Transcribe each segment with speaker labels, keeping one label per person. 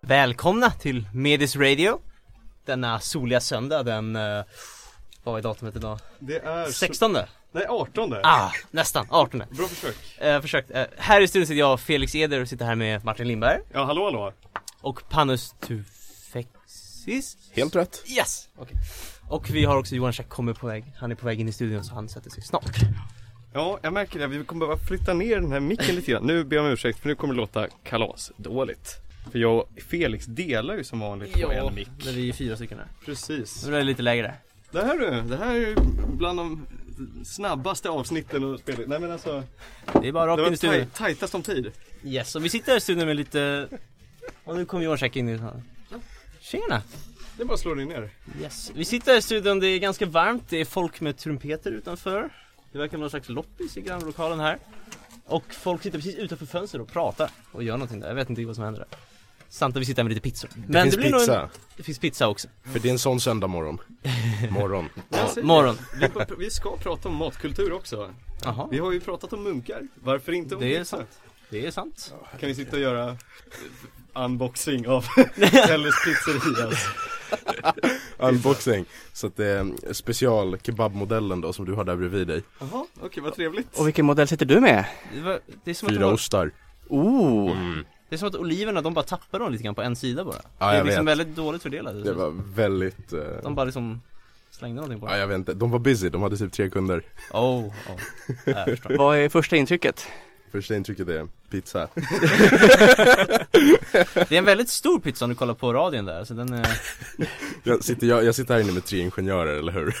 Speaker 1: Välkomna till Medis Radio Denna soliga söndag den, eh, vad är datumet idag?
Speaker 2: Det är...
Speaker 1: 16
Speaker 2: Nej, 18.
Speaker 1: Ah, nästan, 18
Speaker 2: Bra försök.
Speaker 1: eh, Försökt, eh, här i studion sitter jag Felix Eder och sitter här med Martin Lindberg
Speaker 2: Ja, hallå hallå.
Speaker 1: och Panos Tufexis
Speaker 3: Helt rätt.
Speaker 1: Yes! Okej. Och vi har också Johan Schack kommer på väg, han är på väg in i studion så han sätter sig snart
Speaker 2: Ja, jag märker det. Vi kommer behöva flytta ner den här micken lite grann. Nu ber jag om ursäkt för nu kommer det låta kalasdåligt. För jag och Felix delar ju som vanligt på en mick.
Speaker 1: men vi är fyra stycken här
Speaker 2: Precis.
Speaker 1: Så det är lite lägre där
Speaker 2: Det här du, det här är ju bland de snabbaste avsnitten att spela in. Nej men alltså,
Speaker 1: Det är bara rakt
Speaker 2: det
Speaker 1: in i
Speaker 2: var
Speaker 1: studion
Speaker 2: taj- tajtast om tid.
Speaker 1: Yes, och vi sitter här i studion med lite Och nu kommer Johan Schack in i studion Tjena!
Speaker 2: Det är bara att slå dig ner.
Speaker 1: Yes, vi sitter här i studion, det är ganska varmt, det är folk med trumpeter utanför Det verkar vara någon slags loppis i grannlokalen här Och folk sitter precis utanför fönstret och pratar och gör någonting där, jag vet inte vad som händer där Samt att vi sitter här med lite pizzor
Speaker 3: Det finns pizza.
Speaker 1: Nog en... Det finns pizza också
Speaker 3: För det är en sån söndag morgon. morgon.
Speaker 2: Jag säger,
Speaker 1: Morgon
Speaker 2: Vi, får- vi ska prata om matkultur också.
Speaker 1: Jaha,
Speaker 2: Vi har ju pratat om munkar. Varför inte om
Speaker 1: det är
Speaker 2: pizza?
Speaker 1: sant Det är sant
Speaker 2: Kan vi sitta och göra eh, unboxing av Ellers pizzerias?
Speaker 3: Unboxing. Så att det är special kebabmodellen då som du har där bredvid dig.
Speaker 2: Jaha, okej vad trevligt.
Speaker 4: Och vilken modell sitter du med?
Speaker 1: Det, var... det, är, som att de...
Speaker 3: Fyra
Speaker 1: bara-
Speaker 3: ostar.
Speaker 4: Oh!
Speaker 1: det är som att oliverna, de bara tappar dem lite grann på en sida bara
Speaker 3: Ja,
Speaker 1: Det
Speaker 3: jag
Speaker 1: är liksom
Speaker 3: vet.
Speaker 1: väldigt dåligt fördelade
Speaker 3: Det var väldigt... eh,
Speaker 1: De bara liksom slängde någonting på
Speaker 3: Ja,
Speaker 1: dem
Speaker 3: jag vet inte. De var busy. De hade typ tre kunder.
Speaker 1: Oh, oh. Ja, jag förstår.
Speaker 4: Vad är första intrycket?
Speaker 3: Första intrycket är pizza.
Speaker 1: Det är en väldigt stor pizza om du kollar på radion där, så den är...
Speaker 3: Jag sitter, jag, jag sitter här inne med tre ingenjörer, eller hur?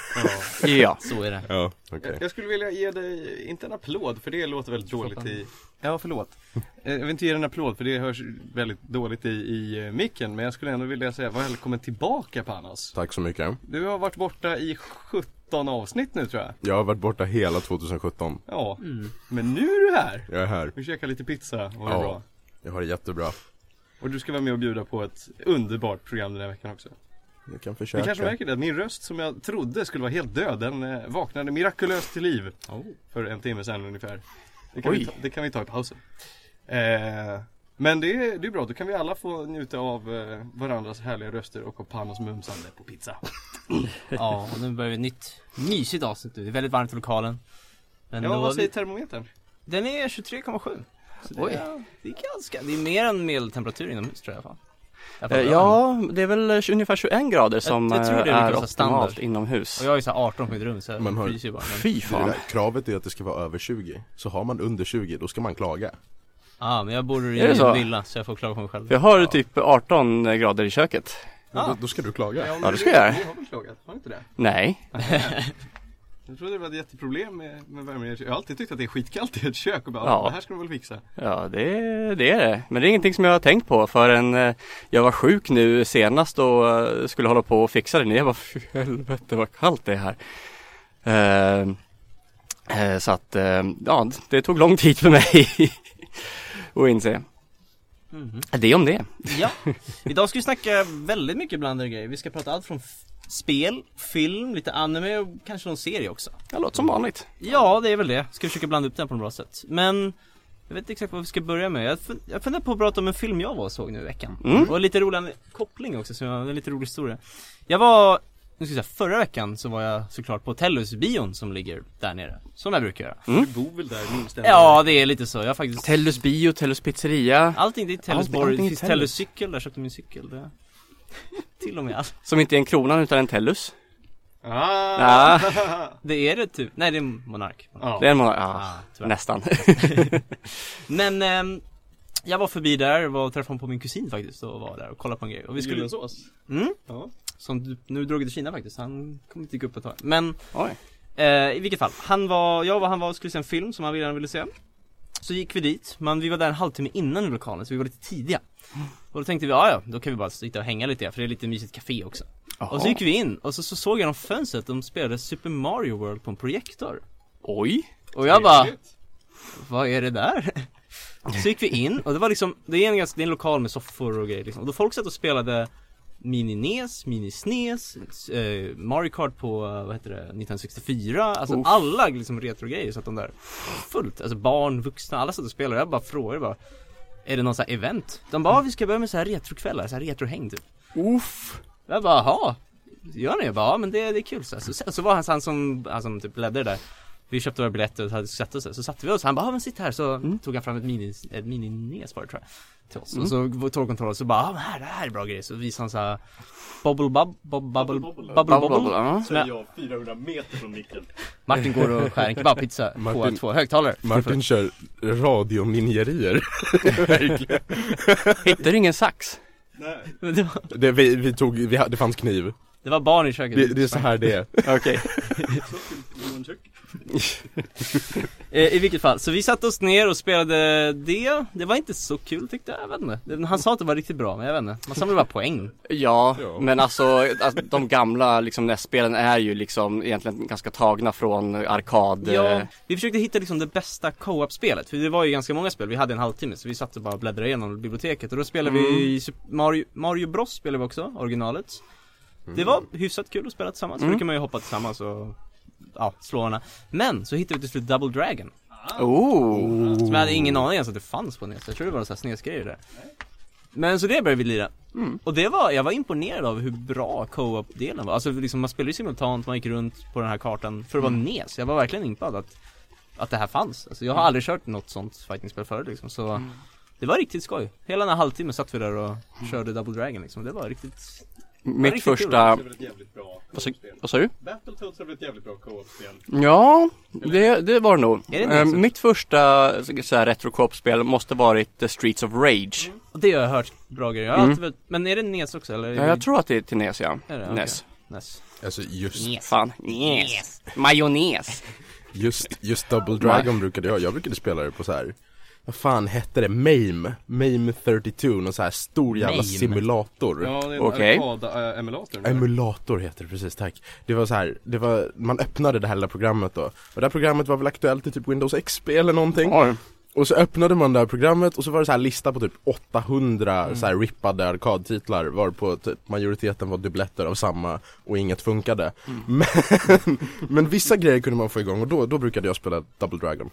Speaker 4: Ja.
Speaker 1: Så är det.
Speaker 3: Ja. Okej.
Speaker 2: Jag skulle vilja ge dig, inte en applåd för det låter väldigt dåligt i... Ja, förlåt. Eh, Jag vill inte ge dig en applåd för det hörs väldigt dåligt i, i eh, micken. Men jag skulle ändå vilja säga välkommen tillbaka Panos.
Speaker 3: Tack så mycket.
Speaker 2: Du har varit borta i 17 avsnitt nu tror jag.
Speaker 3: Jag har varit borta hela 2017.
Speaker 2: Ja,
Speaker 1: Mm.
Speaker 2: men nu är du här.
Speaker 3: Jag är här.
Speaker 2: Vi käkar lite pizza och det är
Speaker 3: Ja.
Speaker 2: bra.
Speaker 3: Jag har det jättebra.
Speaker 2: Och du ska vara med och bjuda på ett underbart program den här veckan också.
Speaker 3: Jag kan
Speaker 2: Ni
Speaker 3: försöka.
Speaker 2: kanske märker det, att min röst som jag trodde skulle vara helt död, den eh, vaknade mirakulöst till liv
Speaker 1: Oh.
Speaker 2: för en timme sedan ungefär. Det kan, vi
Speaker 4: Oj.
Speaker 2: ta, det kan vi ta i pausen. Eh, men det är, det är bra, då kan vi alla få njuta av eh, varandras härliga röster och av Panos mumsande på pizza.
Speaker 1: Ja, och nu börjar vi ett nytt mysigt avsnitt nu. Det är väldigt varmt i lokalen. Men
Speaker 2: Ja,
Speaker 1: då-
Speaker 2: vad säger termometern?
Speaker 1: Den är 23,7. Så det,
Speaker 4: Oj.
Speaker 1: är, det är ganska, det är mer än medeltemperatur inomhus tror jag i alla fall. Jag
Speaker 4: Eh,
Speaker 1: fattar.
Speaker 4: Ja, det är väl eh, ungefär 21 grader som
Speaker 1: jag tror det är
Speaker 4: eh,
Speaker 1: ungefär
Speaker 4: är
Speaker 1: så standard.
Speaker 4: optimalt inomhus.
Speaker 1: Och jag är ju såhär 18 på mitt rum så
Speaker 3: Man
Speaker 1: jag
Speaker 3: har-
Speaker 1: fryser ju bara. Men,
Speaker 4: Fy
Speaker 3: Det är det
Speaker 4: fan.
Speaker 3: där, kravet är att det ska vara över 20. Så har man under 20, då ska man klaga.
Speaker 1: ah, men jag bor i
Speaker 4: Är det
Speaker 1: en
Speaker 4: så?
Speaker 1: villa så jag får klara på mig själv.
Speaker 4: Jag har typ 18 grader i köket.
Speaker 1: Ah.
Speaker 3: Då, då ska du klaga.
Speaker 2: men
Speaker 4: Ja, det ska jag göra.
Speaker 2: Ni har väl klagat, har ni inte det?
Speaker 4: Nej.
Speaker 2: Jag trodde det var ett jätteproblem med, med värmen i ert kök. Jag har alltid tyckt att det är skitkallt i ett kök och bara,
Speaker 4: Ja.
Speaker 2: ja. det här ska de väl fixa.
Speaker 4: Ja, det, det är det. Men det är ingenting som jag har tänkt på förrän eh, jag var sjuk nu senast och eh, skulle hålla på och fixa det. Jag bara, fy helvete vad kallt det är här. Eh, eh, Så att, eh, ja, det tog lång tid för mig att inse.
Speaker 1: Mhm.
Speaker 4: Det om det.
Speaker 1: Ja, idag ska vi snacka väldigt mycket blandade grejer. Vi ska prata allt från f- spel, film, lite anime och kanske någon serie också.
Speaker 4: Ja, låter som vanligt.
Speaker 1: Ja, det är väl det. Ska försöka blanda upp den på något bra sätt. Men jag vet inte exakt vad vi ska börja med. Jag, fun- jag funderar på att prata om en film jag var och såg nu i veckan.
Speaker 4: Mm.
Speaker 1: Och lite rolig an- koppling också, så jag, en lite rolig historia. Jag var, nu ska jag säga, förra veckan så var jag såklart på Tellus-bion som ligger där nere. Som jag brukar göra.
Speaker 4: Mm.
Speaker 2: Du bor väl där minst en
Speaker 1: Ja, det är lite så. Jag har faktiskt
Speaker 4: Tellus bio, Tellus pizzeria.
Speaker 1: Allting, det är Tellus
Speaker 4: Allting-
Speaker 1: borg,
Speaker 4: allting
Speaker 1: det
Speaker 4: är
Speaker 1: finns
Speaker 4: Tellus.
Speaker 1: Tellus cykel där, jag köpte min cykel. Det... Till och med allt.
Speaker 4: Som inte är en krona utan en Tellus.
Speaker 2: Ah!
Speaker 4: Ah,
Speaker 1: Det är det typ, nej det är Monark.
Speaker 2: Ja.
Speaker 4: det är en månad. Ah,
Speaker 1: Ah, tyvärr.
Speaker 4: nästan.
Speaker 1: Men ehm, jag var förbi där, var och träffade på min kusin faktiskt och var där och kollade på en grej. Och vi skulle,
Speaker 2: Gyllensås?
Speaker 1: Mm.
Speaker 2: Ja.
Speaker 1: som du- nu drog till Kina faktiskt, han kommer inte gå upp ett tag. Men
Speaker 4: Oj.
Speaker 1: eh, i vilket fall, han var, jag var, han var och skulle se en film som han redan ville se. Så gick vi dit, men vi var där en halvtimme innan i lokalen så vi var lite tidiga. Och då tänkte vi, ja ja, då kan vi bara sitta och hänga lite för det är lite mysigt café också. Och så gick vi in och så, så såg jag genom fönstret, de spelade Super Mario World på en projektor
Speaker 4: Oj!
Speaker 1: Och jag bara Vad är det där? Så gick vi in och det var liksom Det är en, ganska, det är en lokal med soffor och grejer liksom. Och då folk satt och spelade Mini NES, Mini SNES, eh, Mario Kart på, eh, vad heter det, 1964 Alltså
Speaker 4: Oof.
Speaker 1: alla liksom retrogrejer satt de där Fullt, alltså barn, vuxna, alla satt och spelade Jag bara frågade bara Är det någon sån här event? De bara, "Ja, vi ska börja med så här retrokvällar, så här retrohäng typ
Speaker 4: Uff!
Speaker 1: jag bara, jaha, gör ni? Jag bara, ja men det, det är kul så, här. så Sen så var han, han som, han som typ ledde det där Vi köpte våra biljetter och hade satt oss där. så satte vi oss, han bara, ja men sitt här så
Speaker 3: Mm.
Speaker 1: tog han fram ett mini, ett mini NES var det tror jag Till oss, och så tog han kontroll och så bara, ja men här, det här är bra grejer Så visade han såhär Bubble bub, bub, bubble, bubble, bubble,
Speaker 4: Bubble Bubble, ja.
Speaker 1: Som jag-
Speaker 5: jag 400 meter från micken.
Speaker 1: Martin går och skär en kebabpizza på
Speaker 3: Martin-
Speaker 1: två högtalare
Speaker 3: Martin kör radioninjerier. Verkligen.
Speaker 4: Hittar du ingen sax?
Speaker 5: Nej.
Speaker 1: Men det, var,
Speaker 3: Det, vi, vi tog, vi, ha- det fanns kniv.
Speaker 1: det var barn i köket
Speaker 3: Det, det är så här det är.
Speaker 4: Okej.
Speaker 5: Johan Tjuk.
Speaker 1: Eh, I vilket fall, så vi satte oss ner och spelade det Det var inte så kul tyckte jag, jag vet inte Det- Han sa att det var riktigt bra, men jag vet inte Man samlade bara poäng
Speaker 4: Ja,
Speaker 3: Ja.
Speaker 4: men alltså att de gamla liksom, NES-spelen är ju liksom egentligen ganska tagna från arkad...
Speaker 1: Ja,
Speaker 4: eh,
Speaker 1: vi försökte hitta liksom det bästa co-op-spelet För det var ju ganska många spel, vi hade en halvtimme så vi satt och bara bläddrade igenom biblioteket Och då spelade vi Sup- Mario, Mario Bros spelade vi också, originalet Det var hyfsat kul att spela tillsammans, för då kan man ju hoppa tillsammans och Ja, slå varandra Men så hittade vi till slut Double Dragon
Speaker 4: Oh!
Speaker 1: Som jag hade ingen aning ens att det fanns på nätet, jag tror det var någon sån här snesgrej där Men så det började vi lira
Speaker 4: Mm.
Speaker 1: Och det var, jag var imponerad av hur bra co-op-delen var Alltså liksom man spelade ju simultant, man gick runt på den här kartan För att
Speaker 4: Mm.
Speaker 1: vara NES, jag var verkligen impad att Att det här fanns, alltså
Speaker 4: Mm.
Speaker 1: jag har aldrig kört något sånt fightingspel förut liksom så Det var riktigt skoj, hela den här halvtimmen satt vi där och
Speaker 4: Mm.
Speaker 1: körde Double Dragon liksom, det var riktigt
Speaker 4: Mitt
Speaker 1: riktigt kul.
Speaker 4: första...
Speaker 5: Det är väl ett jävligt bra
Speaker 4: Vad sa-
Speaker 5: spel.
Speaker 4: Vad sa du?
Speaker 5: Battletoads är väl ett jävligt bra co-op-spel.
Speaker 4: Ja, det, det var det nog.
Speaker 1: Är det det?
Speaker 4: Eh, mitt första så här, retro spel måste varit eh, Streets of Rage.
Speaker 1: Och det har jag hört bra grejer, jag har
Speaker 4: Mm.
Speaker 1: alltid velat- Men är det NES också eller?
Speaker 4: Ja, jag tror att det är till NES, ja.
Speaker 1: Är det? Okej.
Speaker 4: NES.
Speaker 1: NES
Speaker 3: Alltså just,
Speaker 4: Fan. NES. Majonnäs.
Speaker 3: just, just Double Dragon brukade jag, jag brukade spela det på så här. Vad fan hette det? MAME? MAME 32, någon så här stor jävla
Speaker 1: MAME.
Speaker 3: simulator
Speaker 2: Ja, det är äh, en
Speaker 4: Okej.
Speaker 2: arkad-emulator.
Speaker 3: Emulator heter det precis, tack. Det var så här, det var, man öppnade det här lilla programmet då. Och det här programmet var väl aktuellt i typ Windows XP eller någonting.
Speaker 4: Oj.
Speaker 3: Och så öppnade man det här programmet och så var det så här lista på typ 800 så här rippade arkadtitlar varpå typ majoriteten var dubbletter av samma och inget funkade. Men, men vissa grejer kunde man få igång och då, då brukade jag spela Double Dragon.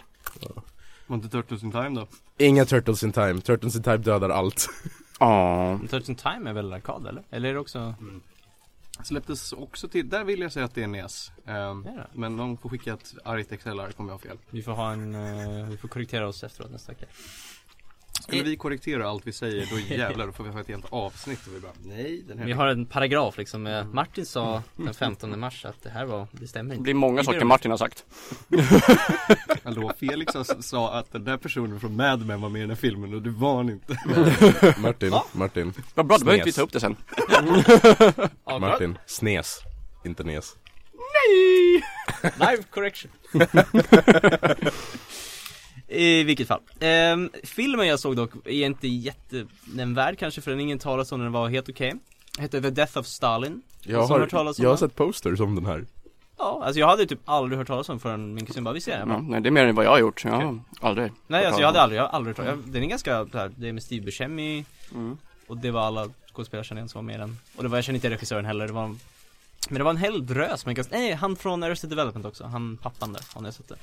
Speaker 2: Var inte Turtles in Time då?
Speaker 3: Inga Turtles in Time, Turtles in Time dödar allt.
Speaker 4: Ja.
Speaker 1: Touch in Time är väl arkad eller? Eller är det också?
Speaker 2: Släpptes också till, där vill jag säga att det är NES. Ehm,
Speaker 1: Ja.
Speaker 2: Men de får skicka ett argt Excel-ark om jag har fel.
Speaker 1: Vi får ha en, eh, vi får korrigera oss efteråt nästa vecka Eh.
Speaker 2: Skulle vi korrigera allt vi säger, då jävlar, då får vi ha ett helt avsnitt och vi bara nej, den här
Speaker 1: Vi har en paragraf liksom, eh, Martin sa den 15 mars att det här var, det stämmer
Speaker 4: Det
Speaker 1: inte
Speaker 4: blir många saker Martin har sagt.
Speaker 2: Hallå, Felix sa- sa att den där personen från Mad Men var med i den här filmen och det var han inte.
Speaker 3: Martin, Martin,
Speaker 4: Vad bra, då behöver inte vi
Speaker 3: Snes.
Speaker 4: ta upp det sen.
Speaker 3: Martin, snes, inte nes.
Speaker 1: Live correction I vilket fall Ehm, Filmen jag såg dock är inte jättenämnvärd kanske för den ingen talas om den var helt okej Hette The Death of Stalin
Speaker 3: Jag
Speaker 1: Som har
Speaker 3: har,
Speaker 1: hört talas om
Speaker 3: jag har
Speaker 1: den?
Speaker 3: sett posters om den här.
Speaker 1: Ja, alltså jag hade typ aldrig hört talas om den förrän min kusin bara, vi ser den Jag bara,
Speaker 4: Ja, nej, det är mer än vad jag har gjort. Jag har aldrig.
Speaker 1: Nej
Speaker 4: hört
Speaker 1: alltså jag hade
Speaker 4: talas
Speaker 1: aldrig, jag har aldrig hört talas om Den är ganska så här, det är med Steve Buscemi
Speaker 4: Mm.
Speaker 1: Och det var alla skådespelare jag kände igen som var med i den Och det var, jag kände inte regissören heller, det var Men det var en hel drös med ganska, nej han från Arrested Development också, han pappan där, har ni sett det?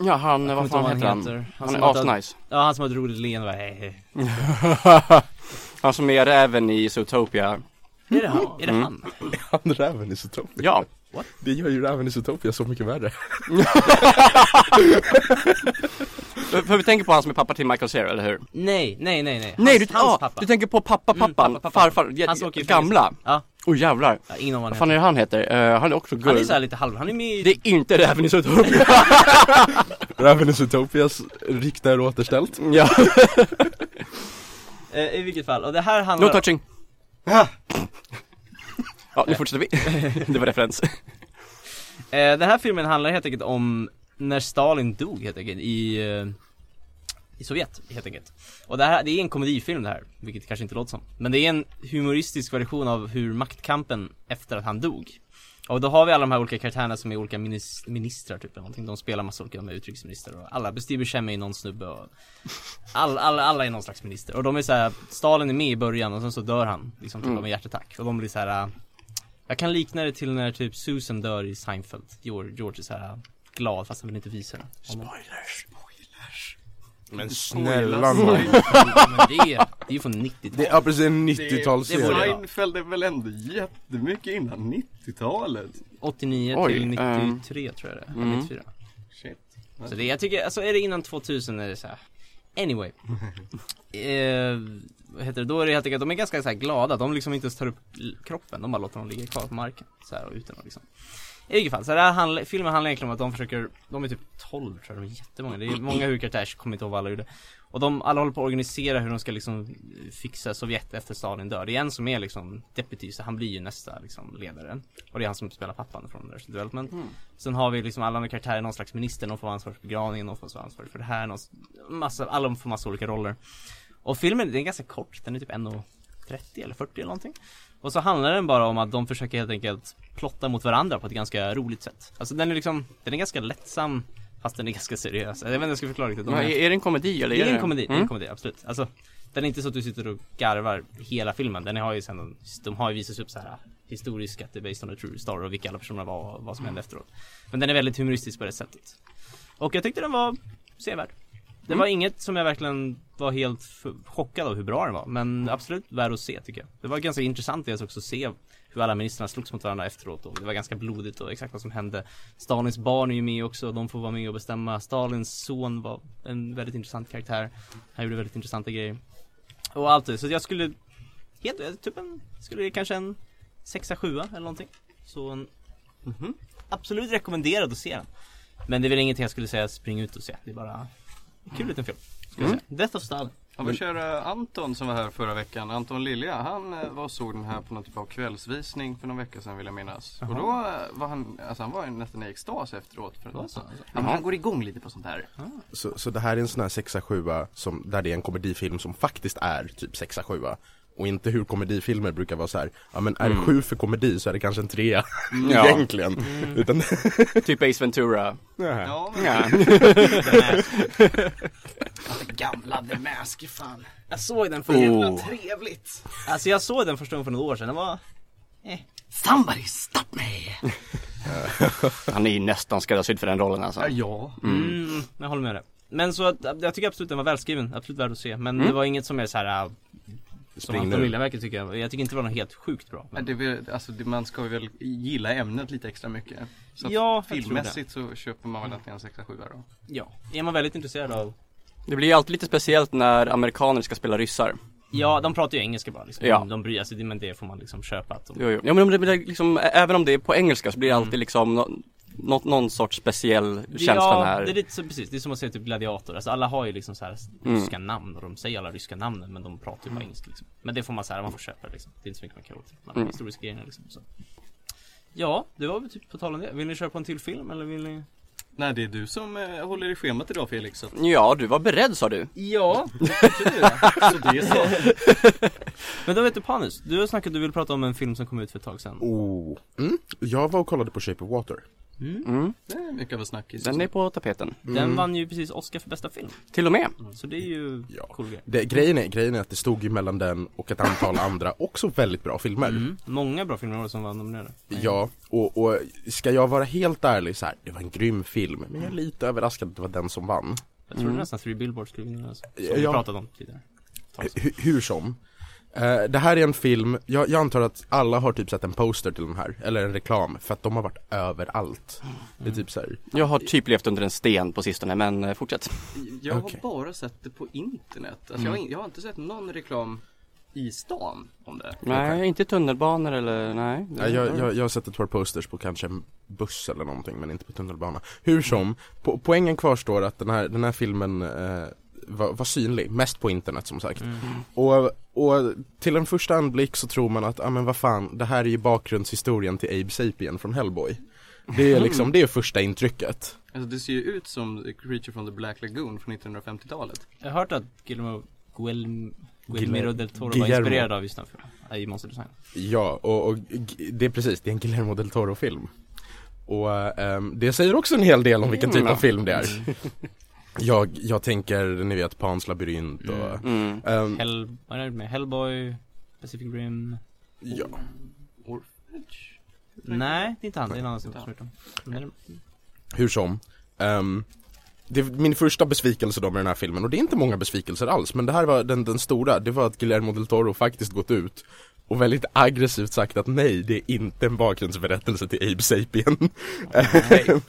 Speaker 4: Ja, han,
Speaker 1: kommer
Speaker 4: vad
Speaker 1: inte ihåg
Speaker 4: fan heter han? Han
Speaker 1: som
Speaker 4: är
Speaker 1: har död-
Speaker 4: asnice.
Speaker 1: Ja han som hade roligt leende bara, hej, hej.
Speaker 4: Han som är räven i Zootopia.
Speaker 1: Är det han? Är
Speaker 4: Mm.
Speaker 1: det han?
Speaker 3: Han räven i Zootopia.
Speaker 4: Ja.
Speaker 3: Det gör ju räven i Zootopia så mycket värre.
Speaker 4: För för vi tänker på han som är pappa till Michael Cera, eller hur?
Speaker 1: Nej, nej, nej, nej
Speaker 4: Nej, du,
Speaker 1: hans, hans
Speaker 4: ah,
Speaker 1: pappa
Speaker 4: du tänker på pappa,
Speaker 1: Mm,
Speaker 4: pappan,
Speaker 1: pappa, pappa.
Speaker 4: farfar, ja,
Speaker 1: Han som åker i
Speaker 4: gamla.
Speaker 1: fängelse. Ja,
Speaker 4: Åh jävlar.
Speaker 1: ja, ingen aning vad
Speaker 4: Vad
Speaker 1: han
Speaker 4: fan
Speaker 1: heter
Speaker 4: är det han heter? Eh, han är också
Speaker 1: Han är
Speaker 4: guld.
Speaker 1: såhär lite halv, han är med i-
Speaker 4: Det är inte Räven i Zootopia.
Speaker 3: Räven i Zootopias rykte är återställt.
Speaker 4: ja,
Speaker 1: eh, I vilket fall, och det här handlar
Speaker 4: no touching. ja, nu fortsätter vi. det var referens.
Speaker 1: Eh, den här filmen handlar helt enkelt om när Stalin dog helt enkelt i eh, i Sovjet helt enkelt. Och det här, det är en komedifilm det här, vilket det kanske inte låter som. Men det är en humoristisk version av hur maktkampen efter att han dog. Och då har vi alla de här olika karaktärerna som är olika minis- ministrar typ eller någonting. De spelar massa olika, de är utrikesminister och alla, Steve Buscemi är någon snubbe och all, alla, alla är någon slags minister. Och de är så här, Stalin är med i början och sen så dör han liksom typ av en hjärtattack. Och de blir så här. äh, Jag kan likna det till när typ Susan dör i Seinfeld. George, George är så här äh, glad fast han vill inte visa det.
Speaker 3: Men snälla nån.
Speaker 1: Men det, är- det är ju från 90
Speaker 3: Det är precis en
Speaker 1: Det borde-
Speaker 3: 90-talsserie.
Speaker 2: Seinfeld är väl ändå jättemycket innan 90-talet?
Speaker 1: 89
Speaker 4: Oj,
Speaker 1: till
Speaker 4: ehm.
Speaker 1: 93 tror jag det är, eller
Speaker 4: Mm.
Speaker 1: 94
Speaker 2: Shit.
Speaker 1: Så det, jag tycker, alltså är det innan 2000 är det så här. Anyway eh, Vad heter det, då är det helt enkelt, de är ganska så här glada, de liksom inte ens tar upp l- kroppen, de bara låter dem ligga kvar på marken så här, och utan och liksom I vilket fall, så det här handla, filmen handlar egentligen om att de försöker, de är typ 12 tror jag, de är jättemånga, det är många huvudkaraktärer, kommer inte ihåg vad alla gjorde och de alla håller på att organisera hur de ska liksom fixa Sovjet efter Stalin dör. Det är en som är liksom deputy, så han blir ju nästa liksom ledaren. Och det är han som spelar pappan från Arrested Development. Sen har vi liksom alla andra karaktärer, någon slags minister, någon får vara ansvarig för begravningen, någon får vara ansvarig för det här, någon, massa, alla får massa olika roller. Och filmen, den är ganska kort, den är typ 1.30 eller 40 eller någonting. Och så handlar den bara om att de försöker helt enkelt plotta mot varandra på ett ganska roligt sätt. Alltså den är liksom, den är ganska lättsam fast den är ganska seriös. Jag vet inte hur jag ska förklara riktigt. De
Speaker 4: Men
Speaker 1: är-
Speaker 4: är, är det en komedi eller?
Speaker 1: det är en
Speaker 4: det-
Speaker 1: komedi, det är en
Speaker 4: Mm.
Speaker 1: komedi, absolut. Alltså, den är inte så att du sitter och garvar hela filmen. Den har ju sen, de har ju visats upp så här historiskt att det är based on a true story och vilka alla personerna var och vad som hände efteråt. Men den är väldigt humoristisk på det sättet. Och jag tyckte den var sevärd. Det
Speaker 4: Mm.
Speaker 1: var inget som jag verkligen var helt f- chockad av hur bra den var. Men absolut värd att se tycker jag. Det var ganska intressant dels också att se hur alla ministrarna slogs mot varandra efteråt och det var ganska blodigt och exakt vad som hände. Stalins barn är ju med också och de får vara med och bestämma. Stalins son var en väldigt intressant karaktär. Han gjorde väldigt intressanta grejer. Och allt det. Så jag skulle, helt, typ en, skulle det kanske en sexa, sjua eller någonting. Så en, absolut rekommenderad att se den. Men det är väl ingenting jag skulle säga spring ut och se. Det är bara en kul liten film. Ska jag säga. Death of Stalin.
Speaker 2: Om vi kör eh, Anton som var här förra veckan, Anton Lilja, han eh, var och såg den här på någon typ av kvällsvisning för någon vecka sedan vill jag minnas. Och då eh, var han, alltså han var ju nästan i extas efteråt för att det var så. Han, han går igång lite på sånt här.
Speaker 3: Så, så det här är en sån här 6-7 som, där det är en komedifilm som faktiskt är typ 6-7 och inte hur komedifilmer brukar vara så här. ja men är det sju för komedi så är det kanske en trea
Speaker 4: Ja.
Speaker 3: egentligen. Utan,
Speaker 4: Typ Ace Ventura.
Speaker 2: Ja, men
Speaker 4: Ja.
Speaker 2: gamla The Mask, fan.
Speaker 1: Jag såg den för
Speaker 4: jävla Oh.
Speaker 1: trevligt. Alltså jag såg den första gången för några år sedan. Den var...
Speaker 2: Somebody stop me!
Speaker 4: Han är ju nästan skräddarsydd för den rollen alltså.
Speaker 2: Ja.
Speaker 1: Mm, jag håller med dig. Men så att, jag tycker absolut den var välskriven. Absolut värd att se. Men det var inget som är så här äh, som
Speaker 3: spring
Speaker 1: Anton
Speaker 3: nu.
Speaker 1: Liljeverket tycker jag. Jag tycker inte det var något helt sjukt bra.
Speaker 2: Ja,
Speaker 1: Men,
Speaker 2: Det, är väl- alltså, det, man ska ju väl gilla ämnet lite extra mycket. Så att
Speaker 1: Ja, jag tror
Speaker 2: filmmässigt så köper man väl att det är en 6-7 då.
Speaker 1: ja. Är man väldigt intresserad av...
Speaker 4: Det blir ju alltid lite speciellt när amerikaner ska spela ryssar.
Speaker 1: Ja, de pratar ju engelska bara liksom.
Speaker 4: Ja.
Speaker 1: De, de bryr sig, men det får man liksom köpa. Att de...
Speaker 4: Jo, jo. Ja men det blir liksom, ä- även om det är på engelska så blir det alltid liksom nå- nå- någon sorts speciell känsla
Speaker 1: Mm. ja,
Speaker 4: när
Speaker 1: det är lite så, precis. Det är som att säga typ gladiator. Alltså alla har ju liksom så här ryska namn och de säger alla ryska namnen men de pratar ju bara engelska liksom. Men det får man så här, man får köpa det liksom. Det är inte så mycket man kan göra åt de här historiska grejerna liksom. Så. Ja, det var väl typ på tal om det. Vill ni köra på en till film eller vill ni?
Speaker 2: Nej, det är du som eh, håller i schemat idag Felix. Så, att-
Speaker 4: Ja, du var beredd sa du.
Speaker 1: Ja.
Speaker 2: så det är så.
Speaker 1: Men då vet du Panus, du har snackat att du vill prata om en film som kom ut för ett tag sedan.
Speaker 3: Oh. Mm. Jag var och kollade på Shape of Water.
Speaker 4: Mm.
Speaker 2: Det är mycket av en snackis.
Speaker 4: Den är på tapeten.
Speaker 3: Mm.
Speaker 1: Den vann ju precis Oscar för bästa film.
Speaker 4: Till och med.
Speaker 1: Så det är ju
Speaker 3: Ja.
Speaker 1: cool grej.
Speaker 3: Det, grejen, är, grejen är att det stod ju mellan den och ett antal andra också väldigt bra filmer.
Speaker 1: Mm. Många bra filmer i år som var nominerade.
Speaker 3: Ja, och, och ska jag vara helt ärlig så här, det var en grym film, men jag är lite överraskad att det var den som vann.
Speaker 1: Jag trodde nästan Three Billboards skulle vinna alltså, Som vi
Speaker 3: Ja.
Speaker 1: pratade om tidigare.
Speaker 3: Hu- hur som. Eh, det här är en film, jag, jag antar att alla har typ sett en poster till den här, eller en reklam, för att de har varit överallt. Det är typ så här,
Speaker 4: Jag har typ levt under en sten på sistone men eh, fortsätt.
Speaker 2: Jag
Speaker 3: Okej.
Speaker 2: har bara sett det på internet. Alltså, jag, har in, jag har inte sett någon reklam i stan om det.
Speaker 4: Nej, inte tunnelbanor eller nej.
Speaker 3: ja, jag, jag, jag har sett ett par posters på kanske en buss eller någonting, men inte på tunnelbana. Hur som, po poängen kvarstår att den här, den här filmen eh, var, var synlig, mest på internet som sagt.
Speaker 1: Mm.
Speaker 3: Och, och till en första anblick så tror man att, ja ah, men vad fan, det här är ju bakgrundshistorien till Abe Sapien från Hellboy. Det är liksom, det är första intrycket.
Speaker 2: Alltså det ser ju ut som Creature from the Black Lagoon från 1950-talet.
Speaker 1: Jag har hört att Guillermo Guel,
Speaker 3: Guillermo
Speaker 1: Guillermo del Toro var
Speaker 3: Guillermo.
Speaker 1: inspirerad av just den filmen, i Monster Design.
Speaker 3: Ja, och, och g- det är precis, det är en Guillermo del Toro-film. Och ehm, det säger också en hel del om vilken typ av film det är. Jag, jag tänker, ni vet, Pans labyrint och...
Speaker 4: Mm.
Speaker 3: ehm,
Speaker 1: Hell, vad är det med? Hellboy, Pacific Rim?
Speaker 3: ja.
Speaker 2: Orphanage?
Speaker 1: Nej, det är inte han, det är en annan som har gjort dem. Men-
Speaker 3: Hur som. ehm, det är min första besvikelse då med den här filmen, och det är inte många besvikelser alls, men det här var den, den stora, det var att Guillermo del Toro faktiskt gått ut och väldigt aggressivt sagt att nej, det är inte en bakgrundsberättelse till Abe Sapien.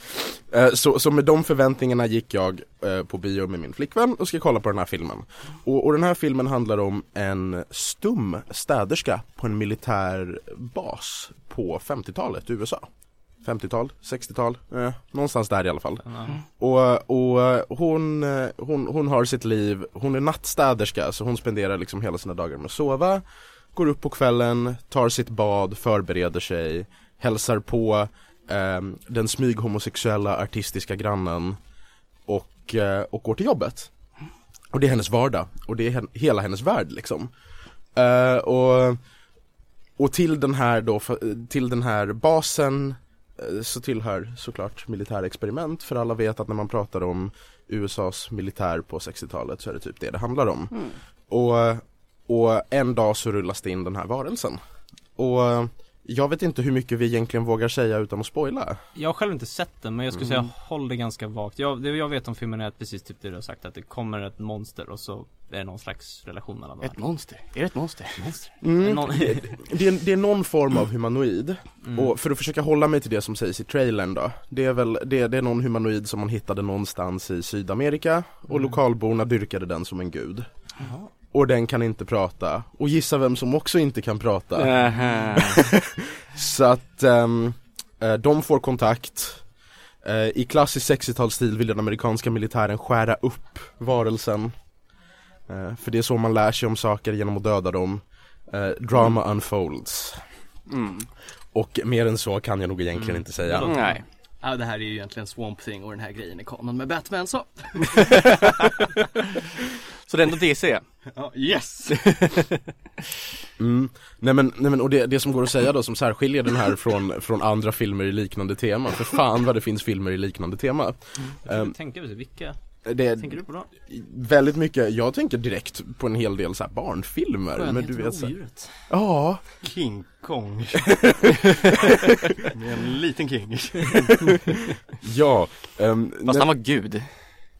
Speaker 3: Eh, så, så med de förväntningarna gick jag eh, på bio med min flickvän och ska kolla på den här filmen. Och, och den här filmen handlar om en stum städerska på en militär bas på 50-talet i USA. 50-tal, 60-tal, eh, någonstans där i alla fall. Och, och eh, hon, eh, hon, hon har sitt liv, hon är nattstäderska så hon spenderar liksom hela sina dagar med att sova Går upp på kvällen, tar sitt bad, förbereder sig Hälsar på eh, den smyghomosexuella artistiska grannen och, eh, och går till jobbet Och det är hennes vardag och det är hen- hela hennes värld liksom eh, och, och till den här då, för- till den här basen eh, så tillhör såklart militärexperiment för alla vet att när man pratar om USAs militär på 60-talet så är det typ det det handlar om. Och, och en dag så rullas det in den här varelsen. Och eh, jag vet inte hur mycket vi egentligen vågar säga utan att spoila.
Speaker 1: Jag har själv inte sett den men jag skulle säga håll det ganska vagt. Jag, det jag vet om filmen är att precis typ det du har sagt att det kommer ett monster och så är det någon slags relation mellan dem.
Speaker 4: Ett monster. Är det ett monster? monster.
Speaker 1: Någon,
Speaker 3: Det är, det är någon form av humanoid. Och för att försöka hålla mig till det som sägs i trailern då. Det är väl, det, det är någon humanoid som man hittade någonstans i Sydamerika och lokalborna dyrkade den som en gud. Och den kan inte prata. Och gissa vem som också inte kan prata.
Speaker 4: Aha.
Speaker 3: Så att ehm, eh, de får kontakt Eh, I klassisk 60-talsstil vill den amerikanska militären skära upp varelsen Eh, För det är så man lär sig om saker genom att döda dem Eh, Drama unfolds
Speaker 4: Mm.
Speaker 3: Och mer än så kan jag nog egentligen inte säga
Speaker 4: Nej.
Speaker 2: Ja det här är ju egentligen Swamp Thing och den här grejen är kanon med Batman så.
Speaker 4: Så det är ändå DC?
Speaker 2: Ja, yes!
Speaker 3: mm. Nej men, nej men och det, det som går att säga då som särskiljer den här från, från andra filmer i liknande tema För fan vad det finns filmer i liknande tema
Speaker 1: jag
Speaker 3: Ehm,
Speaker 1: um, tänker precis, vilka
Speaker 3: det,
Speaker 1: tänker du på då?
Speaker 3: Väldigt mycket, jag tänker direkt på en hel del så här barnfilmer men du vet så här,
Speaker 1: odjuret.
Speaker 3: Ja,
Speaker 2: King Kong. med en liten king.
Speaker 3: ja ehm,
Speaker 4: Fast
Speaker 3: nej,
Speaker 4: han var gud.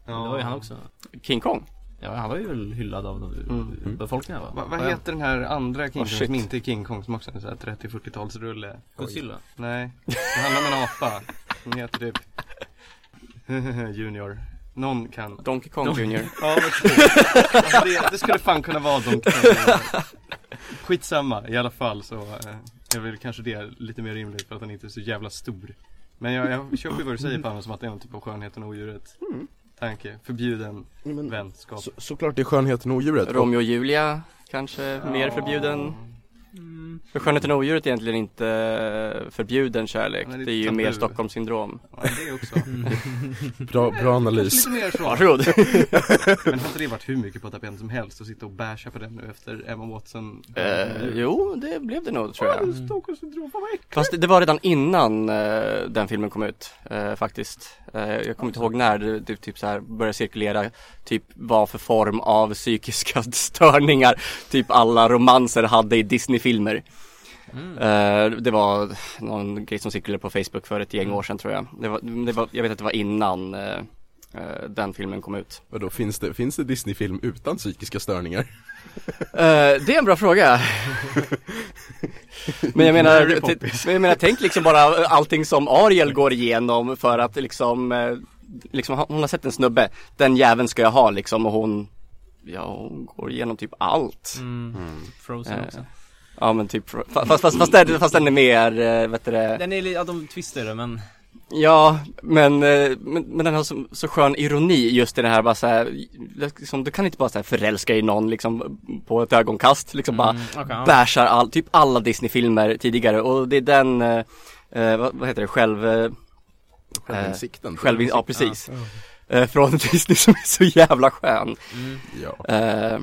Speaker 1: Det var ju han också.
Speaker 4: King Kong?
Speaker 1: Ja han var ju väl hyllad av de- befolkningen va?
Speaker 2: Va, vad heter den här andra King
Speaker 4: Oh,
Speaker 2: Kong
Speaker 4: shit.
Speaker 2: som inte är King Kong som också är en sån här 30-40-talsrulle?
Speaker 1: Godzilla?
Speaker 2: Nej, det handlar om en apa. Hon heter typ Junior. Någon kan.
Speaker 4: Donkey Kong Junior?
Speaker 2: Ja, vad kul. Alltså, det, det skulle fan kunna vara Donkey Kong. Skitsamma, i alla fall så eh, är väl kanske det lite mer rimligt för att han inte är så jävla stor. Men jag, jag köper ju vad du säger Palme som att det är en typ av skönheten och odjuret.
Speaker 4: Mm.
Speaker 2: Tanke, förbjuden
Speaker 3: men-
Speaker 2: vänskap.
Speaker 3: Så, såklart det är skönheten och odjuret
Speaker 4: Romeo och Julia? Kanske mer förbjuden?
Speaker 1: Mm.
Speaker 4: För skönheten och odjuret är egentligen inte eh, förbjuden kärlek.
Speaker 2: Nej, det är
Speaker 4: det är ju
Speaker 2: tabu.
Speaker 4: mer Stockholmssyndrom.
Speaker 2: Ja, det också.
Speaker 3: bra, bra analys
Speaker 2: Lite mer så.
Speaker 4: Mm. Varsågod.
Speaker 2: Men har inte det varit hur mycket på tapeten som helst att sitta och basha på den nu efter Emma Watson?
Speaker 4: Eh, jo, det blev det nog tror jag.
Speaker 2: Stockholmssyndrom, vad äckligt!
Speaker 4: Fast det, det var redan innan eh, den filmen kom ut eh, faktiskt. Eh, jag kommer inte ihåg när det, det typ så här började cirkulera typ vad för form av psykiska störningar typ alla romanser hade i Disney-filmer.
Speaker 1: Mm.
Speaker 4: Eh, det var någon grej som cirkulerade på Facebook för ett gäng år sedan tror jag. Det var, det var, jag vet att det var innan eh, eh, den filmen kom ut.
Speaker 3: Vadå, finns det, finns det Disney-film utan psykiska störningar?
Speaker 4: Eh, det är en bra fråga. men, jag menar,
Speaker 2: Mary
Speaker 4: t-
Speaker 2: Poppins.
Speaker 4: men jag menar, tänk liksom bara allting som Ariel går igenom för att liksom, eh, liksom hon har sett en snubbe, den jäveln ska jag ha liksom och hon, ja hon går igenom typ allt.
Speaker 1: Mm. Frozen
Speaker 4: Eh,
Speaker 1: också.
Speaker 4: Ja men typ, fa- fast, fast, fast, den, fast den är mer, eh, vet du det,
Speaker 1: Den är lite, ja de twistar det men
Speaker 4: ja men, eh, men, men den har så, så skön ironi just i det här bara så här, liksom, du kan inte bara så här förälska dig i någon liksom på ett ögonkast liksom bara
Speaker 1: Mm, okej, ja.
Speaker 4: bashar all, typ alla Disney-filmer tidigare och det är den, eh, eh, vad, vad heter det, själv, eh,
Speaker 3: Självinsikten.
Speaker 4: Själv, ja precis. Eh, från Disney som är så jävla skön.
Speaker 3: Ja.
Speaker 4: Eh,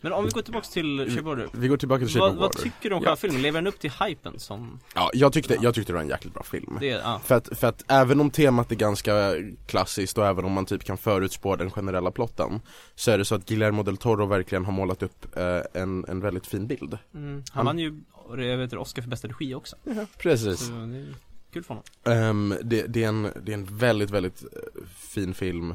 Speaker 1: Mm. Men om vi går tillbaks till Shape of Water.
Speaker 3: Vi går tillbaka till Shape
Speaker 1: Vad,
Speaker 3: of
Speaker 1: vad
Speaker 3: Water.
Speaker 1: tycker du om
Speaker 3: Ja.
Speaker 1: själva filmen? Lever den upp till hypen som
Speaker 3: Ja, jag tyckte, jag tyckte det var en jäkligt bra film.
Speaker 1: det är? Ah.
Speaker 3: För att, för att även om temat är ganska klassiskt och även om man typ kan förutspå den generella plotten Så är det så att Guillermo del Toro verkligen har målat upp eh, en, en väldigt fin bild
Speaker 1: Mm. Han vann ju jag vet, inte, Oscar för bästa regi också.
Speaker 3: Precis
Speaker 1: Så det är kul för honom.
Speaker 3: Ehm, det, det, är en, det är en väldigt, väldigt eh, fin film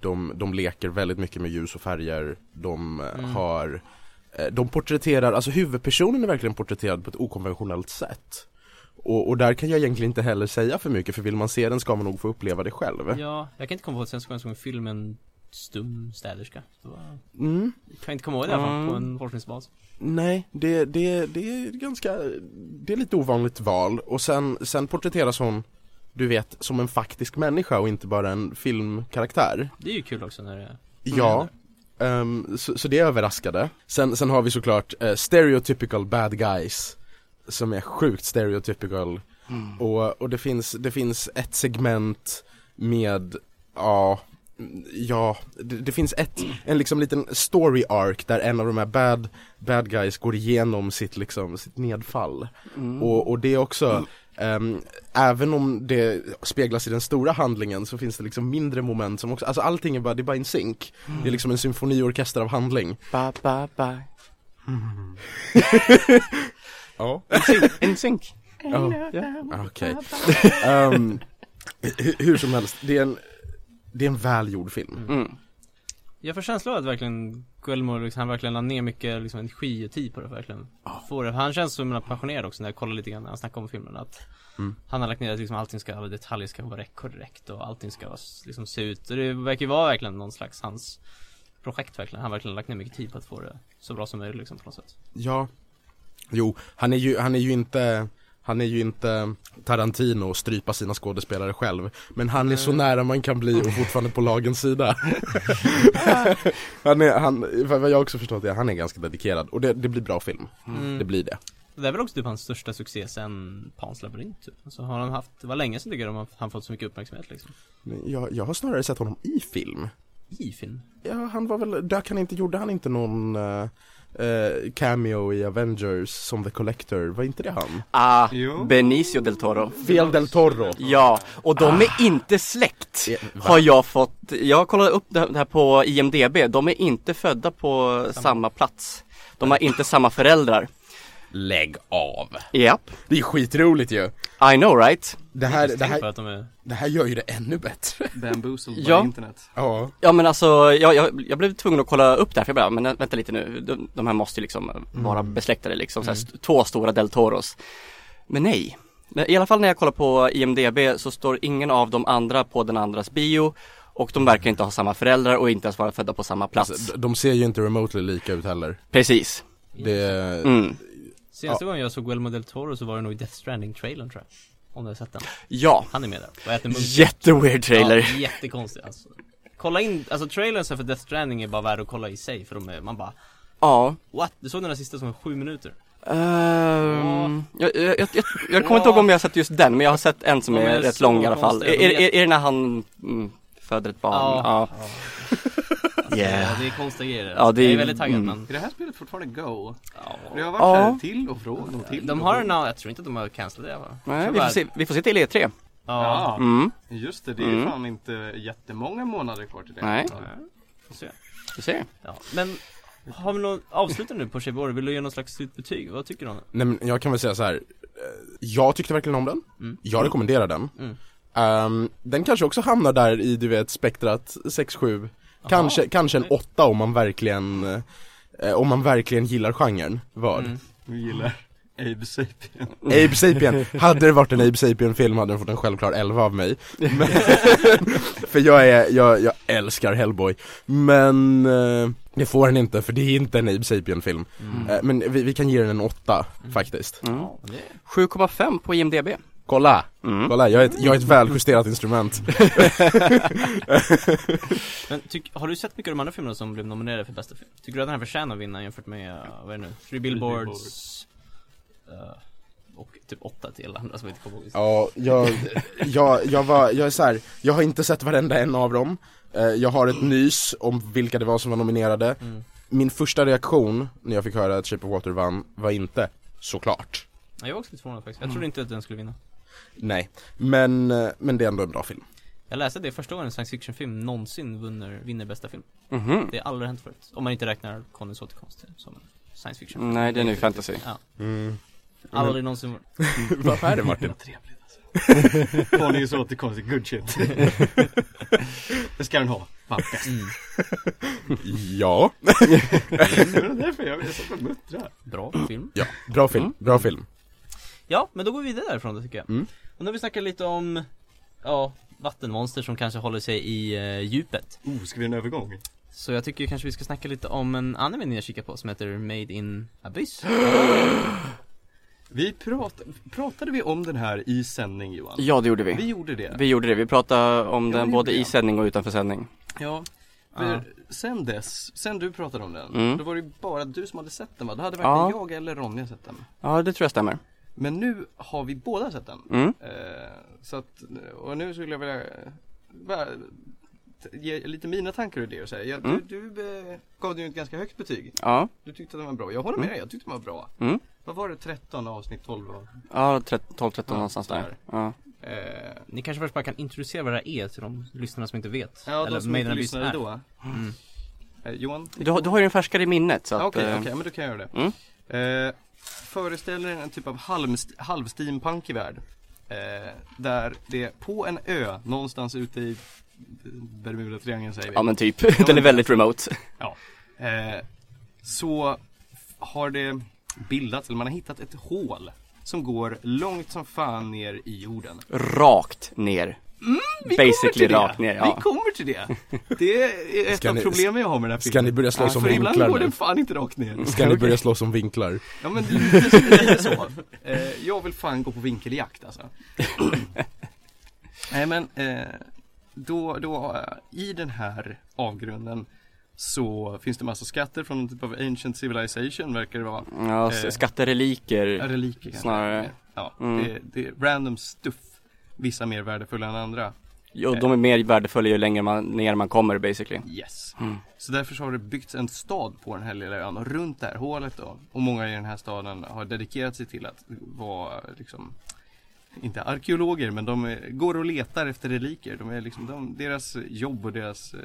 Speaker 3: de, de leker väldigt mycket med ljus och färger De eh,
Speaker 1: Mm.
Speaker 3: har eh, De porträtterar, alltså huvudpersonen är verkligen porträtterad på ett okonventionellt sätt och, och där kan jag egentligen inte heller säga för mycket för vill man se den ska man nog få uppleva det själv
Speaker 1: Ja, jag kan inte komma ihåg sen jag såg en film med en stum städerska. Det var...
Speaker 3: mm.
Speaker 1: Jag kan inte komma ihåg det i alla fall,
Speaker 4: Mm.
Speaker 1: på en forskningsbas.
Speaker 3: Nej, det, det, det är ett ganska, det är lite ovanligt val och sen, sen porträtteras hon, du vet, som en faktisk människa och inte bara en filmkaraktär.
Speaker 1: Det är ju kul också när det är
Speaker 3: Ja, ehm, så, så det överraskade. Sen, sen har vi såklart eh, stereotypical bad guys, som är sjukt stereotypical. Och, och det, finns, det finns ett segment med, ja, mm, ja, det, det finns ett, en liksom liten story arc där en av de här bad, bad guys går igenom sitt liksom, sitt nedfall.
Speaker 4: mm.
Speaker 3: Och, och det är också, ehm, även om det speglas i den stora handlingen så finns det liksom mindre moment som också, alltså allting är bara, det är bara in sync. Det är liksom en symfoniorkester av handling.
Speaker 4: ba, ba, ba.
Speaker 3: Ja.
Speaker 4: In sync.
Speaker 3: Okej. Ehm, hu- hur som helst, det är en, det är en välgjord film.
Speaker 4: Mm.
Speaker 1: Jag får känslan av att verkligen Guillermo, liksom, han verkligen la ner mycket liksom, energi och tid på det verkligen. Får det. Han känns så himla passionerad också när jag kollar lite grann när han snackar om filmen. Att
Speaker 3: Mm.
Speaker 1: Han har lagt ner att liksom, allting ska, alla detaljer ska vara korrekt och allting ska vara, liksom, se ut. Och det verkar ju vara verkligen någon slags hans projekt verkligen. Han har verkligen lagt ner mycket tid på att få det så bra som möjligt liksom, på något sätt.
Speaker 3: Ja. Jo, han är ju, han är ju inte han är ju inte Tarantino och strypa sina skådespelare själv Men han är så nära man kan bli och fortfarande på lagens sida Han är, han, vad vad jag också förstått är, han är ganska dedikerad och det, det blir bra film Det blir det
Speaker 1: Det är väl också typ hans största succé sen Pans labyrint typ. Så har han haft, det var länge sedan tycker jag de har- han fått så mycket uppmärksamhet liksom.
Speaker 3: Men jag, jag har snarare sett honom i film
Speaker 1: I film.
Speaker 3: Ja, han var väl, dök han inte, gjorde han inte någon eh, eh, cameo i Avengers som The Collector, var inte det han?
Speaker 4: Ah,
Speaker 2: Jo.
Speaker 4: Benicio del Toro.
Speaker 3: Fel del Toro
Speaker 4: Ja, och de är inte släkt.
Speaker 3: Ja, va?
Speaker 4: Har jag fått, jag kollade upp det här på IMDB, de är inte födda på samma, plats. De har inte samma föräldrar.
Speaker 3: Lägg av
Speaker 4: Japp,
Speaker 3: Det är skitroligt ju
Speaker 4: I know right?
Speaker 3: Det
Speaker 1: Jag
Speaker 3: här, det
Speaker 1: tänker
Speaker 3: här,
Speaker 1: på att de är
Speaker 3: Det här gör ju det ännu bättre.
Speaker 2: Bamboozled
Speaker 4: Ja.
Speaker 2: by internet.
Speaker 3: Ja.
Speaker 4: Ja men alltså, jag, jag, jag blev tvungen att kolla upp det här för jag bara, men vänta lite nu, de, de här måste ju liksom vara besläktade liksom, så här, st- två stora del Toros. Men nej, Men i alla fall när jag kollar på IMDB så står ingen av de andra på den andras bio och de verkar inte ha samma föräldrar och inte ens vara födda på samma plats.
Speaker 3: Alltså, De ser ju inte remotely lika ut heller.
Speaker 4: Precis.
Speaker 3: Det,
Speaker 4: Mm.
Speaker 1: Senaste gången jag såg Guillermo del Toro så var det nog i Death Stranding-trailern tror jag Om du har sett den
Speaker 4: Ja,
Speaker 1: Han är med där och äter munk
Speaker 4: jätteweird trailer.
Speaker 1: ja, Jättekonstig alltså Kolla in, alltså trailern så här för Death Stranding är bara värd att kolla i sig för de är, man bara
Speaker 4: Ja.
Speaker 1: What? Du såg den där sista som var sju minuter?
Speaker 4: Ehm, jag, jag, jag, jag, jag kommer inte ihåg om jag har sett just den, men jag har sett en som
Speaker 1: De
Speaker 4: är
Speaker 1: är
Speaker 4: rätt
Speaker 1: så
Speaker 4: lång i alla fall. Är,
Speaker 1: konstiga. De är
Speaker 4: är, är, är det när han mm, föder ett barn? Ja.
Speaker 1: Ja.
Speaker 4: Ja.
Speaker 1: Ja, det är konstiga grejer
Speaker 4: Ja, det är-
Speaker 1: Jag är väldigt taggad
Speaker 4: mm.
Speaker 1: men
Speaker 2: Är det här spelet fortfarande Go?
Speaker 1: ja.
Speaker 2: Det har varit
Speaker 4: Ja.
Speaker 2: här till och från och till
Speaker 1: De
Speaker 2: och
Speaker 1: har
Speaker 2: från.
Speaker 1: en, jag tror inte att de har cancelat det va?
Speaker 4: Nej,
Speaker 1: Jag
Speaker 4: vi,
Speaker 1: bara-
Speaker 4: får se, vi får se till E E3.
Speaker 1: Ja,
Speaker 2: Ja,
Speaker 4: Mm.
Speaker 2: just det. Det är ju
Speaker 4: Mm.
Speaker 2: fan inte jättemånga månader kvar till det.
Speaker 4: Nej,
Speaker 1: ja. Får se.
Speaker 4: vi ser.
Speaker 1: ja. Men har vi någon, avsluta nu på Shape of Water. vill du ge någon slags slutbetyg? Vad tycker du om det?
Speaker 3: nej men jag kan väl säga så här. eh, Jag tyckte verkligen om den.
Speaker 1: Mm.
Speaker 3: Jag rekommenderar den.
Speaker 1: Mm.
Speaker 3: Ehm, den kanske också hamnar där i du vet spektrat 6-7. Kanske, kanske en
Speaker 1: Nej.
Speaker 3: 8 om man verkligen eh, om man verkligen gillar genren, vad?
Speaker 1: Mm.
Speaker 2: Vi gillar Abe Sapien.
Speaker 4: Mm.
Speaker 3: Abe Sapien, hade det varit en Abe Sapien film hade den fått en självklar 11 av mig men, För jag är, jag, jag älskar Hellboy Men eh, det får den inte för det är inte en Abe Sapien film Eh, Men vi, vi kan ge den en 8 faktiskt
Speaker 4: Mm.
Speaker 1: Ja, det är
Speaker 4: 7,5 på IMDB.
Speaker 3: Kolla!
Speaker 4: Mm.
Speaker 3: Kolla, jag är ett, jag är ett väljusterat instrument
Speaker 1: Men tyck, har du sett mycket av de andra filmerna som blev nominerade för bästa film? Tycker du att den här förtjänar att vinna jämfört med, eh, vad är det nu? Three Billboards? eh, och typ åtta till andra som jag inte kommer ihåg.
Speaker 3: Ja, jag, jag, jag var, jag är så här, jag har inte sett varenda en av dem Eh, Jag har ett nys om vilka det var som var nominerade
Speaker 1: Mm.
Speaker 3: Min första reaktion när jag fick höra att Shape of Water vann var inte Såklart
Speaker 1: Ja, jag var också lite förvånad
Speaker 3: Mm.
Speaker 1: faktiskt. Jag trodde inte att den skulle vinna.
Speaker 3: Nej, men, eh, men det är ändå en bra film
Speaker 1: Jag läste att det är första gången en science fiction-film någonsin vinner, vinner bästa film.
Speaker 4: Mhm.
Speaker 1: Det har aldrig hänt förut. Om man inte räknar Konungens återkomst som en science fiction.
Speaker 3: Mm.
Speaker 4: Nej, det är nu fantasy.
Speaker 1: Aldrig någonsin varit.
Speaker 3: Varför är det Martin?
Speaker 2: Konungens återkomst är good shit. det ska den ha. Fan, bäst.
Speaker 1: Mm.
Speaker 3: Ja,
Speaker 2: Det var därför jag blev så muttrad.
Speaker 1: Bra film.
Speaker 3: ja, bra film, Mm. bra film
Speaker 1: Ja, men då går vi vidare därifrån då tycker jag.
Speaker 3: Mm.
Speaker 1: Och nu har vi snackat lite om, ja, vattenmonster som kanske håller sig i eh, djupet.
Speaker 2: Oh, ska vi göra en övergång?
Speaker 1: Så jag tycker kanske vi ska snacka lite om en anime ni har kikat på som heter Made in Abyss.
Speaker 2: Vi prat, pratade vi om den här i sändning Johan?
Speaker 4: Ja, det gjorde
Speaker 2: Vi
Speaker 4: vi.
Speaker 2: gjorde det.
Speaker 4: Vi gjorde det. Vi pratade om
Speaker 2: Ja, det
Speaker 4: den både
Speaker 2: gjorde
Speaker 4: i
Speaker 2: jag.
Speaker 4: sändning och utanför sändning.
Speaker 2: Ja. För sen dess, sen du pratade om den,
Speaker 4: Mm.
Speaker 2: då var det ju bara du som hade sett den va? Då hade varken
Speaker 4: Ja.
Speaker 2: jag eller Ronja sett den.
Speaker 4: Ja, det tror jag stämmer.
Speaker 2: Men nu har vi båda sett den.
Speaker 4: Mm.
Speaker 2: Eh, så att, och nu skulle jag vilja eh, bara, t- ge lite mina tankar och idéer och säga. Jag,
Speaker 4: Mm.
Speaker 2: Du, du eh, gav den ju ett ganska högt betyg.
Speaker 4: Ja,
Speaker 2: Du tyckte att den var bra. Jag håller med dig, jag tyckte den var bra.
Speaker 4: Mm.
Speaker 2: Vad var det, 13 avsnitt 12 av?
Speaker 4: ja 12-13
Speaker 2: Ja,
Speaker 4: någonstans där.
Speaker 2: sådär.
Speaker 4: Ja.
Speaker 2: Eh,
Speaker 1: Ni kanske först bara kan introducera vad det här är till de lyssnarna som inte vet.
Speaker 2: ja, de som
Speaker 1: Made
Speaker 2: inte
Speaker 1: in Abyss
Speaker 2: lyssnade
Speaker 1: är.
Speaker 2: då.
Speaker 1: Mm.
Speaker 2: Eh, Johan?
Speaker 4: Du, har- du har ju den färskare i minnet så att...
Speaker 2: Ja, Okej,
Speaker 4: eh,
Speaker 2: okej, men då kan jag göra det.
Speaker 4: Mm.
Speaker 2: Eh, föreställer en typ av halvst- halvsteampunkig värld. Eh, där det på en ö någonstans ute i Bermuda-triangeln säger vi.
Speaker 4: Ja men typ, den är väldigt remote.
Speaker 2: Eh, så har det bildats, eller man har hittat ett hål som går långt som fan ner i jorden.
Speaker 4: Rakt ner.
Speaker 2: Vi kommer
Speaker 4: Basically
Speaker 2: till det.
Speaker 4: rakt ner, ja.
Speaker 2: Vi kommer till det. Det är ett
Speaker 3: Ska
Speaker 2: av
Speaker 3: ni-
Speaker 2: problemen jag har med den här
Speaker 3: Ska ni
Speaker 2: filmen.
Speaker 3: börja slåss om
Speaker 2: För ibland
Speaker 3: vinklar
Speaker 2: går den
Speaker 3: nu?
Speaker 2: fan inte rakt ner.
Speaker 3: Ska ni börja slåss om vinklar?
Speaker 2: Ja men lite, lite så. Eh, jag vill fan gå på vinkeljakt alltså. Nej men, eh, då, då eh, i den här avgrunden så finns det massa skatter från en typ av ancient civilization verkar det vara.
Speaker 4: Ja, s-
Speaker 2: Eh.
Speaker 4: skattereliker.
Speaker 2: Reliker kanske.
Speaker 4: Snarare.
Speaker 2: Ja,
Speaker 4: Mm.
Speaker 2: det, det är random stuff. Vissa mer värdefulla än andra.
Speaker 4: Jo, de är mer värdefulla ju längre man, ner man kommer basically.
Speaker 2: Yes.
Speaker 4: Mm.
Speaker 2: Så därför så har det byggts en stad på den här lilla ön och runt det här hålet då. Och många i den här staden har dedikerat sig till att vara liksom inte arkeologer men de är, går och letar efter reliker. De är liksom, de, deras jobb och deras eh,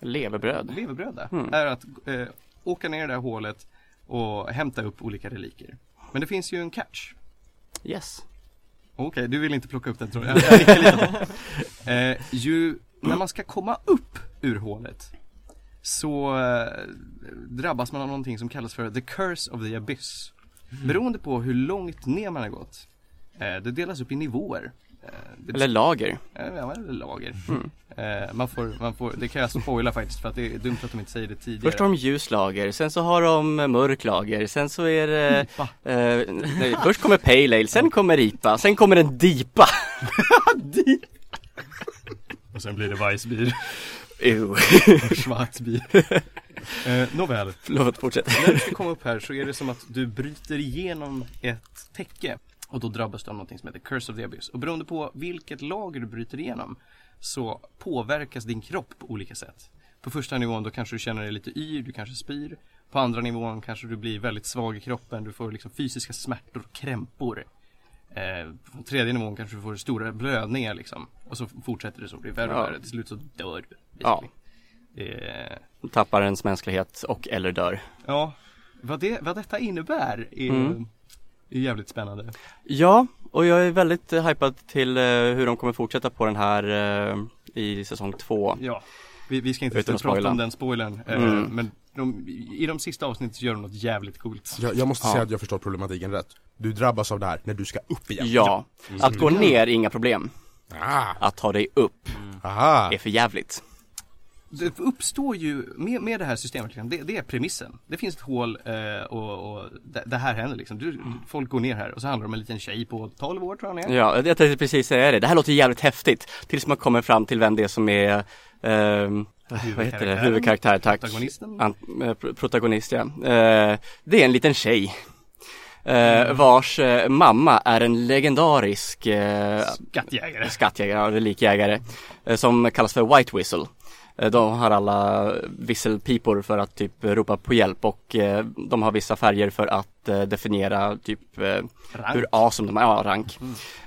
Speaker 4: Levebröd.
Speaker 2: levebröd där
Speaker 4: Mm.
Speaker 2: är att eh, åka ner i det här hålet och hämta upp olika reliker. Men det finns ju en catch.
Speaker 4: Yes.
Speaker 2: Okej, du vill inte plocka upp den tror jag. jag nickar lite. eh, ju, när man ska komma upp ur hålet så eh, drabbas man av någonting som kallas för the curse of the abyss. Beroende på hur långt ner man har gått. Eh, det delas upp i nivåer. Eh, det-
Speaker 4: Eller lager.
Speaker 2: Eh, ja, eller lager. Eh, man får, man får, det kan jag spoila faktiskt för att det är dumt att de inte säger det tidigare.
Speaker 4: Först har de ljus lager, sen så har de eh, mörk lager, sen så är det...
Speaker 2: IPA.
Speaker 4: eh, nej, först kommer pale ale, sen kommer IPA, sen kommer en DIPA.
Speaker 2: Och sen blir det weissbier,
Speaker 4: Ew.
Speaker 2: schwarzbier. eh, nåväl.
Speaker 4: Lov att fortsätta.
Speaker 2: När du ska komma upp här så är det som att du bryter igenom ett täcke och då drabbas du av någonting som heter Curse of the Abyss. Och beroende på vilket lager du bryter igenom så påverkas din kropp på olika sätt. På första nivån då kanske du känner dig lite yr, du kanske spyr. På andra nivån kanske du blir väldigt svag i kroppen, du får liksom fysiska smärtor och krämpor. Eh, på tredje nivån kanske du får stora blödningar liksom. Och så fortsätter det så, blir värre och
Speaker 4: Ja.
Speaker 2: värre. Till slut så dör du.
Speaker 4: Ja.
Speaker 2: basically. Eh,
Speaker 4: Tappar ens mänsklighet och eller dör.
Speaker 2: Ja, vad, det, vad detta innebär är,
Speaker 4: Mm.
Speaker 2: är jävligt spännande.
Speaker 4: Ja, och jag är väldigt eh, hypad till eh, hur de kommer fortsätta på den här eh, i säsong två.
Speaker 2: Ja. Vi, vi ska inte
Speaker 4: Utan
Speaker 2: sitta och
Speaker 4: att spoila.
Speaker 2: prata om den spoilern, eh,
Speaker 4: Mm.
Speaker 2: men de, i de sista avsnitten så gör de något jävligt coolt.
Speaker 3: Jag, jag måste
Speaker 4: Ja.
Speaker 3: säga att jag förstår problematiken rätt Du drabbas av det här när du ska upp igen
Speaker 4: Ja, att gå ner är inga problem.
Speaker 3: Ah,
Speaker 4: Att ta dig upp
Speaker 3: aha.
Speaker 4: är för jävligt.
Speaker 2: Det uppstår ju, med, med det här systemet, liksom, det, det är premissen. Det finns ett hål eh, och, och det, det här händer liksom. Du, folk går ner här och så handlar det om en liten tjej på 12 år tror jag hon är.
Speaker 4: Ja, jag tänkte precis säga det. Det här låter jävligt häftigt. Tills man kommer fram till vem det är som är, ehm, vad heter det,
Speaker 2: Huvudkaraktären.
Speaker 4: huvudkaraktär, tack.
Speaker 2: Protagonisten.
Speaker 4: An- eh, pro- protagonist, ja. Eh, det är en liten tjej. eh, vars eh, mamma är en legendarisk eh,
Speaker 1: Skattjägare.
Speaker 4: skattjägare, eller likjägare, eh, som kallas för White Whistle. Eh, De har alla visselpipor för att typ ropa på hjälp och eh, de har vissa färger för att eh, definiera typ eh, hur awesome de är, ja rank.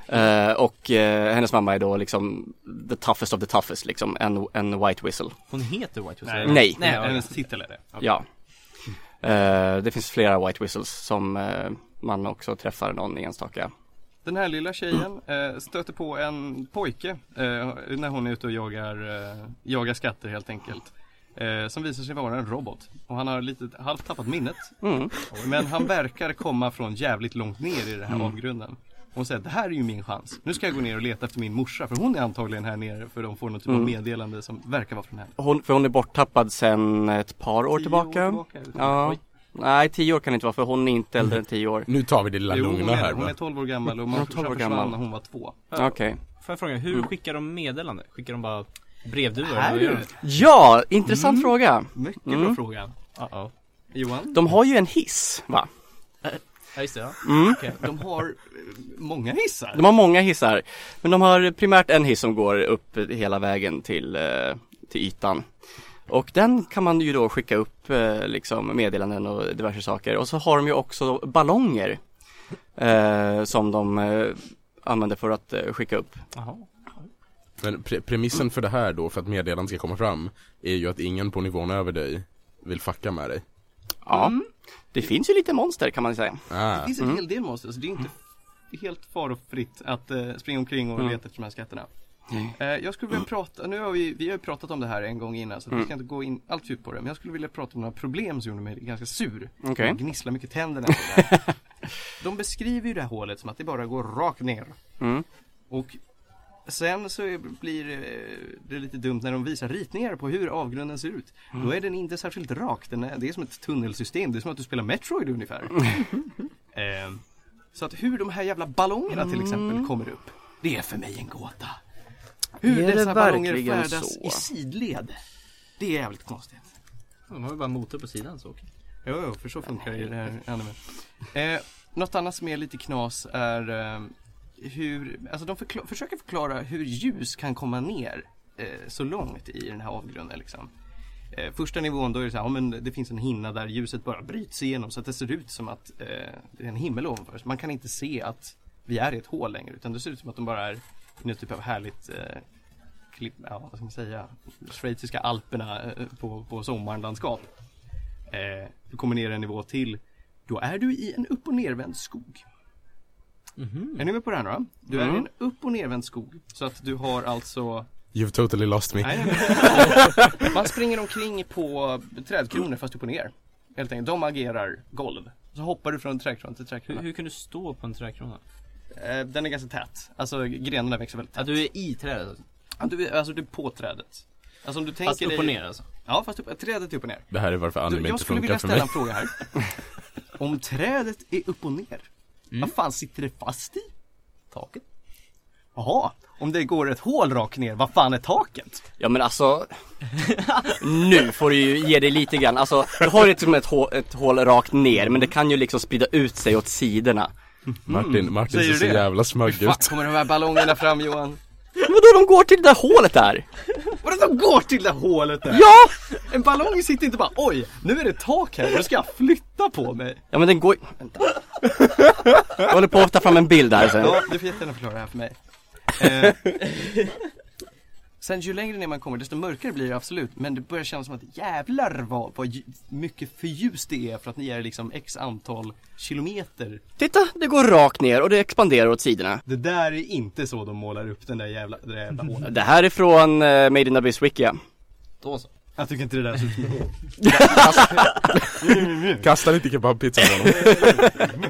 Speaker 4: Eh, och eh, hennes mamma är då liksom the toughest of the toughest liksom, en, en White Whistle.
Speaker 1: Hon heter White Whistle.
Speaker 4: Nej. Nej.
Speaker 1: Nej, ja, ja.
Speaker 2: Hennes titel är det. Okej.
Speaker 4: Ja. Eh, det finns flera White Whistles som eh, man också träffar någon enstaka.
Speaker 2: Den här lilla tjejen eh, stöter på en pojke eh, när hon är ute och jagar, eh, jagar skatter helt enkelt. Eh, som visar sig vara en robot. Och han har lite halvt tappat minnet.
Speaker 4: Mm.
Speaker 2: Men han verkar komma från jävligt långt ner i den
Speaker 4: Mm.
Speaker 2: här avgrunden. Hon säger det här är ju min chans. Nu ska jag gå ner och leta efter min morsa för hon är antagligen här nere för de får något typ av
Speaker 4: Mm.
Speaker 2: meddelande som verkar vara från henne.
Speaker 4: Hon, för hon är borttappad sedan ett par år
Speaker 2: Tio
Speaker 4: tillbaka. Ja.
Speaker 2: Oj.
Speaker 4: Nej, tio år kan det inte vara för hon är inte äldre än tio år.
Speaker 3: Nu tar vi det lilla
Speaker 2: Jo, hon,
Speaker 3: lugna
Speaker 2: är,
Speaker 3: här
Speaker 2: hon
Speaker 3: va?
Speaker 2: är 12 år gammal och
Speaker 4: Hon är
Speaker 2: man
Speaker 4: 12 år
Speaker 2: försvann
Speaker 4: gammal.
Speaker 2: när hon var två.
Speaker 4: Okej.
Speaker 1: Får jag fråga, hur skickar de meddelande? Skickar de bara brevduvor?
Speaker 2: Mm. Här
Speaker 1: Vad gör
Speaker 2: är
Speaker 1: de?
Speaker 4: Ja, intressant
Speaker 2: Mm.
Speaker 4: fråga.
Speaker 2: Mycket
Speaker 4: Mm.
Speaker 2: bra fråga.
Speaker 1: Uh-oh.
Speaker 2: Johan?
Speaker 4: De har ju en hiss, va?
Speaker 1: Ja, just det. Ja.
Speaker 4: Mm.
Speaker 2: De har eh, många hissar.
Speaker 4: De har många hissar. Men de har primärt en hiss som går upp hela vägen till, eh, till ytan. Och den kan man ju då skicka upp eh, liksom meddelanden och diverse saker. Och så har de ju också ballonger. Eh, som de eh, använder för att eh, skicka upp.
Speaker 1: Jaha.
Speaker 3: Men pre- premissen för det här då, för att meddelandet ska komma fram, är ju att ingen på nivån över dig vill fucka med dig.
Speaker 4: Ja. Det finns ju lite monster kan man säga.
Speaker 3: Ah.
Speaker 2: Det finns
Speaker 4: Mm.
Speaker 2: en hel del monster, så det är inte helt farofritt att eh, springa omkring och
Speaker 4: Mm.
Speaker 2: leta efter de här skatterna.
Speaker 4: Nej.
Speaker 2: Eh, jag skulle vilja prata, nu har vi, vi har ju pratat om det här en gång innan
Speaker 4: Mm.
Speaker 2: så att vi ska inte gå in allt djupt på det, men jag skulle vilja prata om några problem som gjorde mig ganska sur.
Speaker 4: Okej.
Speaker 2: Jag gnisslar mycket tänderna. på det här. de beskriver ju det här hålet som att det bara går rakt ner.
Speaker 4: Mm.
Speaker 2: Och sen så är- blir eh, det lite dumt när de visar ritningar på hur avgrunden ser ut.
Speaker 4: Mm.
Speaker 2: Då är den inte särskilt rak, den är, det är som ett tunnelsystem, det är som att du spelar Metroid ungefär.
Speaker 4: Mm.
Speaker 2: eh, så att hur de här jävla ballongerna till exempel kommer upp, det är för mig en gåta. Hur
Speaker 4: Mm. Är det
Speaker 2: dessa ballonger
Speaker 4: verkligen
Speaker 2: färdas
Speaker 4: så?
Speaker 2: i sidled, det är jävligt konstigt.
Speaker 1: De har ju bara en motor på sidan så. okej.
Speaker 2: Jo, jo, för så funkar ju det här anime. Eh, något annat som är lite knas är eh, hur, alltså de förkla- försöker förklara hur ljus kan komma ner eh, så långt i den här avgrunden liksom. Eh, första nivån då är det så här, ja, men det finns en hinna där ljuset bara bryts igenom så att det ser ut som att eh, det är en himmel ovanför. Så man kan inte se att vi är i ett hål längre utan det ser ut som att de bara är i något typ av härligt eh, klipp, ja, vad ska man säga, schweiziska alperna eh, på, på sommarlandskap. Eh, du kommer ner en nivå till. Då är du i en upp och nervänd skog.
Speaker 1: Mhm.
Speaker 2: Är ni med på det här nu då? Du
Speaker 1: Mm.
Speaker 2: är i en upp och nervänd skog. Så att du har alltså...
Speaker 3: You've totally lost me.
Speaker 2: Nej, man springer omkring på trädkronor fast upp och ner. Helt enkelt, de agerar golv. Så hoppar du från trädkrona till
Speaker 1: Hur,
Speaker 2: trädkrona.
Speaker 1: hur kan du stå på en träkrona?
Speaker 2: Eh, den är ganska tät. Alltså grenarna växer väldigt
Speaker 1: Att
Speaker 2: tätt.
Speaker 1: du är i trädet alltså.
Speaker 2: Ja, Du, är- alltså du är på trädet. Alltså om du tänker
Speaker 1: Fast upp och
Speaker 2: dig-
Speaker 1: ner alltså.
Speaker 2: Ja, fast upp, trädet är upp och ner.
Speaker 3: Det här är varför
Speaker 2: Du,
Speaker 3: anime
Speaker 2: jag
Speaker 3: inte
Speaker 2: skulle
Speaker 3: funkar
Speaker 2: vilja
Speaker 3: för
Speaker 2: ställa
Speaker 3: mig.
Speaker 2: en fråga här. Om trädet är upp och ner,
Speaker 3: Mm.
Speaker 2: vad fan sitter det fast i?
Speaker 1: Taket.
Speaker 2: Jaha, om det går ett hål rakt ner, vad fan är taket?
Speaker 4: Ja men alltså Nu får du ju ge dig lite grann, alltså du har ju liksom ett, hå- ett hål rakt ner men det kan ju liksom sprida ut sig åt sidorna
Speaker 3: Martin, Martin
Speaker 2: Säger
Speaker 3: ser
Speaker 2: du
Speaker 3: så
Speaker 2: det?
Speaker 3: jävla smög
Speaker 2: Va,
Speaker 3: ut.
Speaker 2: kommer de här ballongerna fram Johan?
Speaker 4: Vadå de går till det där hålet där?
Speaker 2: Vadå de går till det hålet där?
Speaker 4: Ja!
Speaker 2: En ballong sitter inte bara oj, nu är det tak här, nu ska jag flytta på mig.
Speaker 4: Ja men den går Vänta Jag håller på att ta fram en bild här sen
Speaker 2: Ja, du får jättegärna förklara det här för mig. Eh, sen ju längre ner man kommer desto mörkare blir det absolut, men det börjar kännas som att jävlar vad, vad lju- mycket för ljus det är för att ni är liksom x antal kilometer.
Speaker 4: Titta, det går rakt ner och det expanderar åt sidorna
Speaker 2: Det där är inte så de målar upp den där jävla, det där jävla hålet.
Speaker 4: Det här är från eh, Made in Abyss Wikia
Speaker 1: Då alltså. så.
Speaker 2: Jag tycker inte det där ser ut som ett hål. Alltså,
Speaker 3: Kasta lite kebabpizza på honom.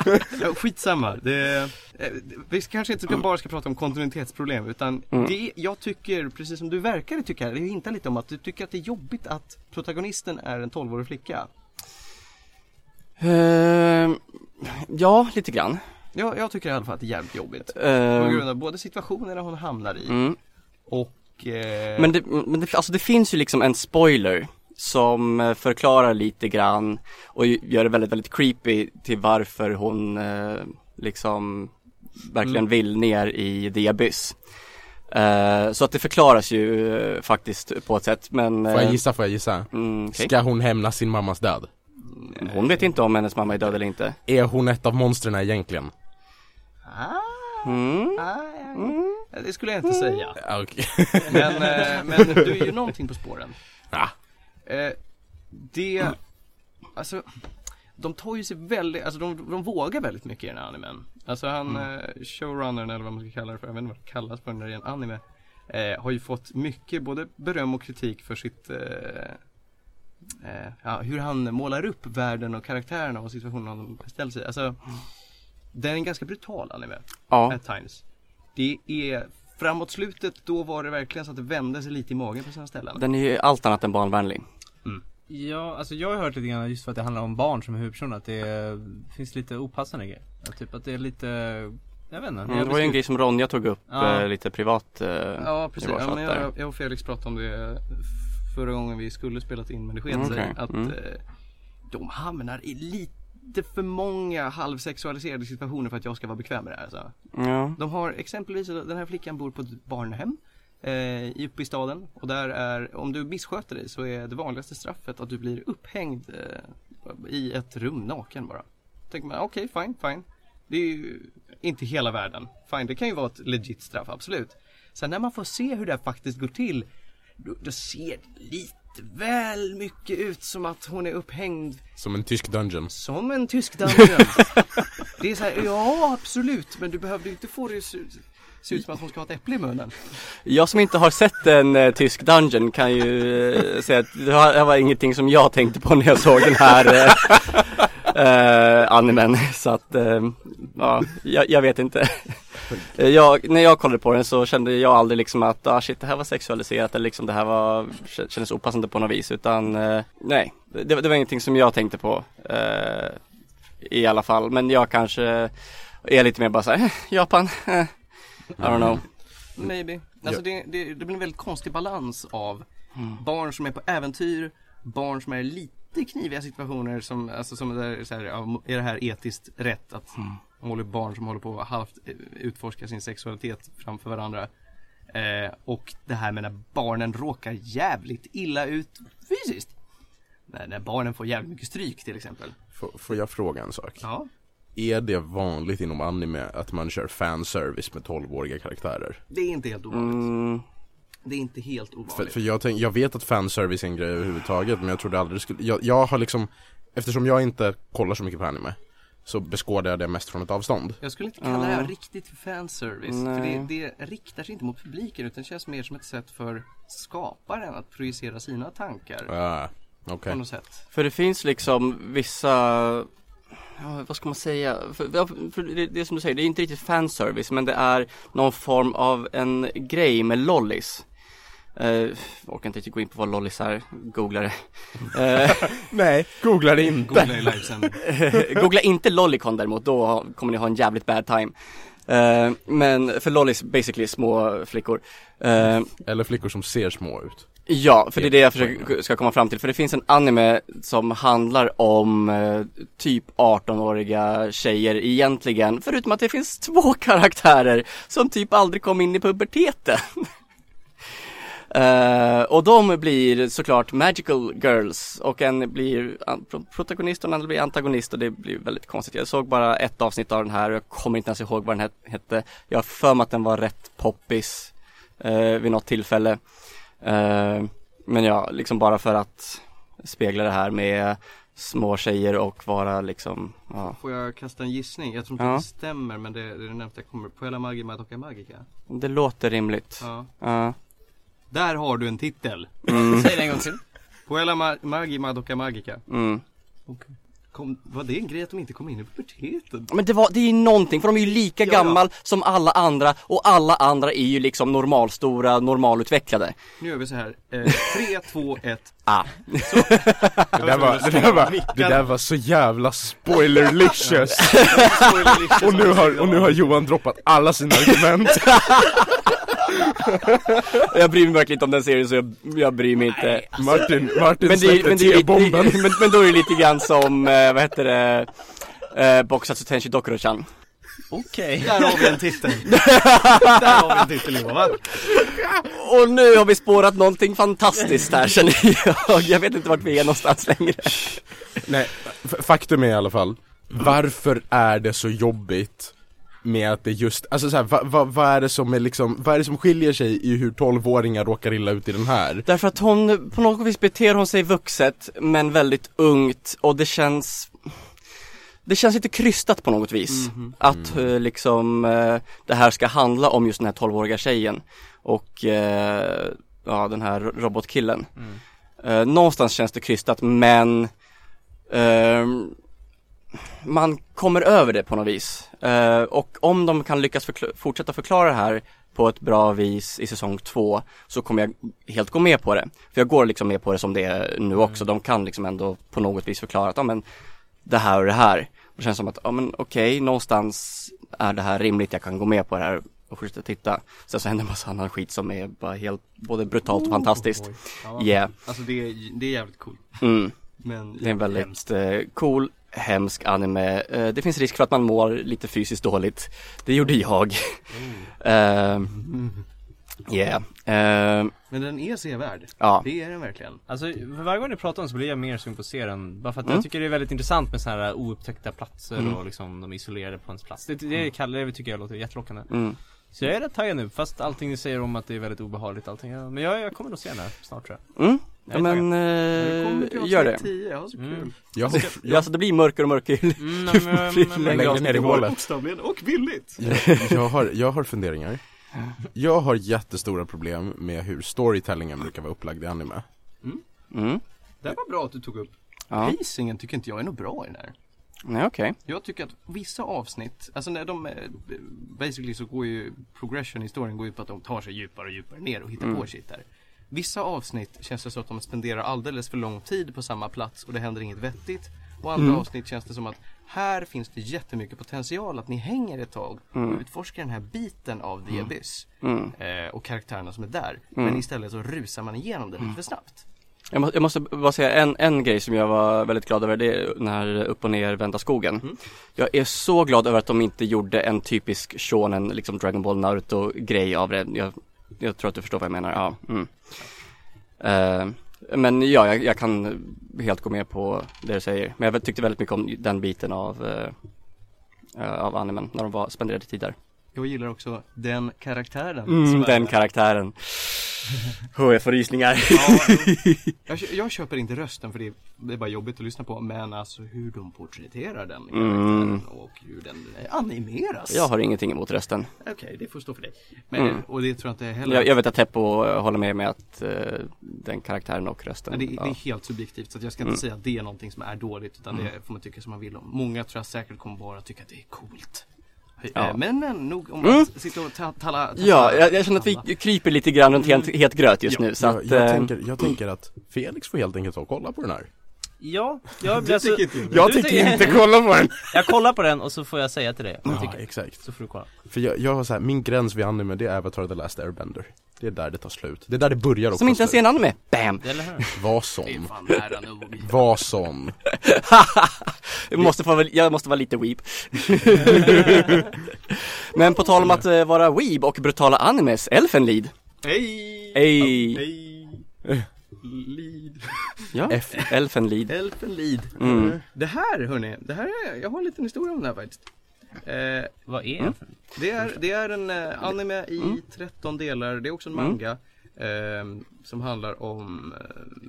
Speaker 2: Ja, skitsamma. Det, eh, vi ska- kanske inte ska, bara ska prata om kontinuitetsproblem utan det, jag tycker, precis som du verkade tycka, det hintar lite om att du tycker att det är jobbigt att protagonisten är en 12-årig flicka.
Speaker 4: Ehm, Ja, lite grann
Speaker 2: Ja, jag tycker i alla fall att det är jävligt jobbigt. På
Speaker 4: Ehm,
Speaker 2: grund av både situationerna hon hamnar i
Speaker 4: mm.
Speaker 2: och... Eh,
Speaker 4: Men, det, men det, alltså det finns ju liksom en spoiler som eh, förklarar lite grann och ju- gör det väldigt, väldigt creepy till varför hon eh, liksom verkligen
Speaker 1: Mm.
Speaker 4: vill ner i the abyss. Eh, så att det förklaras ju eh, faktiskt på ett sätt men...
Speaker 3: Får jag
Speaker 4: eh,
Speaker 3: gissa, får jag gissa?
Speaker 4: mm, okej.
Speaker 3: Ska hon hämnas sin mammas död?
Speaker 4: Hon vet inte om hennes mamma är död eller inte.
Speaker 3: Är hon ett av monstren egentligen?
Speaker 4: Mm.
Speaker 2: Mm. Ah, Det skulle jag inte säga.
Speaker 3: Ja, okej.
Speaker 2: Men, eh, men du är ju någonting på spåren.
Speaker 3: Ja.
Speaker 2: Eh, det, alltså, de tar ju sig väldigt, alltså de, de vågar väldigt mycket i den här animen. Alltså han, eh, showrunnern eller vad man ska kalla det för, jag vet inte vad det kallas för när det är en anime. Eh, har ju fått mycket både beröm och kritik för sitt, eh, eh, ja, hur han målar upp världen och karaktärerna och situationen de ställs i. Alltså, det är en ganska brutal anime
Speaker 4: Ja.
Speaker 2: at times. Det är framåt slutet, då var det verkligen så att det vände sig lite i magen på sina ställen.
Speaker 4: Den är ju allt annat än barnvänlig.
Speaker 1: Ja, alltså jag har hört lite grann just för att det handlar om barn som är huvudpersoner att det eh, finns lite opassande grejer. Ja, Typ att det är lite, jag vet inte.
Speaker 4: Mm, det var ju en grej som Ronja tog upp
Speaker 1: Ja.
Speaker 4: eh, lite privat. Eh,
Speaker 2: Ja precis,
Speaker 4: Det var
Speaker 2: ja,
Speaker 4: så
Speaker 2: men
Speaker 4: att
Speaker 2: jag, jag och Felix pratade om det förra gången vi skulle spelat in men det sket
Speaker 4: Mm,
Speaker 2: sig.
Speaker 4: okej.
Speaker 2: Att
Speaker 4: Mm.
Speaker 2: eh, de hamnar i lite för många halvsexualiserade situationer för att jag ska vara bekväm med det här. Alltså.
Speaker 4: ja.
Speaker 2: De har exempelvis, den här flickan bor på ett barnhem eh, uppe i staden och där är, om du missköter dig så är det vanligaste straffet att du blir upphängd eh, i ett rum naken bara. Tänker man okej, fine, fine. Det är ju inte hela världen. Fine, det kan ju vara ett legit straff, absolut. Sen när man får se hur det här faktiskt går till, då, då ser det lite väl mycket ut som att hon är upphängd
Speaker 3: Som en tysk dungeon.
Speaker 2: som en tysk dungeon. det är så här, ja absolut, men du behövde ju inte få det att se, se ut som att hon ska ha ett äpple i munnen.
Speaker 4: Jag som inte har sett en eh, tysk dungeon kan ju eh, säga att det här det här var ingenting som jag tänkte på när jag såg den här eh, eh, animen. Så att, eh, ja, jag, jag vet inte. Eh, Jag, när jag kollade på den så kände jag aldrig liksom att ah, shit, det här var sexualiserat eller liksom det här var, kä- kändes opassande på något vis utan eh, nej, det, var- det var ingenting som jag tänkte på eh, i alla fall. Men jag kanske är lite mer bara såhär, eh, Japan, eh, I don't know.
Speaker 2: Maybe. Alltså det, det, det blir en väldigt konstig balans av barn som är på äventyr, barn som är lite kniviga situationer som, alltså som det är så här, ja, är det här etiskt rätt att hålla upp barn som håller på att halvt eh, utforska sin sexualitet framför varandra. Eh, och det här med när barnen råkar jävligt illa ut fysiskt. När, när barnen får jävligt mycket stryk till exempel.
Speaker 3: F- får jag fråga en sak?
Speaker 2: Ja.
Speaker 3: Är det vanligt inom anime att man kör fanservice med 12-åriga karaktärer?
Speaker 2: Det är inte helt ovanligt.
Speaker 4: Mm,
Speaker 2: Det är inte helt
Speaker 3: För,
Speaker 2: ovanligt.
Speaker 3: för jag, tänk, jag vet att fanservice är en grej överhuvudtaget men jag trodde aldrig det skulle, jag, jag har liksom Eftersom jag inte kollar så mycket på anime Så beskådar jag det mest från ett avstånd
Speaker 2: Jag skulle inte kalla det här riktigt för fanservice. För
Speaker 4: Nej.
Speaker 2: det, det riktar sig inte mot publiken utan känns mer som ett sätt för skaparen att projicera sina tankar.
Speaker 3: uh, Okej
Speaker 2: På något sätt.
Speaker 4: För det finns liksom vissa, ja, vad ska man säga, för, ja, för det, det är som du säger, det är inte riktigt fanservice men det är någon form av en grej med lollis. Uh, orkar inte riktigt gå in på vad lollis är, googla det. Eh,
Speaker 3: Nej, googla det
Speaker 2: Googla i livesändning.
Speaker 4: Eh, Googla inte Lollicon däremot, då ha- kommer ni ha en jävligt bad time. Eh, men för lollis basically små flickor. Eh,
Speaker 3: Eller flickor som ser små ut
Speaker 4: Ja, för det är det jag försöker, ska komma fram till. För det finns en anime som handlar om eh, typ 18-åriga tjejer egentligen. Förutom att det finns två karaktärer som typ aldrig kom in i puberteten. Eh, och de blir såklart magical girls och en blir an- pro- protagonist och en annan blir antagonist och det blir väldigt konstigt. Jag såg bara ett avsnitt av den här och jag kommer inte ens ihåg vad den het- hette. Jag har för mig att den var rätt poppis eh, vid något tillfälle. Eh, men ja, liksom bara för att spegla det här med små tjejer och vara liksom, ja,
Speaker 2: Får jag kasta en gissning? Jag tror inte
Speaker 4: Ja.
Speaker 2: det stämmer men det, det är det närmaste jag kommer. Puella Magi Madoka Magica.
Speaker 4: det låter rimligt.
Speaker 2: Ja.
Speaker 4: Ja.
Speaker 2: Där har du en titel.
Speaker 4: Mm,
Speaker 1: Säg det en gång till.
Speaker 2: Puella Ma- Magi Madoka Magica.
Speaker 4: mm.
Speaker 2: Kom, var det en grej att de inte kom in i puberteten?
Speaker 4: Men det, var, det är ju någonting, för de är ju lika
Speaker 2: Ja, ja.
Speaker 4: gammal som alla andra och alla andra är ju liksom normalstora, normalutvecklade.
Speaker 2: Nu gör vi så här. Eh, 3, 2, 1.
Speaker 4: Ah.
Speaker 3: Det där var, det där var, det där var så jävla spoilerlicious Och nu har, och nu har Johan droppat alla sina argument
Speaker 4: Jag bryr mig verkligen inte om den serien så jag, jag bryr mig inte
Speaker 3: Martin, Martin
Speaker 4: men det, är-
Speaker 3: släppte
Speaker 4: men, det, är-
Speaker 3: T-bomben
Speaker 4: det, men, men då är det lite grann som, eh, vad heter det, eh, Boxats Tenshi Dokuro-chan
Speaker 1: Okej.
Speaker 2: Där har vi en titel! Där har vi en titel Johan, va?
Speaker 4: Och nu har vi spårat någonting fantastiskt här känner jag Jag vet inte vart vi är någonstans längre
Speaker 3: Nej, f- faktum är i alla fall Varför är det så jobbigt med att det just, alltså så här, va, va, vad är det som är liksom, vad är det som skiljer sig i hur 12-åringar råkar illa ut i den här?
Speaker 4: Därför att hon, på något vis beter hon sig vuxet men väldigt ungt och det känns Det känns lite krystat på något vis
Speaker 2: Mm-hmm.
Speaker 4: Att eh, liksom eh, det här ska handla om just den här 12-åriga tjejen Och eh, ja, den här robotkillen Eh, Någonstans känns det krystat men ehm, Man kommer över det på något vis Eh, Och om de kan lyckas förkla- fortsätta förklara det här på ett bra vis i säsong två så kommer jag helt gå med på det. För jag går liksom med på det som det är nu också. De kan liksom ändå på något vis förklara att, ja men det här och det här. Det känns som att, ja men okej, någonstans är det här rimligt, jag kan gå med på det här och fortsätta titta. Sen så händer en massa annan skit som är bara helt, både brutalt och
Speaker 2: Oh,
Speaker 4: fantastiskt. Yeah.
Speaker 2: Alltså det är, det är jävligt coolt.
Speaker 4: Mm.
Speaker 2: Men
Speaker 4: Det är en
Speaker 2: hemskt.
Speaker 4: väldigt eh, cool, hemsk anime. Eh, det finns risk för att man mår lite fysiskt dåligt. Det gjorde jag. Eh, yeah. Eh,
Speaker 2: Mm. Men den är sevärd.
Speaker 4: ja.
Speaker 2: Det är den verkligen.
Speaker 1: Alltså för varje gång ni pratar om det så blir jag mer sugen på serien. Bara för att
Speaker 4: Mm.
Speaker 1: jag tycker det är väldigt intressant med sådana här oupptäckta platser
Speaker 4: Mm.
Speaker 1: och liksom de är isolerade på ens plats. Det, det, kallar det tycker jag låter jättelockande.
Speaker 4: Mm.
Speaker 1: Så jag är rätt taggad nu, fast allting ni säger om att det är väldigt obehagligt allting. Ja, Men jag, jag kommer nog se den här snart tror jag.
Speaker 4: Mm.
Speaker 1: Jag
Speaker 4: Ja,
Speaker 1: är
Speaker 4: men
Speaker 2: Nu kommer vi till
Speaker 4: eh,
Speaker 2: avsnitt
Speaker 4: gör det.
Speaker 2: 10, ja, så kul.
Speaker 1: Mm.
Speaker 3: Jag,
Speaker 4: Ja, alltså det blir mörker och mörker.
Speaker 1: Mm,
Speaker 3: längre ner i hålet.
Speaker 5: Bokstavligen och billigt!
Speaker 3: jag, jag, har, jag har funderingar Jag har jättestora problem med hur storytellingen brukar vara upplagd i anime
Speaker 4: Mm.
Speaker 2: Det var bra att du tog upp.
Speaker 4: Ja,
Speaker 2: Pacingen tycker inte jag är något bra i den här.
Speaker 4: nej okej.
Speaker 2: Jag tycker att vissa avsnitt, alltså när de, eh, basically så går ju progression i historien går ut på att de tar sig djupare och djupare ner och hittar
Speaker 4: Mm.
Speaker 2: på shit där. Vissa avsnitt känns det som att de spenderar alldeles för lång tid på samma plats och det händer inget vettigt. Och andra
Speaker 4: Mm.
Speaker 2: avsnitt känns det som att här finns det jättemycket potential att ni hänger ett tag och utforskar den här biten av The Abyss
Speaker 4: Mm.
Speaker 2: eh, och karaktärerna som är där.
Speaker 4: Mm.
Speaker 2: Men istället så rusar man igenom det lite för snabbt.
Speaker 4: Jag, må, jag måste bara säga en, en grej som jag var väldigt glad över, det är den här upp och ner vända skogen. Jag är så glad över att de inte gjorde en typisk shonen, liksom Dragon Ball Naruto grej av det. Jag, jag tror att du förstår vad jag menar, ja. Mm. Eh, men ja, jag, jag kan helt gå med på det du säger. Men jag tyckte väldigt mycket om den biten av, eh, eh, av animen, när de var, spenderade tid där.
Speaker 2: Jag gillar också den karaktären. som
Speaker 4: Mm,
Speaker 2: är
Speaker 4: den
Speaker 2: där.
Speaker 4: karaktären. Oh, jag får rysningar.
Speaker 2: Ja, jag, kö- jag köper inte rösten för det är, det är bara jobbigt att lyssna på men alltså hur de porträtterar den karaktären
Speaker 4: Mm.
Speaker 2: och hur den eh, animeras.
Speaker 4: Jag har ingenting emot rösten.
Speaker 2: Okej, det får stå för dig. Men,
Speaker 4: Mm.
Speaker 2: Och det tror jag inte heller.
Speaker 4: Jag, jag vet att Teppo eh, håller med mig att eh, den karaktären och rösten.
Speaker 2: men det, det
Speaker 4: ja. Mm.
Speaker 2: är helt subjektivt så att jag ska inte säga att det är någonting som är dåligt utan det får man tycka som man vill om. Många tror jag säkert kommer bara tycka att det är coolt. Eh,
Speaker 4: Ja.
Speaker 2: Men men, nog om
Speaker 4: Mm.
Speaker 2: att sitta och ta- tala. tala-
Speaker 4: Ja, jag, jag känner att
Speaker 2: tala.
Speaker 4: vi kryper lite grann runt helt, het gröt just
Speaker 2: Ja,
Speaker 4: nu så
Speaker 3: jag,
Speaker 4: att,
Speaker 3: jag,
Speaker 4: eh,
Speaker 3: tänker, jag tänker att Felix får helt enkelt ta och kolla på den här
Speaker 1: Ja, jag,
Speaker 5: Du
Speaker 1: alltså,
Speaker 5: tycker inte det?
Speaker 3: Jag
Speaker 1: du
Speaker 3: tänker inte kolla på den!
Speaker 1: Jag kollar på den och så får jag säga till dig vad jag
Speaker 3: Ja,
Speaker 1: tycker.
Speaker 3: exakt
Speaker 1: Så får du kolla.
Speaker 3: För jag, jag har så här, min gräns vid anime det är Avatar The Last Airbender Det är där det tar slut, det är där det börjar och
Speaker 4: Som
Speaker 3: tar
Speaker 4: inte ens är
Speaker 3: slut.
Speaker 4: en anime. Bam!
Speaker 1: Eller hur?
Speaker 3: Vad
Speaker 2: Det är
Speaker 3: som,
Speaker 2: fan nära nog.
Speaker 3: vad som
Speaker 4: Jag måste, få, väl- jag måste vara lite weeb. Men på tal om att eh, vara weeb och brutala animes, Elfenlied.
Speaker 2: Hej!
Speaker 4: Ey,
Speaker 2: Hej!
Speaker 4: Eh.
Speaker 2: Lead.
Speaker 4: ja,
Speaker 3: F.
Speaker 4: Elfenlied.
Speaker 2: Elfen Lead.
Speaker 4: Mm.
Speaker 2: Det här hörni, det här är, jag har en liten historia om det här faktiskt. Eh,
Speaker 1: Vad är
Speaker 4: Mm.
Speaker 1: det för
Speaker 2: det, är, det är en eh, anime i 13 delar, det är också en
Speaker 4: Mm.
Speaker 2: manga. ehm, som handlar om, eh,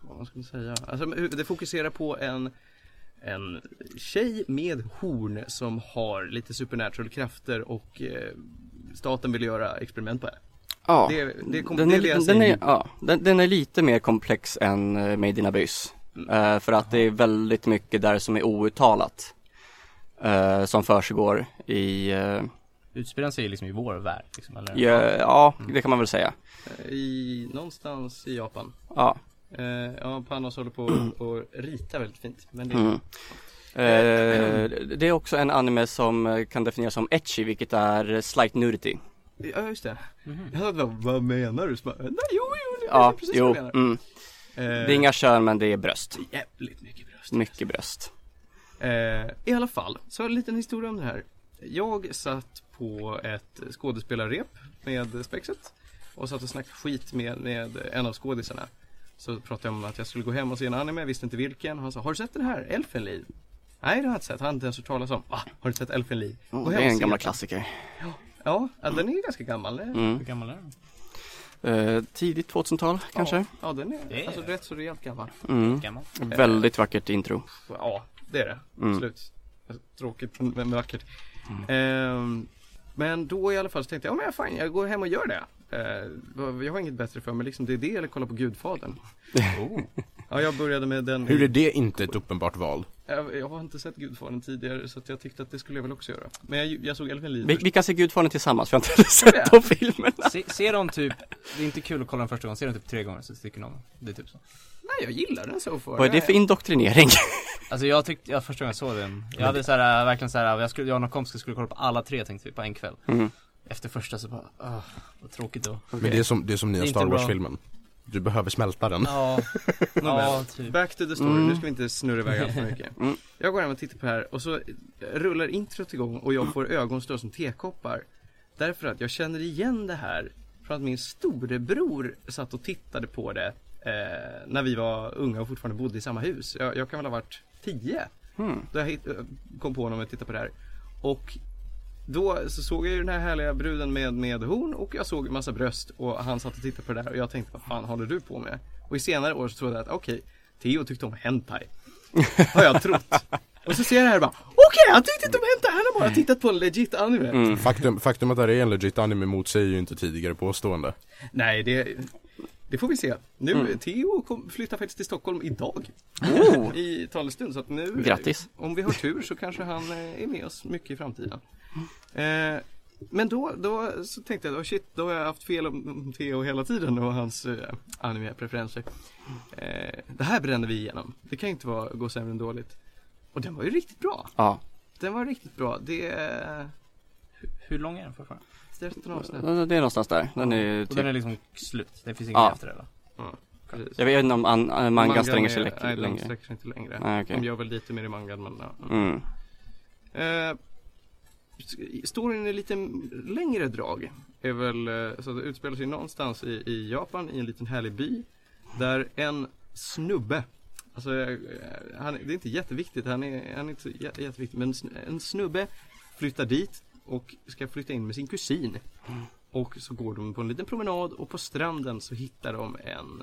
Speaker 2: vad ska man säga, alltså, men hur- det fokuserar på en en tjej med horn som har lite supernatural krafter och eh, staten vill göra experiment på henne.
Speaker 4: Ja.
Speaker 2: Det, det, kom,
Speaker 4: Den
Speaker 2: det
Speaker 4: är,
Speaker 2: läser
Speaker 4: den, den,
Speaker 2: jag
Speaker 4: är, ja, den, den är lite mer komplex än eh, Made in Abyss.
Speaker 2: Mm.
Speaker 4: Eh, för att det är väldigt mycket där som är outtalat. eh, som försiggår i, eh,
Speaker 1: Utspelar sig liksom i vår värld liksom, eller?
Speaker 4: ja, ja, det kan man väl säga.
Speaker 2: Eh, i, någonstans i Japan.
Speaker 4: Ja.
Speaker 2: Eh, ja, Panos håller på att- att rita väldigt fint. Men det,
Speaker 4: Mm. Eh, det är också en anime som eh, kan definieras som etchi, vilket är eh, slight nudity.
Speaker 2: Ja just det. Jag satt bara, vad menar du? Så bara, Nej jo jo, det
Speaker 4: Ja,
Speaker 2: är precis
Speaker 4: jo,
Speaker 2: vad jag menar.
Speaker 4: mm.
Speaker 2: Eh,
Speaker 4: Det är inga kön men det är bröst.
Speaker 2: Jävligt mycket bröst.
Speaker 4: Mycket bröst.
Speaker 2: Eh, I alla fall, så en liten historia om det här. Jag satt på ett skådespelarrep med Spexet och satt och snackade skit med, med en av skådisarna. Så pratade jag om att jag skulle gå hem och se en anime, jag visste inte vilken. Han sa, har du sett den här? Elfenliv? Nej det har jag inte sett, han har inte ens hört talas om. Va? Har du sett Elfenliv? Gå
Speaker 4: Oh, det
Speaker 2: hem
Speaker 4: är
Speaker 2: och
Speaker 4: en
Speaker 2: se
Speaker 4: gammal
Speaker 2: den."
Speaker 4: klassiker.
Speaker 2: Ja, ja, den är ganska gammal. eh,
Speaker 4: Mm.
Speaker 1: Hur gammal är den?
Speaker 4: Eh, tidigt 2000-tal kanske.
Speaker 2: Ja, Eh. ja den
Speaker 1: Det
Speaker 2: är
Speaker 1: är-
Speaker 2: alltså rätt så rejält gammal.
Speaker 4: Mm.
Speaker 1: Gammal.
Speaker 4: Väldigt vackert intro.
Speaker 2: Ja, det är det.
Speaker 4: Mm.
Speaker 2: Absolut. Tråkigt men men vackert. Ehm, men då i alla fall så tänkte jag, ja men fan jag går hem och gör det. Eh, vad- jag har inget bättre för mig liksom, det är det eller kolla på Gudfadern. Ja, jag började med den.
Speaker 3: Hur är det inte ett uppenbart val?
Speaker 2: jag, jag har inte sett Gudfadern tidigare så att jag tyckte att det skulle jag väl också göra. Men jag, jag såg Elfenliv
Speaker 4: Vi,
Speaker 2: först.
Speaker 4: vi kan se Gudfadern tillsammans för jag har inte sett de filmerna.
Speaker 1: Se, ser de typ, det är inte kul att kolla den första gången, ser de typ tre gånger så tycker någon Det är typ så.
Speaker 2: Nej, jag gillar den så far.
Speaker 4: Vad är det för indoktrinering?
Speaker 1: Alltså jag tyckte, jag första gången jag såg den, jag hade såhär, äh, verkligen såhär, jag, skulle, jag och några kompisar skulle kolla på alla tre tänkte vi på en kväll.
Speaker 4: Mm.
Speaker 1: Efter första så bara, åh, vad tråkigt då.
Speaker 3: Men det är som, det är som nya
Speaker 1: Det är
Speaker 3: Star
Speaker 1: inte bra.
Speaker 3: Wars-filmen. Du behöver smälta den.
Speaker 1: Ja, ja typ.
Speaker 2: Back to the story,
Speaker 4: Mm.
Speaker 2: nu ska vi inte snurra iväg allt för mycket.
Speaker 4: Mm.
Speaker 2: Jag går hem och tittar på det här och så rullar introt igång och jag får ögonstör som tekoppar. Därför att jag känner igen det här från att min storebror satt och tittade på det eh, när vi var unga och fortfarande bodde i samma hus. Jag, jag kan väl ha varit tio
Speaker 4: Mm.
Speaker 2: då jag hit, kom på honom och tittade på det här. Och då så såg jag ju den här härliga bruden med, med horn och jag såg en massa bröst och han satt och tittade på det där och jag tänkte vad fan håller du på med? Och i senare år så trodde jag att okej, Theo tyckte om hentai. Har jag trott. Och så ser jag det här och bara okej han tyckte inte om hentai, han har bara tittat på en legit anime.
Speaker 4: Mm.
Speaker 3: Faktum, faktum att det här är en legit anime motsäger ju inte tidigare påstående.
Speaker 2: Nej det, det får vi se. Nu, Theo kom, flyttar faktiskt till Stockholm idag
Speaker 4: Mm. Oh,
Speaker 2: i talestund så att nu
Speaker 4: grattis.
Speaker 2: Om vi har tur så kanske han eh, är med oss mycket i framtiden. Eh, men då, då så tänkte jag, oh shit, då har jag haft fel om om Theo hela tiden och hans eh, anime-preferenser. Eh, det här bränner vi igenom. Det kan ju inte vara, gå sämre än dåligt. Och den var ju riktigt bra.
Speaker 4: Ja,
Speaker 2: Den var riktigt bra. Det eh, är
Speaker 1: Hur lång är den fortfarande?
Speaker 4: Typ.
Speaker 2: 13 avsnitt.
Speaker 4: det är någonstans där. Den är
Speaker 1: Och den
Speaker 4: typ,
Speaker 1: är liksom slut, det finns inget
Speaker 4: Ja.
Speaker 1: efter det va?
Speaker 2: Precis.
Speaker 4: jag vet inte om an, äh, mangan stränger sig
Speaker 2: är-
Speaker 4: läck-
Speaker 2: nej, den
Speaker 4: längre.
Speaker 2: sträcker sig inte längre.
Speaker 4: Nej, okej.
Speaker 2: De gör väl lite mer i mangan men ja.
Speaker 4: Mm.
Speaker 2: Eh, storyn är lite längre drag. Är väl, eh, så att det utspelar sig någonstans i, i Japan i en liten härlig by. Där en snubbe, alltså eh, han, det är inte jätteviktigt, han är, han är inte så jä- jätteviktig, men sn- en snubbe flyttar dit och ska flytta in med sin kusin. Och så går de på en liten promenad och på stranden så hittar de en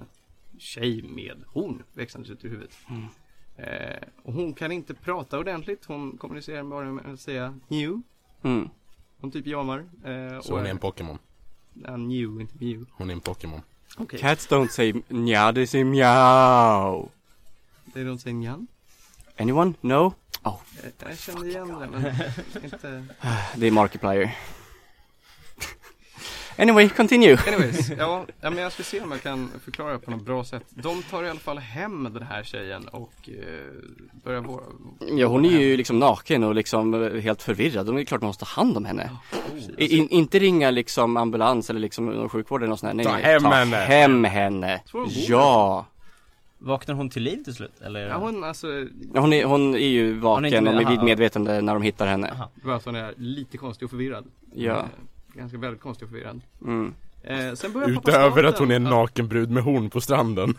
Speaker 2: tjej med horn växandes ut ur huvudet. Eh, och hon kan inte prata ordentligt. Hon kommunicerar bara med att säga new.
Speaker 4: Mm.
Speaker 2: Hon typ jamar. Eh,
Speaker 3: Så hon är en Pokémon.
Speaker 2: Ja, new, inte mew.
Speaker 3: Hon är en Pokémon.
Speaker 2: Okej.
Speaker 4: Cats don't say nja, they say meow.
Speaker 2: Det är de säger njan.
Speaker 4: Anyone? No? Oh,
Speaker 2: Eh, jag kände igen det men inte.
Speaker 4: det är Markiplier. anyway, continue.
Speaker 2: Anyways, ja, ja, men jag ska se om jag kan förklara på något bra sätt. De tar i alla fall hem den här tjejen och eh, börjar våra...
Speaker 4: Ja, hon är ju liksom naken och liksom eh, helt förvirrad. Det är klart man måste ta hand om henne. I- In, inte ringa liksom ambulans eller liksom någon sjukvård eller något sånt där.
Speaker 3: Ta
Speaker 4: Nej,
Speaker 3: hem
Speaker 4: ta
Speaker 3: henne.
Speaker 4: hem henne.
Speaker 2: Så hon bor där.
Speaker 4: Ja.
Speaker 1: Vaknar hon till liv till slut? Eller?
Speaker 2: Ja, hon alltså,
Speaker 4: Ja, Hon är, hon är ju
Speaker 1: Hon är inte
Speaker 4: vaken
Speaker 1: med-
Speaker 4: och med vid
Speaker 1: aha.
Speaker 4: medvetande när de hittar henne.
Speaker 1: Aha. Mm.
Speaker 2: bara att hon är lite konstig och förvirrad.
Speaker 4: Ja.
Speaker 2: Eh, ganska väldigt konstig och förvirrad.
Speaker 4: Mm.
Speaker 2: Eh, sen börjar pappa
Speaker 3: Utöver att
Speaker 2: staten-
Speaker 3: hon är en naken brud med horn på stranden.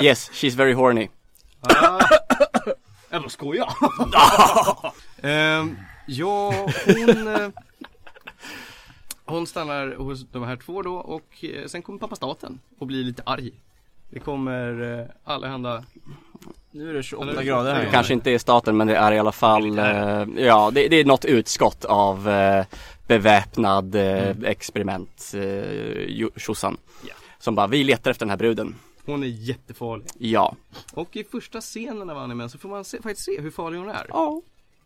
Speaker 4: Yes, she's very horny.
Speaker 2: Ah. Jag bara skojar. Ehm, ja, hon... eh, Hon stannar hos de här två då och eh, sen kommer pappa staten och blir lite arg. Det kommer eh, allehanda...
Speaker 1: Nu är det 28
Speaker 2: Eller-
Speaker 1: grader här.
Speaker 4: Kanske inte är staten men det är i alla fall, eh, ja det, det är något utskott av eh, beväpnad eh,
Speaker 1: Mm.
Speaker 4: experiment, eh, jo- tjosan.
Speaker 2: Ja.
Speaker 4: Som bara, vi letar efter den här bruden.
Speaker 2: Hon är jättefarlig.
Speaker 4: Ja.
Speaker 2: Och i första scenen av animen så får man se, faktiskt se hur farlig hon är.
Speaker 4: Ja.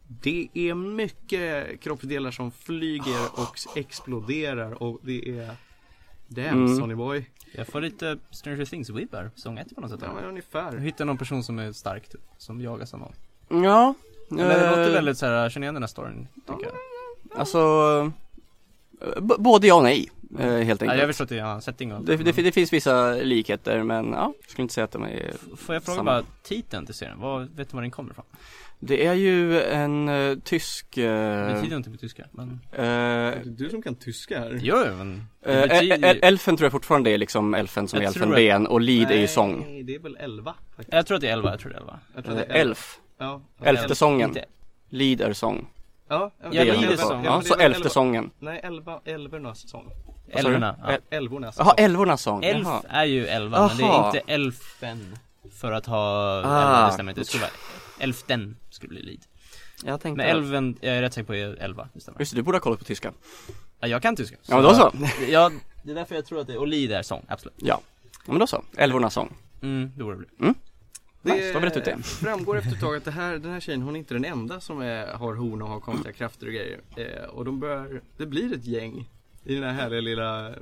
Speaker 2: Det är mycket kroppsdelar som flyger och exploderar och det är... Damn
Speaker 4: Mm.
Speaker 2: Sonny Boy.
Speaker 1: Jag får lite Stranger Things vibbar, sång 1 på något sätt.
Speaker 2: Ja, men
Speaker 1: här. Jag
Speaker 2: ungefär.
Speaker 1: hittar någon person som är stark typ, som jagas av någon.
Speaker 4: Ja.
Speaker 1: Men det
Speaker 4: eh,
Speaker 1: låter väldigt såhär, jag känner igen den här storyn, tycker jag.
Speaker 4: Alltså, B- både ja och nej, eh, helt
Speaker 1: Ja, jag har
Speaker 4: enkelt.
Speaker 1: förstått det i en annan setting. och-
Speaker 4: Det, det, det finns vissa likheter men ja, jag skulle inte säga att de är
Speaker 1: F- Får jag fråga
Speaker 4: Samma.
Speaker 1: bara titeln till serien? Vad, vet du var den kommer ifrån?
Speaker 4: Det är ju en eh, tysk...
Speaker 1: Det
Speaker 4: Eh,
Speaker 1: betyder inte på tyska, men...
Speaker 4: eh,
Speaker 2: Det är du som kan tyska här.
Speaker 1: Jo, jo, men...
Speaker 4: eh,
Speaker 1: Det betyder...
Speaker 4: el- elfen tror jag fortfarande är liksom elfen som
Speaker 1: Jag
Speaker 4: är
Speaker 1: tror
Speaker 4: elfen
Speaker 1: att-
Speaker 4: ben och lid är ju sång.
Speaker 2: Nej, det är väl elva faktiskt.
Speaker 1: Jag tror att det är 11, jag tror det är 11.
Speaker 2: Jag tror
Speaker 4: Eh,
Speaker 2: att det är
Speaker 4: elf.
Speaker 2: Ja.
Speaker 4: Elfte sången.
Speaker 1: Inte.
Speaker 4: Lid är sång.
Speaker 2: Ja, ja,
Speaker 1: Ja,
Speaker 4: Det är
Speaker 1: Lid
Speaker 4: den
Speaker 1: är
Speaker 4: elfte.
Speaker 1: sång.
Speaker 4: Ja,
Speaker 2: men det
Speaker 4: så
Speaker 2: är väl
Speaker 4: elfte
Speaker 2: elva.
Speaker 4: sången.
Speaker 2: Nej, elva, elvernas sång.
Speaker 4: Vad sa du?
Speaker 1: Älvorna. Ja.
Speaker 4: El-
Speaker 2: Älvornas
Speaker 4: Jaha,
Speaker 2: sång.
Speaker 4: älvornas sång.
Speaker 1: Elf
Speaker 4: Jaha.
Speaker 1: är ju 11, men det
Speaker 4: Aha.
Speaker 1: är inte elfen för att ha...
Speaker 4: Ah.
Speaker 1: elva, Det stämmer inte, det skulle vara... Elften skulle bli lid.
Speaker 4: Jag tänkte...
Speaker 1: Men elven, jag är rätt säker på är 11, det stämmer.
Speaker 4: Just det, du borde ha kollat på tyska.
Speaker 1: Ja, jag kan tyska.
Speaker 4: Ja, men då så.
Speaker 1: Ja, det är därför jag tror att det är... Och lid är sång, absolut.
Speaker 4: Ja. Ja men då så, älvornas sång.
Speaker 1: Mm, det borde det bli.
Speaker 4: Nice, då har vi rätt ut det.
Speaker 2: eh, framgår efter ett tag att det här, den här tjejen, hon är inte den enda som är, har horn och har konstiga krafter och grejer. Eh, och de börjar, det blir ett gäng i den här härliga lilla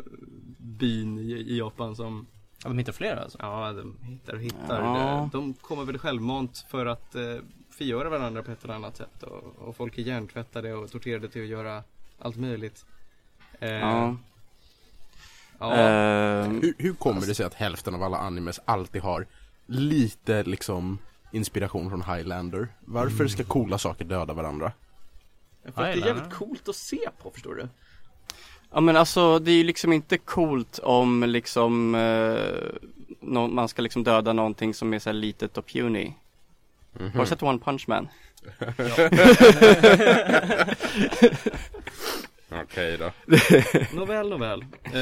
Speaker 2: byn i, i Japan som,
Speaker 1: Ja, de hittar flera alltså.
Speaker 2: ja de hittar och hittar.
Speaker 4: Ja.
Speaker 2: De kommer väl självmant för att eh, förgöra varandra på ett eller annat sätt. Och, och folk är hjärntvättade och torterade till att göra allt möjligt. Eh,
Speaker 4: Ja.
Speaker 2: ja.
Speaker 4: Ehm,
Speaker 3: Hur, hur kommer det sig att hälften av alla animes alltid har lite liksom inspiration från Highlander? Varför ska coola saker döda varandra?
Speaker 2: För att det är
Speaker 1: Highlander.
Speaker 2: jävligt coolt att se på förstår du.
Speaker 4: Ja men alltså det är ju liksom inte coolt om liksom eh, nå- man ska liksom döda någonting som är så här litet och puny.
Speaker 3: Mm-hmm.
Speaker 4: Har
Speaker 1: Mm.
Speaker 4: du sett One Punch Man?
Speaker 3: Okej då.
Speaker 2: Nåväl, nåväl. Eh,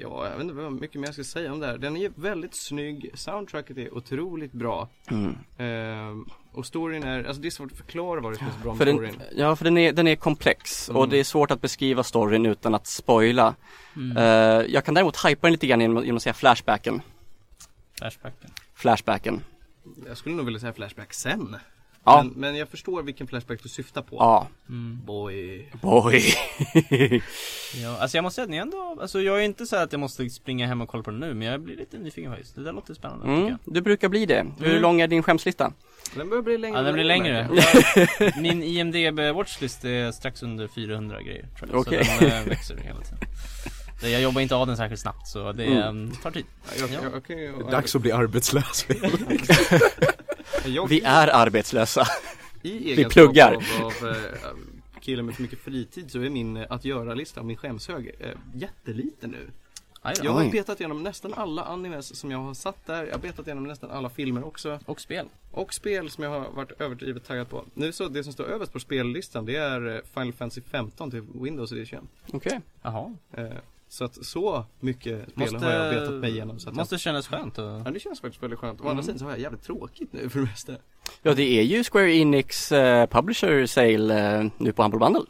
Speaker 2: ja, jag vet inte vad mycket mer jag ska säga om det här. Den är väldigt snygg, soundtracket är otroligt bra.
Speaker 4: Mm.
Speaker 2: Eh, och storyn är, alltså det är svårt att förklara vad det finns bra
Speaker 4: För
Speaker 2: med
Speaker 4: den,
Speaker 2: storyn.
Speaker 4: ja för den är, den är komplex och
Speaker 2: Mm.
Speaker 4: det är svårt att beskriva storyn utan att spoila.
Speaker 1: Mm.
Speaker 4: Eh, jag kan däremot hypa den lite grann genom, genom att säga flashbacken.
Speaker 1: Flashbacken.
Speaker 4: Flashbacken.
Speaker 2: Jag skulle nog vilja säga Flashback sen.
Speaker 4: Ja,
Speaker 2: Men, men jag förstår vilken Flashback du syftar på.
Speaker 4: ja,
Speaker 1: Mm.
Speaker 2: Boy.
Speaker 4: boy.
Speaker 1: Ja, alltså jag måste säga att ni ändå, alltså jag är inte så här att jag måste springa hem och kolla på den nu, men jag blir lite nyfiken faktiskt. Det där låter spännande tycker
Speaker 4: Mm,
Speaker 1: jag.
Speaker 4: du brukar bli det. Hur
Speaker 1: Mm.
Speaker 4: lång är din skämslista?
Speaker 2: Den börjar bli längre.
Speaker 1: Ja, den blir
Speaker 2: och
Speaker 1: längre.
Speaker 2: märker jag.
Speaker 1: Jag- Min IMDB watchlist är strax under 400 grejer tror jag.
Speaker 4: Okej.
Speaker 1: Så den eh, växer hela tiden. Det- Jag jobbar inte av den särskilt snabbt så det
Speaker 4: Mm.
Speaker 1: eh, tar tid.
Speaker 2: Ja, Jag, jag, jag kan ju,
Speaker 3: Dags att bli arbetslös.
Speaker 2: jag,
Speaker 4: Vi är arbetslösa.
Speaker 2: i egenskap
Speaker 4: pluggar.
Speaker 2: Av, av eh, killen med för mycket fritid så är min eh, att göra-lista, och min skämshög, eh, jätteliten nu.
Speaker 1: Aj då.
Speaker 2: Jag har
Speaker 4: Oj.
Speaker 2: betat igenom nästan alla animes som jag har satt där. Jag har betat igenom nästan alla filmer också.
Speaker 1: Och spel.
Speaker 2: Och spel som jag har varit överdrivet taggad på. Nu så det som står överst på spellistan det är eh, Final Fantasy 15 till Windows Edition.
Speaker 4: Okej.
Speaker 1: Jaha.
Speaker 2: Eh, Så att så mycket spel
Speaker 1: Måste,
Speaker 2: har jag betat mig igenom. Så att
Speaker 1: måste kännas skönt och...
Speaker 2: jag... Ja det känns faktiskt väldigt skönt. Å andra sidan så har jag jävligt tråkigt nu för det mesta.
Speaker 4: Ja det är ju Square Enix eh, Publisher Sale eh, nu på Humble Bundle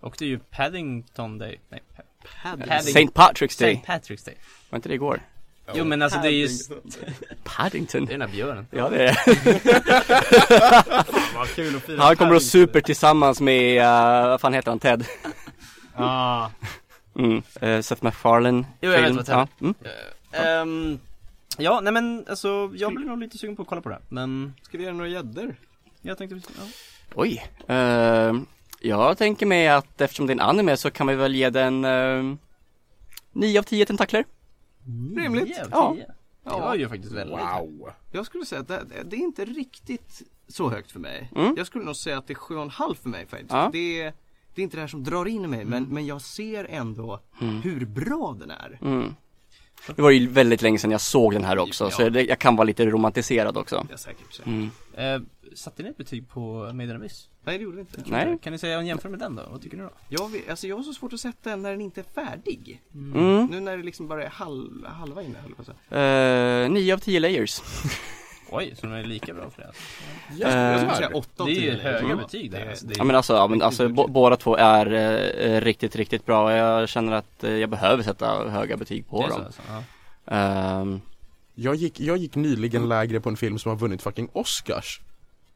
Speaker 1: Och det är ju Paddington Day. Nej, Pa- Padding-
Speaker 4: St. Patrick's
Speaker 1: St.
Speaker 4: Day
Speaker 1: Patrick's Day.
Speaker 4: Var inte det igår?
Speaker 1: Jo men alltså det är ju, det
Speaker 4: Paddington
Speaker 1: är den här björnen.
Speaker 4: Ja det är
Speaker 2: Vad kul att fira
Speaker 4: Han kommer och super tillsammans med, eh, vad fan heter han, Ted?
Speaker 1: Ah.
Speaker 4: Mm. Eh, Seth MacFarlane
Speaker 1: Jo, jag vet
Speaker 4: film.
Speaker 1: vad Ted
Speaker 4: ja. mm.
Speaker 1: Ehm, ja, nej men alltså jag blir nog lite sugen på att kolla på det här, men
Speaker 2: Ska vi göra några gäddor?
Speaker 1: jag tänkte, ja.
Speaker 4: Oj eh, Jag tänker mig att eftersom det är en anime så kan vi väl ge den eh, 9 av 10 tentakler
Speaker 1: Mm,
Speaker 2: Rimligt.
Speaker 1: Tio av
Speaker 4: Ja.
Speaker 1: tio. Det var ju faktiskt väldigt
Speaker 3: Wow.
Speaker 2: Jag skulle säga att det, det är inte riktigt så högt för mig.
Speaker 4: Mm.
Speaker 2: Jag skulle nog säga att det är 7,5 för mig faktiskt.
Speaker 4: Ja.
Speaker 2: Det, är, det är inte det här som drar in mig
Speaker 1: Mm.
Speaker 2: men, men jag ser ändå hur bra den är.
Speaker 4: mm. Det var ju väldigt länge sedan jag såg den här också så
Speaker 2: Ja.
Speaker 4: det, jag kan vara lite romantiserad också
Speaker 2: Jag är säkert säker.
Speaker 4: mm.
Speaker 1: Eh, satte ni ett betyg på Made in Abyss?
Speaker 2: Nej det gjorde vi inte.
Speaker 4: Nej
Speaker 1: Kan ni säga, jämför med den då? Vad tycker ni då?
Speaker 2: Jag, vet, alltså jag har så svårt att sätta den när den inte är färdig.
Speaker 4: mm.
Speaker 2: Nu när det liksom bara är halv, halva inne höll jag på att säga.
Speaker 4: Eh, nio av tio layers.
Speaker 1: Oj, så de är lika bra för det alltså.
Speaker 2: Jag
Speaker 4: Eh,
Speaker 2: skulle säga 8
Speaker 1: Det är ju höga
Speaker 2: Mm.
Speaker 1: betyg där alltså. Det
Speaker 4: ja
Speaker 1: är...
Speaker 4: men alltså, ja, men alltså bo- båda två är eh, eh, riktigt, riktigt bra och jag känner att eh, jag behöver sätta höga betyg på
Speaker 1: det är så
Speaker 4: dem.
Speaker 1: alltså. ja.
Speaker 4: Ehm,
Speaker 3: Jag gick, jag gick nyligen lägre på en film som har vunnit fucking Oscars.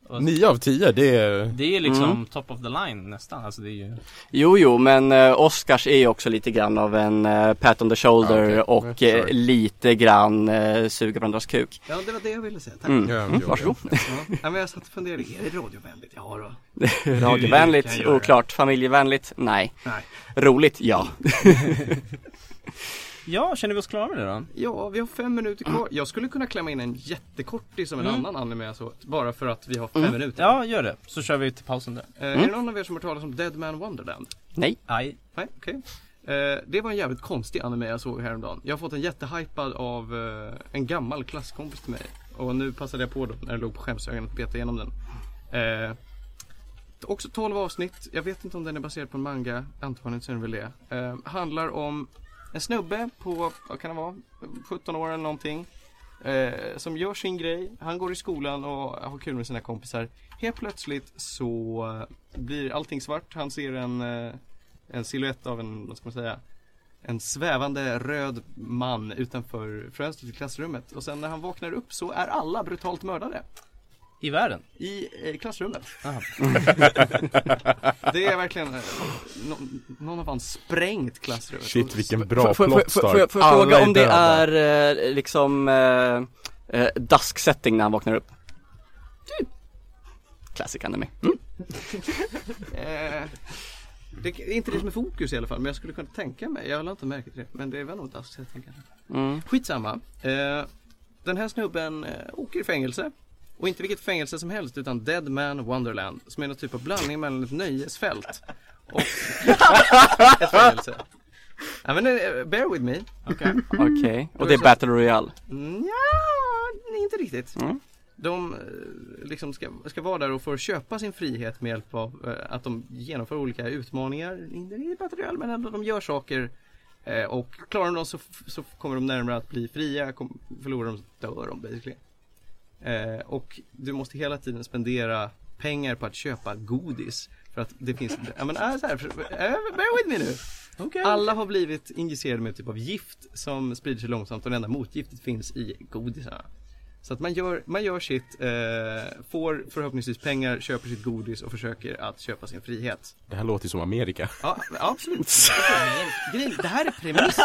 Speaker 1: Och
Speaker 3: Nio av tio, det är...
Speaker 1: Det är liksom
Speaker 4: Mm.
Speaker 1: top of the line nästan, alltså det är ju
Speaker 4: Jo, jo, men eh, Oscars är ju också lite grann av en eh, pat on the shoulder
Speaker 3: Ja, okej.
Speaker 4: och
Speaker 3: Mm,
Speaker 4: eh,
Speaker 3: sorry.
Speaker 4: lite grann eh, suga på andras kuk.
Speaker 2: Ja, det var det jag ville säga. Tack.
Speaker 4: Mm.
Speaker 3: Ja, det
Speaker 4: Mm,
Speaker 3: gör
Speaker 4: varsågod.
Speaker 2: Ja. Ja, men jag satt och funderade, är det radiovänligt? Ja då. kan
Speaker 4: Radiovänligt,
Speaker 2: jag göra.
Speaker 4: oklart. Familjevänligt, nej.
Speaker 2: Nej.
Speaker 4: Roligt, ja.
Speaker 1: Ja, känner vi oss klara med det då?
Speaker 2: Ja, vi har fem minuter kvar. Jag skulle kunna klämma in en jättekortis som en
Speaker 1: Mm.
Speaker 2: annan anime jag såg. Bara för att vi har fem minuter.
Speaker 1: Ja, gör det, så kör vi till pausen där
Speaker 2: Eh, Är det någon av er som har hört talas om Dead Man Wonderland?
Speaker 4: Nej.
Speaker 1: Aj
Speaker 2: Nej, okej. Eh, det var en jävligt konstig anime jag såg häromdagen. Jag har fått en jättehypad av eh, en gammal klasskompis till mig. Och nu passade jag på då när den låg på skämshögen att beta igenom den. Eh, också 12 avsnitt. Jag vet inte om den är baserad på en manga. Antagligen så är den väl det. Eh, handlar om en snubbe på, vad kan det vara, 17 år eller någonting. Eh, som gör sin grej. Han går i skolan och har kul med sina kompisar. Helt plötsligt så eh, blir allting svart. Han ser en eh, en silhuett av en, vad ska man säga, en svävande röd man utanför fönstret i klassrummet. Och sen när han vaknar upp så är alla brutalt mördade
Speaker 1: I världen?
Speaker 2: i eh, klassrummet.
Speaker 1: Aha.
Speaker 2: Det är verkligen, eh, nå- någon har fan sprängt klassrummet.
Speaker 3: Shit vilken
Speaker 4: Får-
Speaker 3: bra
Speaker 4: får- får- får-
Speaker 3: plotstart.
Speaker 4: Får jag får jag
Speaker 3: Alla
Speaker 4: fråga om det
Speaker 3: döda.
Speaker 4: är eh, liksom eh, eh, dusk-setting när han vaknar upp? Classic anime. Mm.
Speaker 2: Eh, det är inte det som är fokus i alla fall, men jag skulle kunna tänka mig, jag har inte märkt det, men det är väl något dags jag tänker.
Speaker 4: Mm.
Speaker 2: Skitsamma. Eh, den här snubben eh, åker i fängelse. Och inte vilket fängelse som helst utan Dead Man Wonderland. Som är någon typ av blandning mellan ett nöjesfält och ett fängelse. Ja men eh, bear with me.
Speaker 1: Okej
Speaker 4: Okej, och det är Battle Royale.
Speaker 2: Nja, inte riktigt.
Speaker 4: Mm.
Speaker 2: De eh, liksom ska, ska vara där och får köpa sin frihet med hjälp av eh, att de genomför olika utmaningar. Inte riktigt material men ändå de gör saker. eh, Och klarar de dem så, f- så kommer de närmare att bli fria. Kom, förlorar de så dör de basically. Eh, Och du måste hela tiden spendera pengar på att köpa godis. För att det finns, ja men äh, så här, för, äh, bear with me nu.
Speaker 1: Okej
Speaker 2: Alla har blivit injicerade med typ av gift som sprider sig långsamt och det enda motgiftet finns i godisarna. Så att man gör, man gör sitt, eh, får förhoppningsvis pengar, köper sitt godis och försöker att köpa sin frihet.
Speaker 3: Det här låter ju som Amerika.
Speaker 2: Ja, absolut. Grej, det här är premissen.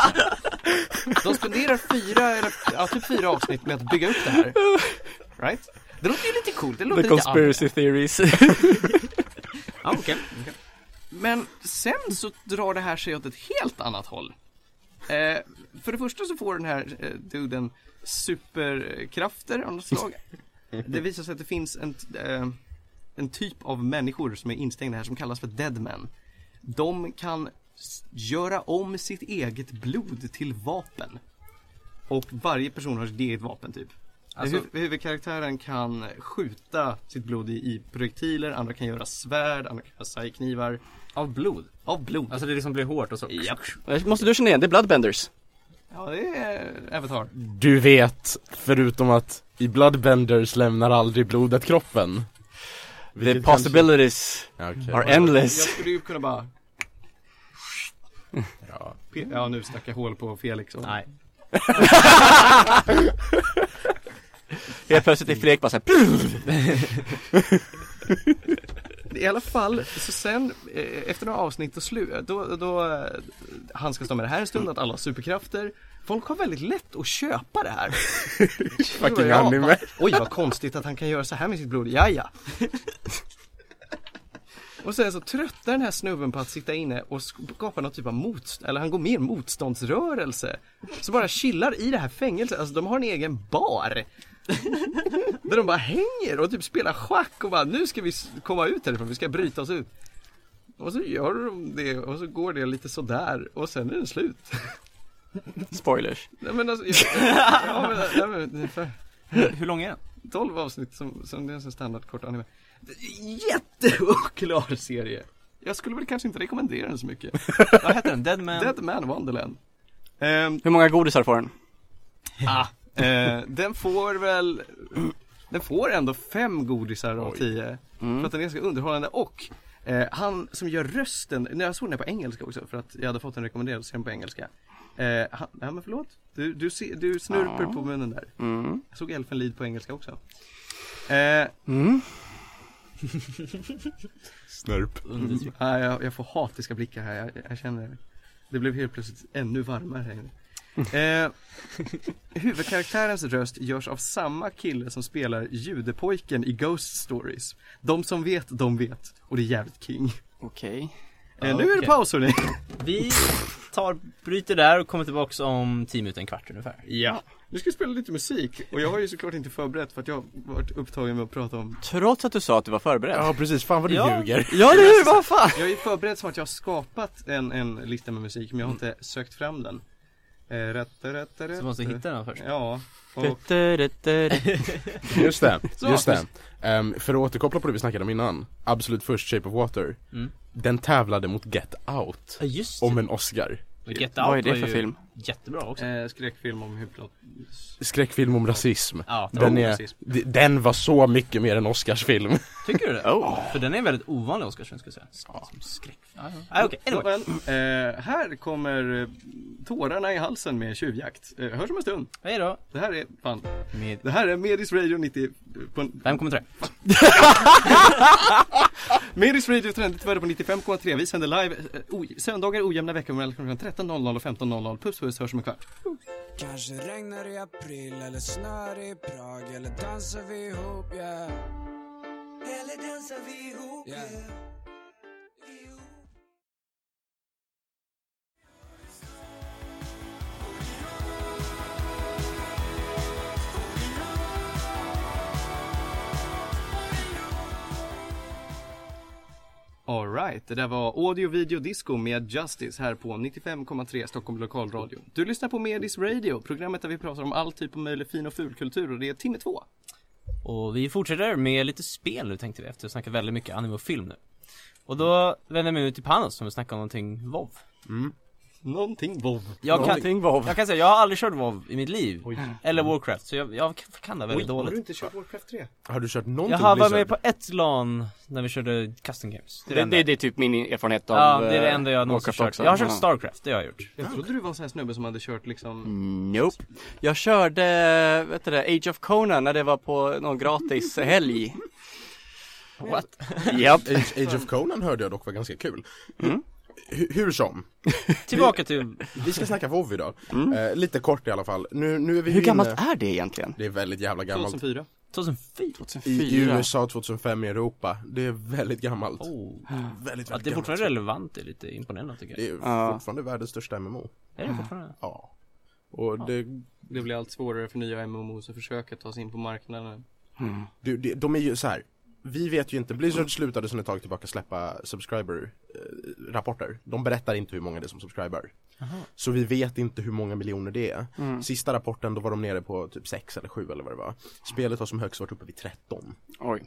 Speaker 2: De spenderar fyra, eller, ja, typ fyra avsnitt med att bygga upp det här. Right? Det låter ju lite coolt, det låter
Speaker 4: The
Speaker 2: lite
Speaker 4: conspiracy theories.
Speaker 2: Ja, okej. Men sen så drar det här sig åt ett helt annat håll. Eh, för det första så får den här eh, duden superkrafter av något slag. Det visar sig att det finns en, t- eh, en typ av människor som är instängda här som kallas för deadmen. De kan s- göra om sitt eget blod till vapen. Och varje person har sitt eget vapen typ.
Speaker 1: Alltså-
Speaker 2: Hu- huvudkaraktären kan skjuta sitt blod i, i projektiler, andra kan göra svärd, andra kan göra sargknivar.
Speaker 1: Av blod?
Speaker 2: Av blod.
Speaker 1: Alltså det liksom blir hårt och så
Speaker 2: Japp.
Speaker 4: Måste du känna igen, det är Bloodbenders.
Speaker 2: Ja, det är Avatar.
Speaker 3: Du vet, förutom att i Bloodbenders lämnar aldrig blodet kroppen.
Speaker 4: The
Speaker 3: Vilket
Speaker 4: possibilities
Speaker 3: kanske- Ja, okej.
Speaker 4: are endless.
Speaker 2: Jag skulle ju kunna bara,
Speaker 3: Ja.
Speaker 2: pe- ja nu stack jag hål på Felix och...
Speaker 1: Nej
Speaker 4: Helt plötsligt är Fredrik bara såhär
Speaker 2: I alla fall, så sen eh, efter några avsnitt och slut, då, då eh, handskas de med det här en stund, att alla har superkrafter. Folk har väldigt lätt att köpa det här.
Speaker 3: Fucking anime.
Speaker 2: Oj vad konstigt att han kan göra så här med sitt blod, ja ja. Och sen så tröttnar den här snubben på att sitta inne och skapar någon typ av motstånd, eller han går med i en motståndsrörelse. Så bara chillar i det här fängelset, alltså de har en egen bar. Där de bara hänger och typ spelar schack och bara nu ska vi s- komma ut härifrån, vi ska bryta oss ut. Och så gör de det och så går det lite sådär och sen är det slut.
Speaker 4: spoilers.
Speaker 2: Nej men alltså, jag, ja, men, nej, men, ungefär.
Speaker 1: Hur lång är den?
Speaker 2: 12 avsnitt som, som det är en sån standardkort anime. Jätteoklar serie. Jag skulle väl kanske inte rekommendera den så mycket.
Speaker 1: Vad heter den? Dead Man?
Speaker 2: Dead Man Wonderland. Ehm,
Speaker 4: Hur många godisar får den?
Speaker 2: ah, eh, den får väl, den får ändå fem godisar av tio. För att den är ganska underhållande och eh, han som gör rösten, när jag såg den här på engelska också för att jag hade fått en rekommenderad serie på engelska. Eh, han, nej men förlåt, du, du, ser- du snurper
Speaker 4: Ja.
Speaker 2: på munnen där.
Speaker 4: Mm.
Speaker 2: Jag såg Elfenlid på engelska också. Eh,
Speaker 4: Mm.
Speaker 3: Snörp.
Speaker 2: Mm. Ja, jag, jag får hatiska blickar här, jag, jag känner det. Det blev helt plötsligt ännu varmare här inne.
Speaker 1: Mm.
Speaker 2: Eh, huvudkaraktärens röst görs av samma kille som spelar judepojken i Ghost Stories. De som vet, de vet. Och det är jävligt king.
Speaker 4: Okej.
Speaker 2: Eh, Nu är det
Speaker 1: Okej.
Speaker 2: paus hörni.
Speaker 1: Vi tar, bryter där och kommer tillbaks om 10 minuter, en kvart ungefär.
Speaker 2: Ja. Nu ska vi spela lite musik och jag har ju såklart inte förberett för att jag har varit upptagen med att prata om
Speaker 4: Trots att du sa att du var förberedd.
Speaker 3: Ja precis, fan vad du
Speaker 1: Ja.
Speaker 3: ljuger.
Speaker 4: Ja, det är vad fan!
Speaker 2: Jag är förberedd som att jag har skapat en, en lista med musik men jag har inte sökt fram den. Eh, rätt, rätt, rätt.
Speaker 1: Så måste vi hitta den först.
Speaker 2: Ja, och
Speaker 3: Just det,
Speaker 2: Så.
Speaker 3: just det. Ehm, för att återkoppla på det vi snackade om innan, absolut först Shape of Water.
Speaker 1: Mm.
Speaker 3: Den tävlade mot Get Out
Speaker 1: Ja just
Speaker 3: om en Oscar.
Speaker 1: det. Get Out
Speaker 4: Vad är det
Speaker 1: var
Speaker 4: för
Speaker 1: ju
Speaker 4: film?
Speaker 1: Jättebra också.
Speaker 2: eh, skräckfilm om hur plott...
Speaker 3: Skräckfilm om rasism.
Speaker 1: Ja, oh, det var-
Speaker 3: Den,
Speaker 2: Om
Speaker 3: är,
Speaker 2: rasism.
Speaker 3: d- den var så mycket mer än Oscarsfilm.
Speaker 1: tycker du det?
Speaker 4: Oh.
Speaker 1: För den är en väldigt ovanlig Oscarsfilm ska jag säga. Som som skräckfilm. Ah, okej, anyway.
Speaker 2: Nåväl, eh, här kommer eh, tårarna i halsen med tjuvjakt. Eh, hörs om en stund.
Speaker 1: Hej då.
Speaker 2: Det här är, fan,
Speaker 1: Med
Speaker 2: det här är Medis Radio 90 på en,
Speaker 1: 5,3.
Speaker 2: Medis Radio trendigt värde på 95,3. Vi sänder live eh, oj, söndagar ojämna veckor mellan klockan 13.00 och 15.00. Puss puss, hörs om en kvart.
Speaker 6: Kanske regnar i april eller snör i Prag eller dansar vi ihop yeah. Eller dansar vi ihop yeah.
Speaker 2: Alright, det där var Audio Video Disco med Justice här på 95,3 Stockholm Lokalradio. Du lyssnar på Medis Radio, programmet där vi pratar om all typ av möjlig fin och fulkultur och det är timme två.
Speaker 1: Och vi fortsätter med lite spel nu tänkte vi efter att snacka väldigt mycket anime och film nu. Och då vänder jag mig ut till Panos som vill snacka om någonting WoW.
Speaker 2: Någonting vov.
Speaker 1: Jag kan,
Speaker 4: Någonting var
Speaker 1: jag kan säga, jag har aldrig kört WoW i mitt liv. Eller Warcraft, så jag, jag kan det väldigt dåligt.
Speaker 2: inte kört Warcraft 3?
Speaker 3: Har du kört någonting
Speaker 1: Jag har varit med
Speaker 3: Blizzard?
Speaker 1: på ett LAN när vi körde custom games. Det är det,
Speaker 4: det,
Speaker 1: enda.
Speaker 4: det, det är typ min erfarenhet av
Speaker 1: ja, det är det
Speaker 4: eh,
Speaker 1: enda jag någonsin
Speaker 4: Warcraft
Speaker 1: kört.
Speaker 4: också. Mm.
Speaker 1: Jag har kört
Speaker 4: Ja.
Speaker 1: Starcraft, det har jag gjort.
Speaker 2: Jag trodde du var en sån här snubbe som hade kört liksom
Speaker 1: Mm,
Speaker 4: Nope. Jag körde, vet du det, Age of Conan när det var på någon gratis helg.
Speaker 1: What?
Speaker 4: Japp.
Speaker 3: Age, Age of Conan hörde jag dock var ganska kul. Mm. Hu- Hur som,
Speaker 1: Tillbaka till...
Speaker 3: vi ska snacka WoW idag. Eh, lite kort i alla fall. Nu, nu är vi
Speaker 4: Hur
Speaker 3: ju
Speaker 4: gammalt
Speaker 3: inne...
Speaker 4: är det egentligen?
Speaker 3: Det är väldigt jävla gammalt.
Speaker 2: 2004.
Speaker 1: 2004?
Speaker 3: I, I
Speaker 4: 2004.
Speaker 3: USA 2005 i Europa. Det är väldigt gammalt.
Speaker 1: Oh.
Speaker 4: Mm.
Speaker 3: Väldigt,
Speaker 1: Att
Speaker 3: väldigt
Speaker 1: det är
Speaker 3: gammalt.
Speaker 1: fortfarande relevant är lite imponerande tycker
Speaker 3: Det
Speaker 1: jag.
Speaker 3: är
Speaker 4: Ja.
Speaker 3: fortfarande världens största MMO.
Speaker 1: Är det
Speaker 4: Mm.
Speaker 1: fortfarande?
Speaker 3: Ja. Och det,
Speaker 2: Det blir allt svårare för nya MMOs att försöka ta sig in på marknaden.
Speaker 3: du, det, de är ju så här. Vi vet ju inte, Blizzard slutade sedan ett tag tillbaka släppa subscriber-rapporter. de berättar inte hur många det är som subscriber. Så vi vet inte hur många miljoner det är. Sista rapporten, då var de nere på typ 6 eller 7 eller vad det var. Spelet har som högst varit uppe vid 13.
Speaker 4: Oj.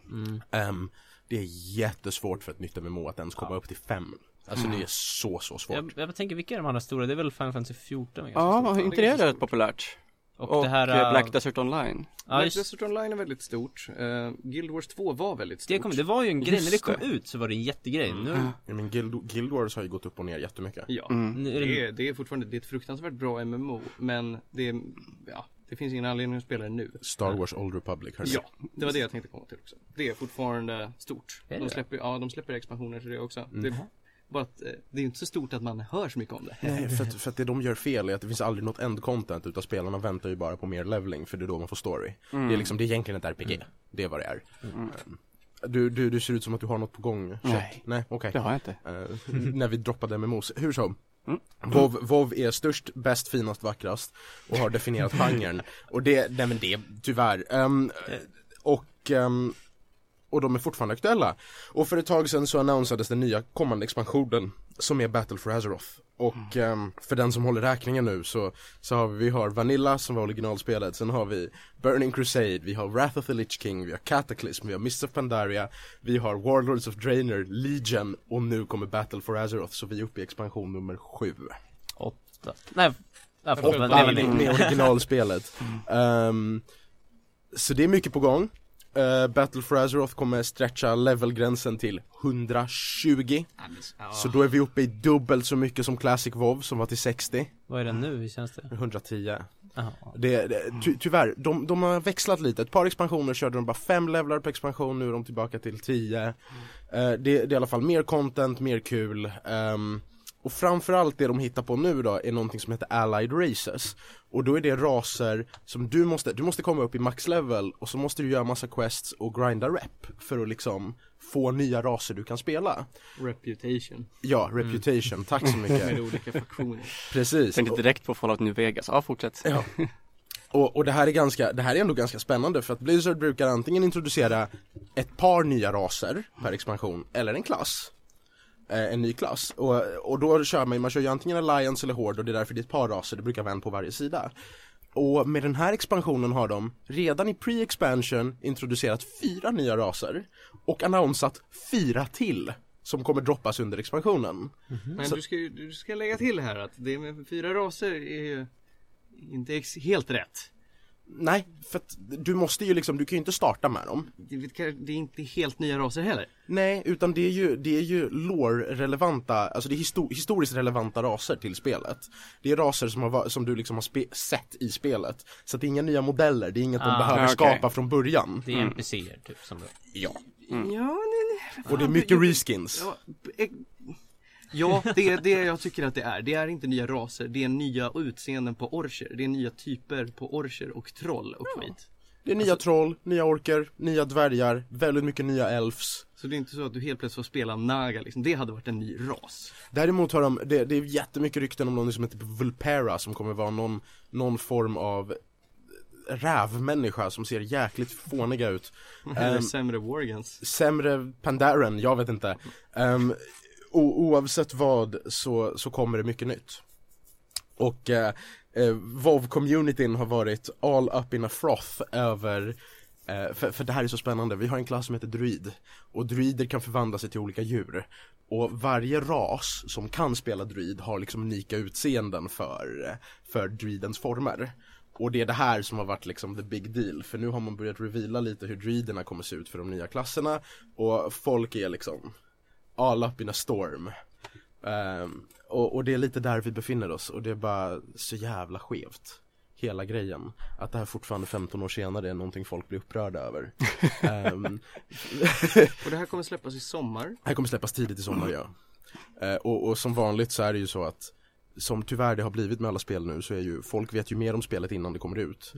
Speaker 3: Ehm, det är jättesvårt för ett nytt MMO att ens komma upp till 5. Alltså det är så, så svårt.
Speaker 1: Jag, jag tänker vilka är de andra stora? Det är väl Final Fantasy 14 är ganska
Speaker 4: Ja,
Speaker 1: stort.
Speaker 4: var inte det rätt populärt?
Speaker 1: Och,
Speaker 4: Och,
Speaker 1: det här...
Speaker 4: eh,
Speaker 1: äh,
Speaker 4: Black Desert Online.
Speaker 1: ja,
Speaker 2: Black
Speaker 1: just,
Speaker 2: Desert Online är väldigt stort. Eh, Guild Wars 2 var väldigt stort.
Speaker 1: det, kom, det var ju en grej, när det
Speaker 4: Just
Speaker 1: kom
Speaker 4: det. Mm.
Speaker 1: ut så var det en jättegrej. Nu,
Speaker 3: Ja, men Guild, Guild Wars har ju gått upp och ner jättemycket.
Speaker 2: Ja.
Speaker 1: nu är
Speaker 2: Det
Speaker 1: det...
Speaker 2: är, det är fortfarande, det är ett fruktansvärt bra MMO, men det är, ja, det finns ingen anledning att spela det nu.
Speaker 3: Star Wars Old Republic hörni.
Speaker 2: Ja, det var det jag tänkte komma till också. Det är fortfarande stort.
Speaker 1: Är det Mm.
Speaker 2: de,
Speaker 1: det?
Speaker 2: släpper, ja, de släpper expansioner till det också. Det är bara att eh, det är inte så stort att man hör så mycket om det.
Speaker 3: Nej, Eh, för att, för att det de gör fel är att det finns aldrig något end content utan spelarna väntar ju bara på mer leveling för det är då man får story.
Speaker 4: Mm.
Speaker 3: Det är liksom, det är egentligen ett RPG. Det är vad det är. Um, Du, du, du ser ut som att du har något på gång. Shep.
Speaker 4: Nej.
Speaker 3: Nej, okej.
Speaker 4: Det har jag inte. Mm.
Speaker 3: Eh, när vi droppade MMOs. Hur som. WoW, WoW är störst, bäst, finast, vackrast och har definierat genren. Och det, nej men det, tyvärr. Ehm, och, ehm, och de är fortfarande aktuella. Och för ett tag sedan så annonsades den nya kommande expansionen som är Battle for Azeroth. Och ehm, för den som håller räkningen nu så, så har vi, vi har Vanilla som var originalspelet, sen har vi Burning Crusade, vi har Wrath of the Lich King, vi har Cataclysm, vi har Mists of Pandaria, vi har Warlords of Draenor, Legion och nu kommer Battle for Azeroth så vi är uppe i expansion nummer sju.
Speaker 1: Åtta. Nej, ja, förlåt, men det Mm. är väl
Speaker 3: Med originalspelet. Ehm, så det är mycket på gång. Eh, Battle for Azeroth kommer stretcha levelgränsen till 120 Så då är vi uppe i dubbelt så mycket som Classic WoW som var till 60
Speaker 1: Vad är den nu? Hur känns det?
Speaker 3: 110
Speaker 1: Jaha.
Speaker 3: det, det, ty, Tyvärr, de, de har växlat lite. Ett par expansioner körde de bara fem levlar per expansion, nu är de tillbaka till 10 eh, det, det är i alla fall mer content, mer kul ehm, Och framförallt det de hittar på nu då är någonting som heter Allied Races Och då är det raser som du måste, du måste komma upp i maxlevel och så måste du göra massa quests och grinda rep för att liksom få nya raser du kan spela
Speaker 7: Reputation.
Speaker 3: Ja, reputation, tack så mycket
Speaker 2: Mm.
Speaker 7: Med olika funktioner.
Speaker 3: Precis
Speaker 4: Tänkte direkt på Fallout New Vegas. Ja, fortsätt.
Speaker 3: Ja. Och, och det här är ganska, det här är ändå ganska spännande för att Blizzard brukar antingen introducera ett par nya raser per expansion eller en klass. Eh, en ny klass. Och, och då kör man, man kör ju antingen Alliance eller Horde och det är därför det är ett par raser, det brukar vara en på varje sida. Och med den här expansionen har de redan i pre-expansion introducerat fyra nya raser och annonsat fyra till som kommer droppas under expansionen.
Speaker 7: Men du ska, ju- du ska lägga till här att det med fyra raser är ju inte ex- helt rätt.
Speaker 3: Nej, för att du måste ju liksom, du kan ju inte starta med dem.
Speaker 7: Det är det är inte helt nya raser heller.
Speaker 3: Nej, utan det är ju, det är ju lore-relevanta, alltså det är histo- historiskt relevanta raser till spelet. Det är raser som, har, va- som du liksom har spe- sett i spelet. Så att det är inga nya modeller, det är inget de
Speaker 1: Ah,
Speaker 3: behöver
Speaker 4: okej.
Speaker 3: skapa från början.
Speaker 1: Det är
Speaker 4: Mm.
Speaker 1: NPCer typ som det.
Speaker 3: Ja.
Speaker 7: Ja, nej, nej.
Speaker 3: Och det är
Speaker 7: Fan,
Speaker 3: mycket
Speaker 7: jag-
Speaker 3: reskins.
Speaker 7: Ja, eh, ja det är det jag tycker att det är. Det är inte nya raser, det är nya utseenden på orcher. Det är nya typer på orcher och troll och skit.
Speaker 3: Det är nya
Speaker 7: Alltså-
Speaker 3: troll, nya orker, nya dvärgar, väldigt mycket nya elfs.
Speaker 7: Så det är inte så att du helt plötsligt får spela Naga liksom. Det hade varit en ny ras.
Speaker 3: Däremot har de, det, det är jättemycket rykten om någon som heter Vulpera som kommer vara någon, någon form av rävmänniska som ser jäkligt fåniga ut.
Speaker 7: Eller
Speaker 3: Ehm,
Speaker 7: sämre Wargans.
Speaker 3: sämre Pandaren, jag vet inte. Ehm, o- oavsett vad så, så kommer det mycket nytt. Och eh, eh, vov communityn har varit all up in a froth över eh, för, för det här är så spännande, vi har en klass som heter druid och druider kan förvandla sig till olika djur och varje ras som kan spela druid har liksom unika utseenden för, för druidens former. Och det är det här som har varit liksom the big deal, för nu har man börjat reveala lite hur druiderna kommer se ut för de nya klasserna och folk är liksom all up in a storm. Ehm, och, och det är lite där vi befinner oss och det är bara så jävla skevt. Hela grejen. Att det här fortfarande 15 år senare är någonting folk blir upprörda över. Ehm,
Speaker 7: Och det här kommer släppas i sommar.
Speaker 3: det här kommer släppas tidigt i sommar ja. Eh, och, och som vanligt så är det ju så att som tyvärr det har blivit med alla spel nu så är ju folk vet ju mer om spelet innan det kommer ut.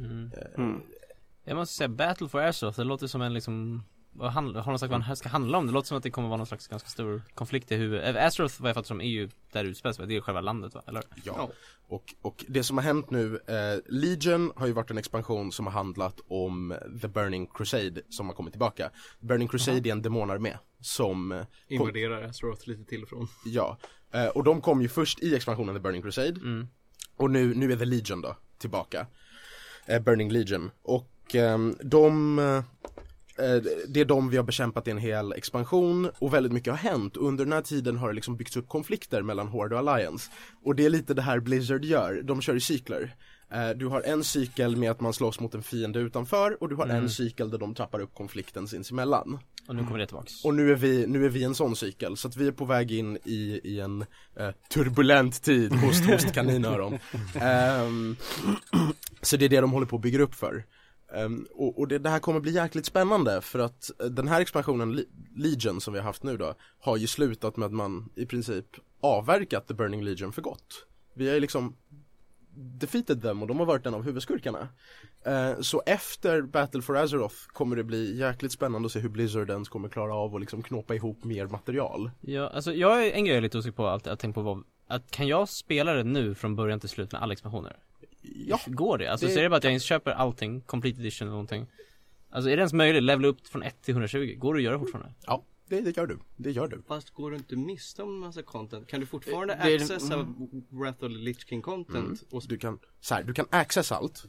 Speaker 1: Jag måste säga Battle for Azeroth, det låter som en liksom vad handl- har de sagt vad den här ska handla om? Det låter som att det kommer vara någon slags ganska stor konflikt i huvudet. Eh, Azeroth vad jag fattar som är ju där det utspelar sig, det är ju själva landet va? Eller?
Speaker 3: Ja. Och, och det som har hänt nu, eh, Legion har ju varit en expansion som har handlat om The Burning Crusade som har kommit tillbaka. Burning Crusade är en demonarmé som eh, kom,
Speaker 7: Invaderar Azeroth lite till och från.
Speaker 3: Ja, eh, och de kom ju först i expansionen The Burning Crusade Och nu, nu är The Legion då, tillbaka eh, Burning Legion Och ehm, de eh, Det är de vi har bekämpat i en hel expansion och väldigt mycket har hänt Under den här tiden har det liksom byggts upp konflikter mellan Horde och Alliance Och det är lite det här Blizzard gör, de kör i cykler Eh, du har en cykel med att man slåss mot en fiende utanför och du har en cykel där de trappar upp konflikten sinsemellan.
Speaker 1: Och nu kommer det tillbaks.
Speaker 3: Och nu är vi, nu är vi i en sån cykel, så att vi är på väg in i, i en eh, turbulent tid, host, host, kaninöron Ehm, Så det är det de håller på och bygger upp för Ehm, Och, och det, det här kommer bli jäkligt spännande för att eh, den här expansionen, Le- Legion som vi har haft nu då Har ju slutat med att man i princip avverkat The Burning Legion för gott Vi har ju liksom defeated them och de har varit en av huvudskurkarna Eh, Så efter Battle for Azeroth kommer det bli jäkligt spännande att se hur Blizzard ens kommer klara av att liksom knåpa ihop mer material.
Speaker 1: Ja, alltså jag är en grej jag är lite osäker på, allt jag tänkt på var att kan jag spela det nu från början till slut med alla expansioner?
Speaker 3: Ja,
Speaker 1: Går det? Alltså
Speaker 3: Det-
Speaker 1: så är det bara att jag ens köper allting, complete edition eller någonting Alltså är det ens möjligt? Levela upp från 1 till 120? Går det att göra fortfarande?
Speaker 3: ja det, det gör du. Det gör du.
Speaker 7: Fast går du inte miste om massa content? Kan du fortfarande
Speaker 4: Eh, Det- det är- mm.
Speaker 7: accessa Wrath of the Lich King content? Och
Speaker 3: Du kan, så här, du kan access allt.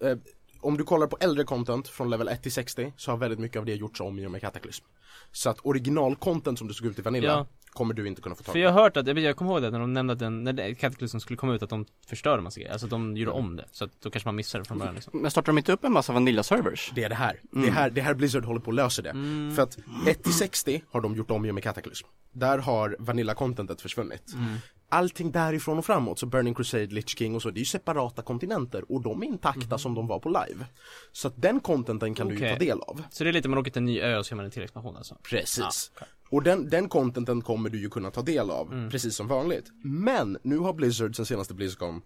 Speaker 3: Eh, om du kollar på äldre content från level 1 till 60 så har väldigt mycket av det gjorts om i och med Cataclysm. Så att original content som det såg ut i Vanilla
Speaker 1: Ja.
Speaker 3: kommer du inte kunna få tag
Speaker 1: För
Speaker 3: på.
Speaker 1: jag har hört att, jag jag kommer ihåg det när de nämnde att den, när det- Cataclysm skulle komma ut att de förstörde massa grejer, alltså att de gjorde om det. Så att då kanske man missar det från början liksom.
Speaker 4: Men startar de inte upp en massa Vanilla-servers?
Speaker 3: Det är det här. Det här, det här Blizzard håller på att lösa det. För att 1-60 har de gjort om ju med Cataclysm. Där har Vanilla-contentet försvunnit. Allting därifrån och framåt, så Burning Crusade, Lich King och så, det är ju separata kontinenter och de är intakta som de var på live. Så att den contenten kan du ju
Speaker 1: Okej.
Speaker 3: ta del av.
Speaker 1: Så det är lite, man åker till en ny ö och så gör man en till expansion alltså.
Speaker 3: Precis. Och den, den contenten kommer du ju kunna ta del av, precis som vanligt. Men nu har Blizzard sen senaste Blizzcon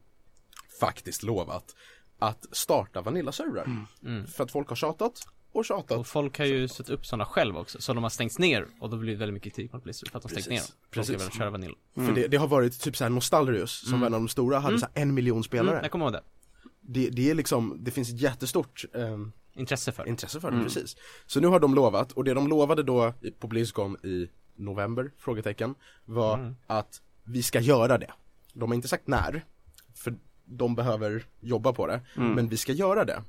Speaker 3: faktiskt lovat att starta Vanilla-servrar. För att folk har tjatat och tjatat.
Speaker 1: Och folk har ju satt upp sådana själv också, så de har stängts ner och då blir det väldigt mycket kritik mot Blizzard för att de stängt ner dem.
Speaker 3: Precis.
Speaker 1: De ska
Speaker 3: Precis.
Speaker 1: väl köra Vanilla.
Speaker 3: För det, det har varit typ såhär Nostalrius, som var en av de stora, hade så såhär en miljon spelare.
Speaker 1: Mm, jag kommer ihåg det.
Speaker 3: det, det är liksom, det finns ett jättestort ehm,
Speaker 1: Intresse för Mm. det.
Speaker 3: intresse för det, precis. Så nu har de lovat, och det de lovade då i- på Blizzcon i november, frågetecken, var
Speaker 1: Mm.
Speaker 3: att vi ska göra det. De har inte sagt när, för de behöver jobba på det,
Speaker 1: Mm.
Speaker 3: men vi ska göra det.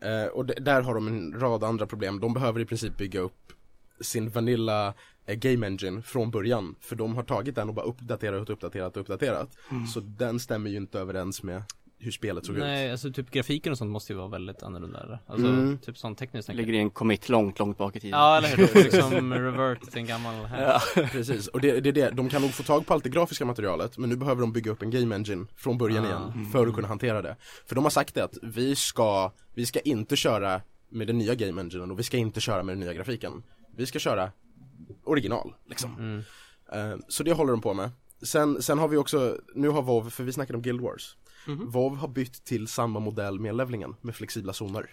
Speaker 3: Eh, och d- där har de en rad andra problem, de behöver i princip bygga upp sin Vanilla eh, Game Engine från början, för de har tagit den och bara uppdaterat och uppdaterat och uppdaterat. Så den stämmer ju inte överens med hur spelet såg ut.
Speaker 1: Mm. Nej, alltså typ grafiken och sånt måste ju vara väldigt annorlunda eller? Alltså,
Speaker 3: Mm.
Speaker 1: typ sånt tekniskt tänker
Speaker 4: Ligger
Speaker 1: jag.
Speaker 4: i en commit långt, långt bak i tiden.
Speaker 1: Ja, eller hur? De får liksom revert till en gammal här.
Speaker 4: Ja.
Speaker 3: Precis, och det, det är det, de kan nog få tag på allt det grafiska materialet men nu behöver de bygga upp en game engine från början
Speaker 1: Ah.
Speaker 3: igen för att kunna hantera det. För de har sagt det att vi ska, vi ska inte köra med den nya game enginen och vi ska inte köra med den nya grafiken. Vi ska köra original liksom.
Speaker 1: Mm.
Speaker 3: Eh, Så det håller de på med. Sen, sen har vi också, nu har WoW, för vi snackade om Guild Wars.
Speaker 1: Mhm.
Speaker 3: WoW har bytt till samma modell med levlingen med flexibla zoner.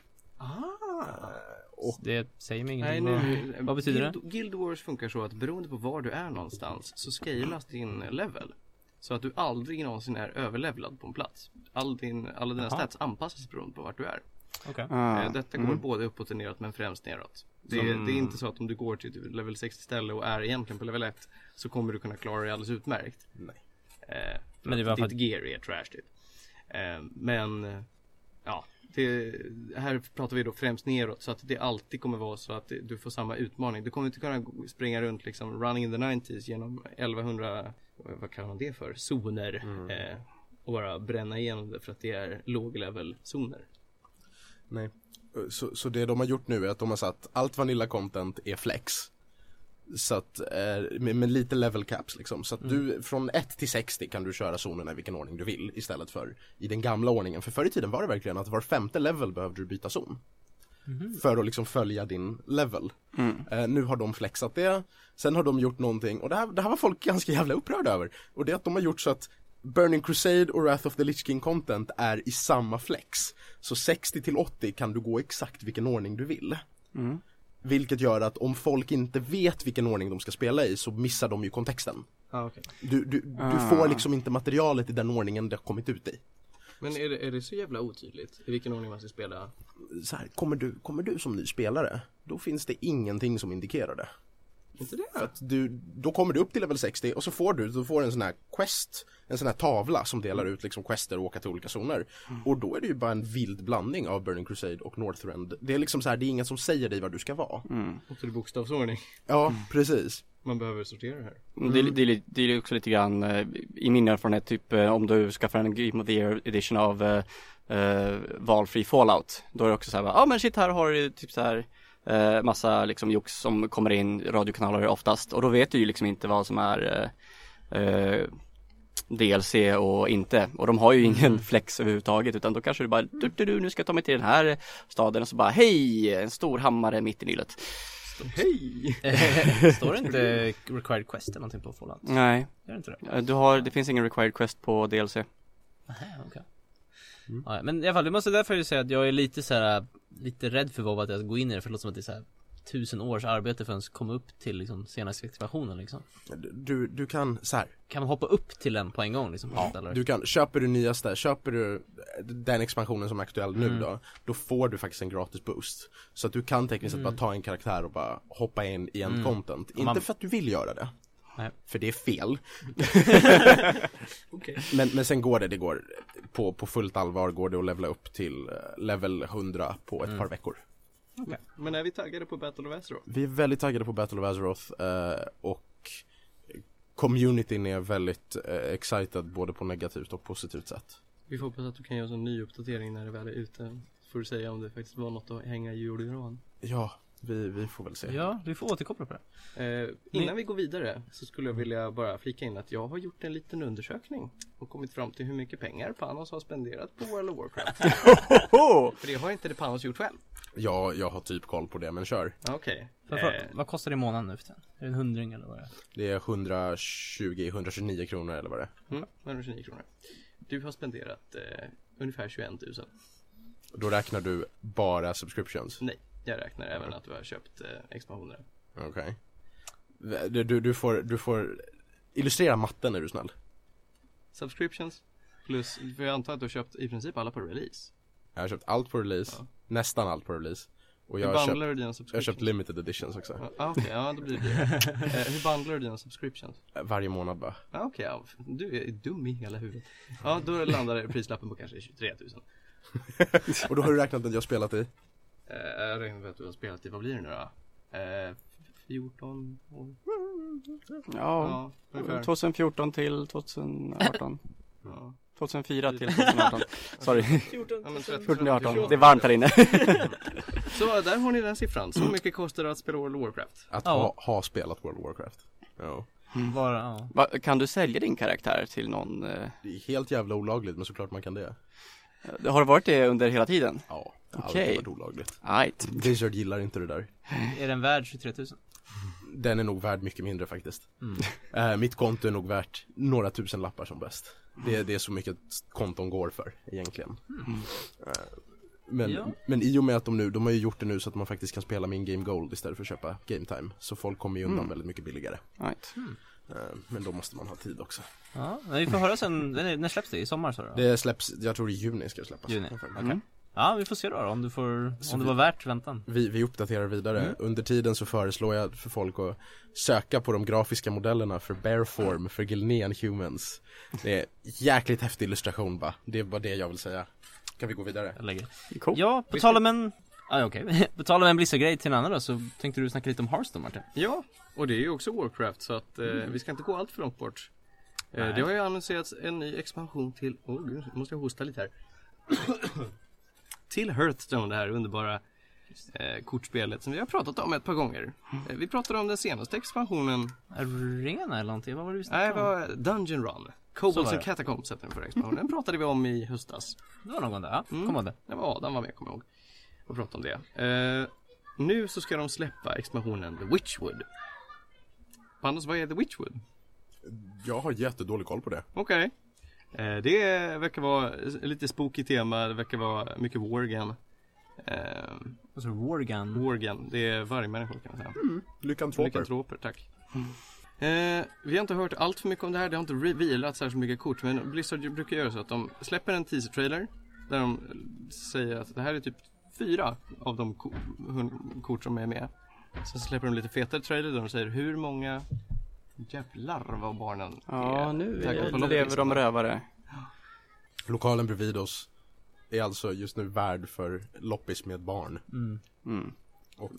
Speaker 1: Det säger mig
Speaker 7: Nej,
Speaker 1: ingenting.
Speaker 7: nu,
Speaker 1: Vad betyder det?
Speaker 7: Mm. Guild, Guild Wars funkar så att beroende på var du är någonstans så scalas din level. Så att du aldrig någonsin är överlevlad på en plats. All din, alla dina
Speaker 1: Jaha.
Speaker 7: stats anpassas beroende på vart du är.
Speaker 1: Okej.
Speaker 4: Ah.
Speaker 7: Eh, Detta går både uppåt och neråt men främst neråt. Det, det är inte så att om du går till typ level 60 ställe och är egentligen på level 1 så kommer du kunna klara dig alldeles utmärkt.
Speaker 3: Nej.
Speaker 7: Eh,
Speaker 1: Men det var för
Speaker 7: ditt
Speaker 1: att,
Speaker 7: gear är trash typ. Eh, men eh, ja, det, här pratar vi då främst neråt så att det alltid kommer vara så att det- du får samma utmaning. Du kommer inte kunna gå- springa runt liksom running in the 90s genom 1100, vad vad kallar man det för, zoner. Eh, och bara bränna igenom det för att det är låg level zoner.
Speaker 3: Nej. Så, så det de har gjort nu är att de har satt allt Vanilla content är flex. Så att, eh, med, med lite level caps liksom. Så att du, från 1 till 60 kan du köra zonerna i vilken ordning du vill istället för i den gamla ordningen. För förr i tiden var det verkligen att var femte level behövde du byta zon. För att liksom följa din level. Eh, nu har de flexat det. Sen har de gjort någonting, och det här, det här var folk ganska jävla upprörda över. Och det är att de har gjort så att Burning Crusade och Wrath of the Lich King content är i samma flex. Så 60 till 80 kan du gå exakt vilken ordning du vill. Vilket gör att om folk inte vet vilken ordning de ska spela i så missar de ju kontexten.
Speaker 7: Ah, okay.
Speaker 3: Du, du, du får liksom inte materialet i den ordningen det har kommit ut i.
Speaker 7: Men är det, är det så jävla otydligt i vilken ordning man ska spela?
Speaker 3: Så här, kommer, du, kommer du som ny spelare, då finns det ingenting som indikerar det.
Speaker 7: Inte det?
Speaker 3: För att du, då kommer du upp till level 60 och så får du, du får en sån här quest, en sån här tavla som delar
Speaker 7: Mm.
Speaker 3: ut liksom quester och åka till olika zoner. Och då är det ju bara en vild blandning av Burning Crusade och Northrend. Det är liksom så här, det är ingen som säger dig var du ska vara.
Speaker 7: Också i bokstavsordning.
Speaker 3: Ja,
Speaker 7: Mm.
Speaker 3: precis.
Speaker 7: Man behöver sortera det här.
Speaker 4: Det, är- det, är li- det är ju också lite grann eh, i min erfarenhet typ eh, om du skaffar en Game of the Year edition av eh, eh, valfri Fallout. Då är det också så här, ja ah, men shit här har du typ så här eh, massa liksom jox som kommer in, radiokanaler oftast och då vet du ju liksom inte vad som är eh, eh, DLC och inte och de har ju ingen flex överhuvudtaget utan då kanske du bara du, du, du, nu ska jag ta mig till den här staden och så bara hej en stor hammare mitt i nyllet.
Speaker 7: Hej!
Speaker 1: står det inte required quest eller någonting på Fallout?
Speaker 4: Nej,
Speaker 1: Gör det inte det?
Speaker 4: eh, du har, det finns ingen required quest på DLC.
Speaker 1: Nej, okej.
Speaker 3: Mm.
Speaker 1: Ja, men i alla fall, det måste därför ju säga att jag är lite så här lite rädd för vad att jag ska gå in i det för det låter som att det är så här tusen års arbete för att ens komma upp till liksom senaste expansionen liksom.
Speaker 3: du, du kan så här,
Speaker 1: Kan man hoppa upp till den på en gång liksom? Ja, eller?
Speaker 3: du kan, köper du nyaste, köper du den expansionen som är aktuell
Speaker 1: Mm.
Speaker 3: nu då, då får du faktiskt en gratis boost. Så att du kan tekniskt sett bara ta en karaktär och bara hoppa in i en content. Inte
Speaker 1: Mm. man-
Speaker 3: för att du vill göra det.
Speaker 1: Nej.
Speaker 3: För det är fel.
Speaker 7: Okej.
Speaker 3: Men, men sen går det, det går på, på fullt allvar går det att levla upp till eh, level 100 på
Speaker 1: Mm.
Speaker 3: ett par veckor.
Speaker 7: Men är vi taggade på Battle of Azeroth?
Speaker 3: Vi är väldigt taggade på Battle of Azeroth eh, och communityn är väldigt eh, excited både på negativt och positivt sätt.
Speaker 2: Vi får hoppas att du kan göra en ny uppdatering när det väl är ute. Så Får du säga om det faktiskt var något att hänga i julgran.
Speaker 3: Ja, vi, vi får väl se.
Speaker 1: Ja, du får återkoppla på det.
Speaker 2: Eh, innan vi går vidare så skulle jag vilja bara flika in att jag har gjort en liten undersökning och kommit fram till hur mycket pengar Panos har spenderat på World of Warcraft. För det har inte det Panos gjort själv.
Speaker 3: Ja, jag har typ koll på det, men kör.
Speaker 2: Okej.
Speaker 1: För,
Speaker 2: Eh,
Speaker 1: för, vad kostar det i månaden nu för tiden? Är det en hundring eller vad det är?
Speaker 3: Det är 120, 129 kronor eller vad det är.
Speaker 2: mm, 129 kronor. Du har spenderat eh, ungefär 21 000.
Speaker 3: Då räknar du bara subscriptions?
Speaker 2: Nej, jag räknar även att du har köpt eh, expansioner.
Speaker 3: Okej. Du, du, du, får, du får illustrera matten är du snäll.
Speaker 2: Subscriptions plus, för jag antar att du har köpt i princip alla på release.
Speaker 3: Jag har köpt allt på release,
Speaker 2: Ja.
Speaker 3: nästan allt på release. Och jag
Speaker 2: Hur
Speaker 3: har, köpt,
Speaker 2: bundlar du dina
Speaker 3: jag har
Speaker 2: subscriptions?
Speaker 3: köpt limited editions också.
Speaker 2: Ja, ah, okej, ja då blir det dyrare. eh, Hur bundlar du dina subscriptions?
Speaker 3: Eh, Varje månad bara.
Speaker 2: Ja, Okej, ja, du är dum i hela huvudet. Ja, då landar prislappen på kanske 23 000.
Speaker 3: Och då har du räknat den jag spelat i?
Speaker 2: Eh, Jag räknar med att du har spelat i, vad blir det nu då? Eh, 14 år?
Speaker 4: Ja,
Speaker 2: Ja, ungefär.
Speaker 4: 2014 till 2018.
Speaker 2: Ja.
Speaker 4: 2004 till 2018. Sorry,
Speaker 2: Ja, men 13
Speaker 4: 14 till 18.
Speaker 2: Typ
Speaker 4: Det är varmt här inne.
Speaker 2: Så där har ni den siffran. Så mycket kostar det att spela World of Warcraft.
Speaker 3: Att
Speaker 1: Ja.
Speaker 3: ha, ha spelat World of Warcraft. Ja.
Speaker 1: Bara, ja.
Speaker 4: Va, kan du sälja din karaktär till någon? eh,
Speaker 3: Det är helt jävla olagligt men såklart man kan det.
Speaker 4: Har det varit det under hela tiden?
Speaker 3: Ja, det har
Speaker 4: Okej.
Speaker 3: alltid varit olagligt.
Speaker 4: Ajt.
Speaker 3: Blizzard gillar inte det där.
Speaker 1: Är den värd 23 000?
Speaker 3: Den är nog värd mycket mindre faktiskt.
Speaker 1: Mm.
Speaker 3: Eh, mitt konto är nog värt några tusen lappar som bäst. Det, är- det är så mycket konton går för egentligen. Eh, men,
Speaker 1: Mm. Ja.
Speaker 3: men i och med att de nu, de har ju gjort det nu så att man faktiskt kan spela min Game Gold istället för att köpa Game Time. Så folk kommer ju undan
Speaker 4: Mm.
Speaker 3: väldigt mycket billigare.
Speaker 4: Ajt.
Speaker 3: Eh, men då måste man ha tid också.
Speaker 1: Ja, men vi får höra sen. När när släpps det? I sommar sa du? va?
Speaker 3: Det släpps, jag tror i juni ska det släppas.
Speaker 1: Juni.
Speaker 4: Mm.
Speaker 1: Ja, vi får se då, då om du får, om det var värt väntan.
Speaker 3: Vi, vi uppdaterar vidare. Under tiden så föreslår jag för folk att söka på de grafiska modellerna för Bearform för Gilnean Humans. Det är jäkligt häftig illustration va. Det är bara det jag vill säga. Kan vi gå vidare?
Speaker 1: Jag lägger.
Speaker 4: Cool.
Speaker 1: Ja, på tal om en... Oh, Ah, okej. på tal om en Blizzard-grej till en annan då, så tänkte du snacka lite om Hearthstone Martin.
Speaker 2: Ja, och det är ju också Warcraft så att eh, vi ska inte gå allt för långt bort. Eh,
Speaker 1: Nej.
Speaker 2: det har ju annonserats en ny expansion till, åh oh, gud, nu måste jag hosta lite här. till Hearthstone, det här underbara eh, kortspelet som vi har pratat om ett par gånger. Eh, vi pratade om den senaste expansionen,
Speaker 1: Arena eller någonting, vad var det vi
Speaker 2: nej
Speaker 1: snackade
Speaker 2: det
Speaker 1: om?
Speaker 2: var Dungeon Run.
Speaker 1: Så var
Speaker 2: Kobolds
Speaker 1: det.
Speaker 2: and Catacombs hette den förra expansionen, den pratade vi om i höstas.
Speaker 1: Det var någon där, ja.
Speaker 2: Mm.
Speaker 1: Kom ihåg det.
Speaker 2: Det var Adam var med kommer jag ihåg. Och pratade om det. Eh, nu så ska de släppa expansionen The Witchwood. Panos, vad är The Witchwood?
Speaker 3: Jag har jättedålig koll på det.
Speaker 2: Okej. Eh, Det verkar vara lite spooky tema, det verkar vara mycket wargan. Eh,
Speaker 1: Alltså Wargun.
Speaker 2: wargan, det är vargmänniskor kan man säga.
Speaker 4: Mm.
Speaker 3: Lyckantroper.
Speaker 2: Lykantroper, tack. Eh, vi har inte hört allt för mycket om det här, det har inte revealat särskilt mycket kort. Men Blizzard brukar göra så att de släpper en teaser-trailer. Där de säger att det här är typ fyra av de ko- hun- kort som är med. Sen släpper de lite fetare trailer där de säger hur många jävlar vad barnen
Speaker 4: Ja, nu
Speaker 2: taggade på
Speaker 4: är- lever de
Speaker 2: loppisen.
Speaker 4: rövare.
Speaker 3: Lokalen bredvid oss är alltså just nu värd för loppis med barn.
Speaker 1: Mm.
Speaker 4: Mm.
Speaker 3: Och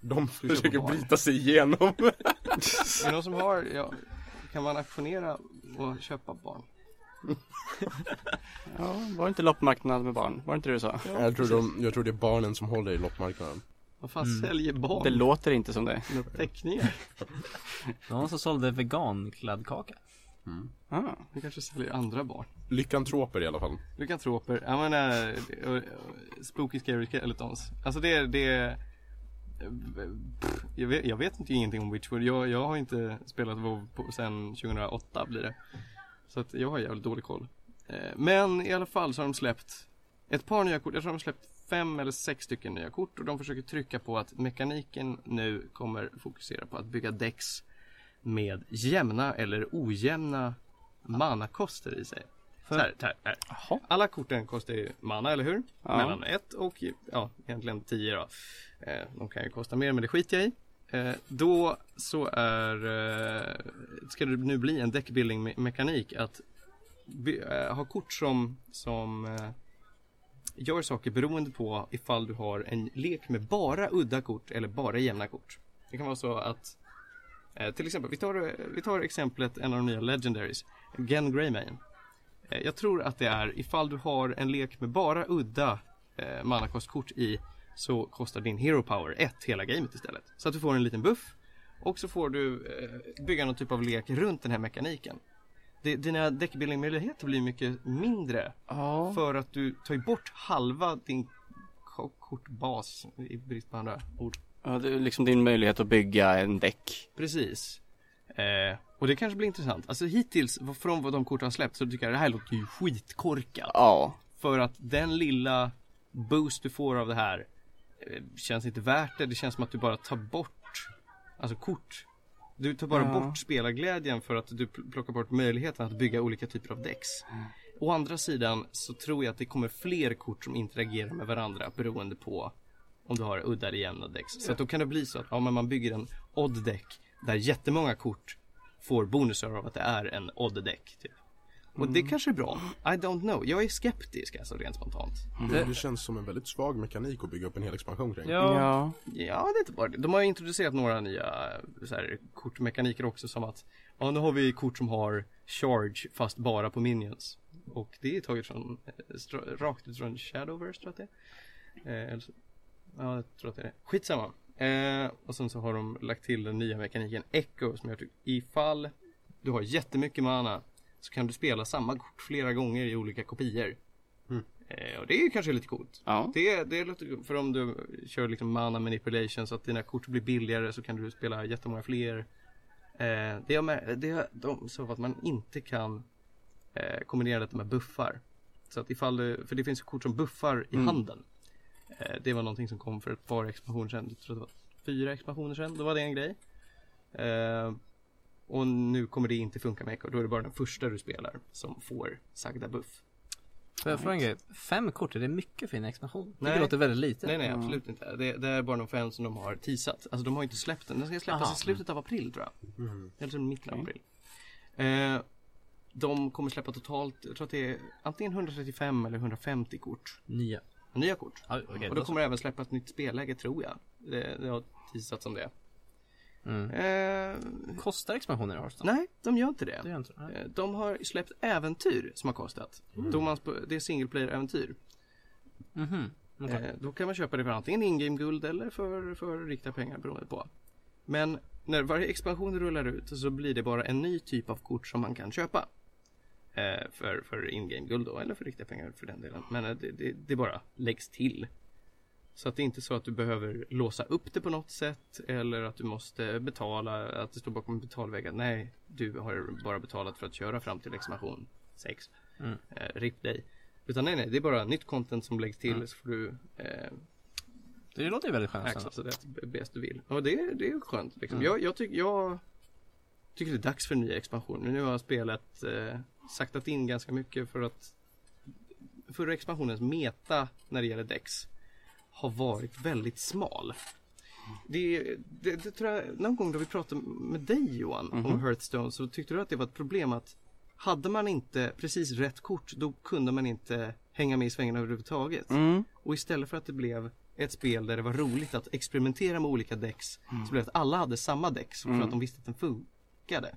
Speaker 3: de
Speaker 2: köper
Speaker 3: försöker
Speaker 2: barn.
Speaker 3: bryta sig igenom.
Speaker 2: Är det någon som har, ja, kan man auktionera och köpa barn?
Speaker 4: Ja, var det inte loppmarknad med barn? Var det inte det du sa?
Speaker 3: jag, tror de, jag tror det är barnen som håller i loppmarknaden.
Speaker 2: Vad fan
Speaker 1: Mm.
Speaker 2: säljer barn?
Speaker 4: Det låter inte som det.
Speaker 2: Några teckningar?
Speaker 1: Någon som sålde vegankladdkaka.
Speaker 4: Ah.
Speaker 2: Vi kanske säljer andra barn.
Speaker 3: Lyckantroper i alla fall.
Speaker 2: Lykantroper, jag menar, eh, eh, Spooky Scary Skeletons. Alltså det, är- det är- Pff, jag vet, jag vet inte ingenting om Witchwood. Jag, jag har inte spelat WoW på, sedan 2008 blir det. Så att jag har jävligt dålig koll. Eh, Men i alla fall så har de släppt ett par nya kort. Jag tror de har släppt fem eller sex stycken nya kort och de försöker trycka på att mekaniken nu kommer fokusera på att bygga decks med jämna eller ojämna manakoster i sig. Så här, så här, så här.
Speaker 4: Jaha.
Speaker 2: Alla korten kostar ju mana, eller hur?
Speaker 4: Ja.
Speaker 2: Mellan 1 och ja, egentligen 10 då. Eh, De kan ju kosta mer, men det skiter jag i. Eh, Då så är, eh, ska det nu bli en deckbuilding-mekanik att by- eh, ha kort som, som eh, gör saker beroende på ifall du har en lek med bara udda kort eller bara jämna kort. Det kan vara så att Eh, till exempel, vi tar, eh, vi tar exemplet en av de nya Legendaries, Gen Greymane. Eh, jag tror att det är ifall du har en lek med bara udda eh, manakostkort i så kostar din Hero Power 1 hela gamet istället. Så att du får en liten buff och så får du eh, bygga någon typ av lek runt den här mekaniken. Det, dina deckbuilding-möjligheter blir mycket mindre för att du tar ju bort halva din ko- kortbas i brist på andra ord.
Speaker 4: Ja, det är liksom din möjlighet att bygga en däck.
Speaker 2: Precis. Eh, och det kanske blir intressant. Alltså hittills, vad- från vad de kort har släppt, så tycker jag det här låter ju skitkorkat.
Speaker 4: Ja,
Speaker 2: För att den lilla boost du får av det här eh, känns inte värt det. Det känns som att du bara tar bort, alltså kort. Du tar bara
Speaker 4: Ja.
Speaker 2: bort spelarglädjen för att du pl- plockar bort möjligheten att bygga olika typer av decks. Å andra sidan så tror jag att det kommer fler kort som interagerar med varandra beroende på om du har udda eller jämna decks. Så att då kan det bli så att ja, men man bygger en odd deck där jättemånga kort får bonusar av att det är en odd deck. Typ. Och det kanske är bra. I don't know. Jag är skeptisk alltså rent spontant.
Speaker 3: Det, det känns som en väldigt svag mekanik att bygga upp en hel expansion kring.
Speaker 4: ja.
Speaker 2: Ja, det är inte bara det. De har ju introducerat några nya eh, så här, kortmekaniker också som att ja, nu har vi kort som har charge fast bara på minions. Och det är taget från, eh, stra- rakt ut från Shadowverse tror jag att det är. Eh, eller så- ja, jag tror att det är det. Skitsamma. Eh, och sen så har de lagt till den nya mekaniken Echo som jag tycker ifall du har jättemycket mana så kan du spela samma kort flera gånger i olika kopior. Eh, och det är ju kanske lite coolt.
Speaker 4: ja.
Speaker 2: Det, det låter, för om du kör liksom mana manipulation så att dina kort blir billigare så kan du spela jättemånga fler. Eh, det har med, det har de så att man inte kan eh, kombinera detta med buffar. Så att ifall du, för det finns kort som buffar i handen. Eh, det var någonting som kom för ett par expansioner sedan, jag tror det var fyra expansioner sedan, då var det en grej. Eh, och nu kommer det inte funka med Echo, då är det bara den första du spelar som får sagda buff.
Speaker 1: Får jag fråga en grej? Fem kort, är det mycket fin expansion? Nej.
Speaker 2: Nej.
Speaker 1: Det låter väldigt lite.
Speaker 2: Nej, nej, absolut inte. Det, det är bara de fem som de har teasat. Alltså de har ju inte släppt den. Den ska släppas
Speaker 1: Aha. Mm.
Speaker 2: i slutet av april tror jag. Eller så mitten av april. Eh, de kommer släppa totalt, jag tror att det är antingen 135 eller 150 kort.
Speaker 1: Nya.
Speaker 2: Nya kort.
Speaker 1: Ja, okej,
Speaker 2: Och
Speaker 1: då
Speaker 2: då
Speaker 1: så.
Speaker 2: kommer det även släppa ett nytt spelläge tror jag. Det, det har teasats om det.
Speaker 1: Mm.
Speaker 2: Eh,
Speaker 1: Kostar expansioner i Hearthstone?
Speaker 2: nej, de gör inte
Speaker 1: Det gör inte det.
Speaker 2: Eh, De har släppt äventyr som har kostat.
Speaker 1: Mm.
Speaker 2: Då man, sp- det är single player äventyr.
Speaker 1: Mhm. Okej.
Speaker 2: Eh, Då kan man köpa det för antingen in-game guld eller för, för riktiga pengar beroende på. Men när varje expansion rullar ut så blir det bara en ny typ av kort som man kan köpa. Eh, För, för in-game guld då, eller för riktiga pengar för den delen. Men eh, det, det, det bara läggs till. Så att det är inte så att du behöver låsa upp det på något sätt eller att du måste betala, att det står bakom betalväggen. Nej, du har bara betalat för att köra fram till expansion 6.
Speaker 1: Mm.
Speaker 2: Eh, RIP dig. Utan nej, nej, det är bara nytt content som läggs till så får du eh,
Speaker 1: Det låter ju väldigt skönt. ändå.
Speaker 2: accessa det bäst du vill. Och det, det är skönt liksom. Jag, jag, tycker- jag tycker det är dags för en ny expansion. Nu har spelet eh, saktat in ganska mycket för att förra expansionens meta när det gäller Dex har varit väldigt smal. Det, det, det tror jag, någon gång då vi pratade med dig Johan om Hearthstone så tyckte du att det var ett problem att hade man inte precis rätt kort då kunde man inte hänga med i svängarna överhuvudtaget. Och istället för att det blev ett spel där det var roligt att experimentera med olika decks så blev det att alla hade samma deck för att de visste att den funkade.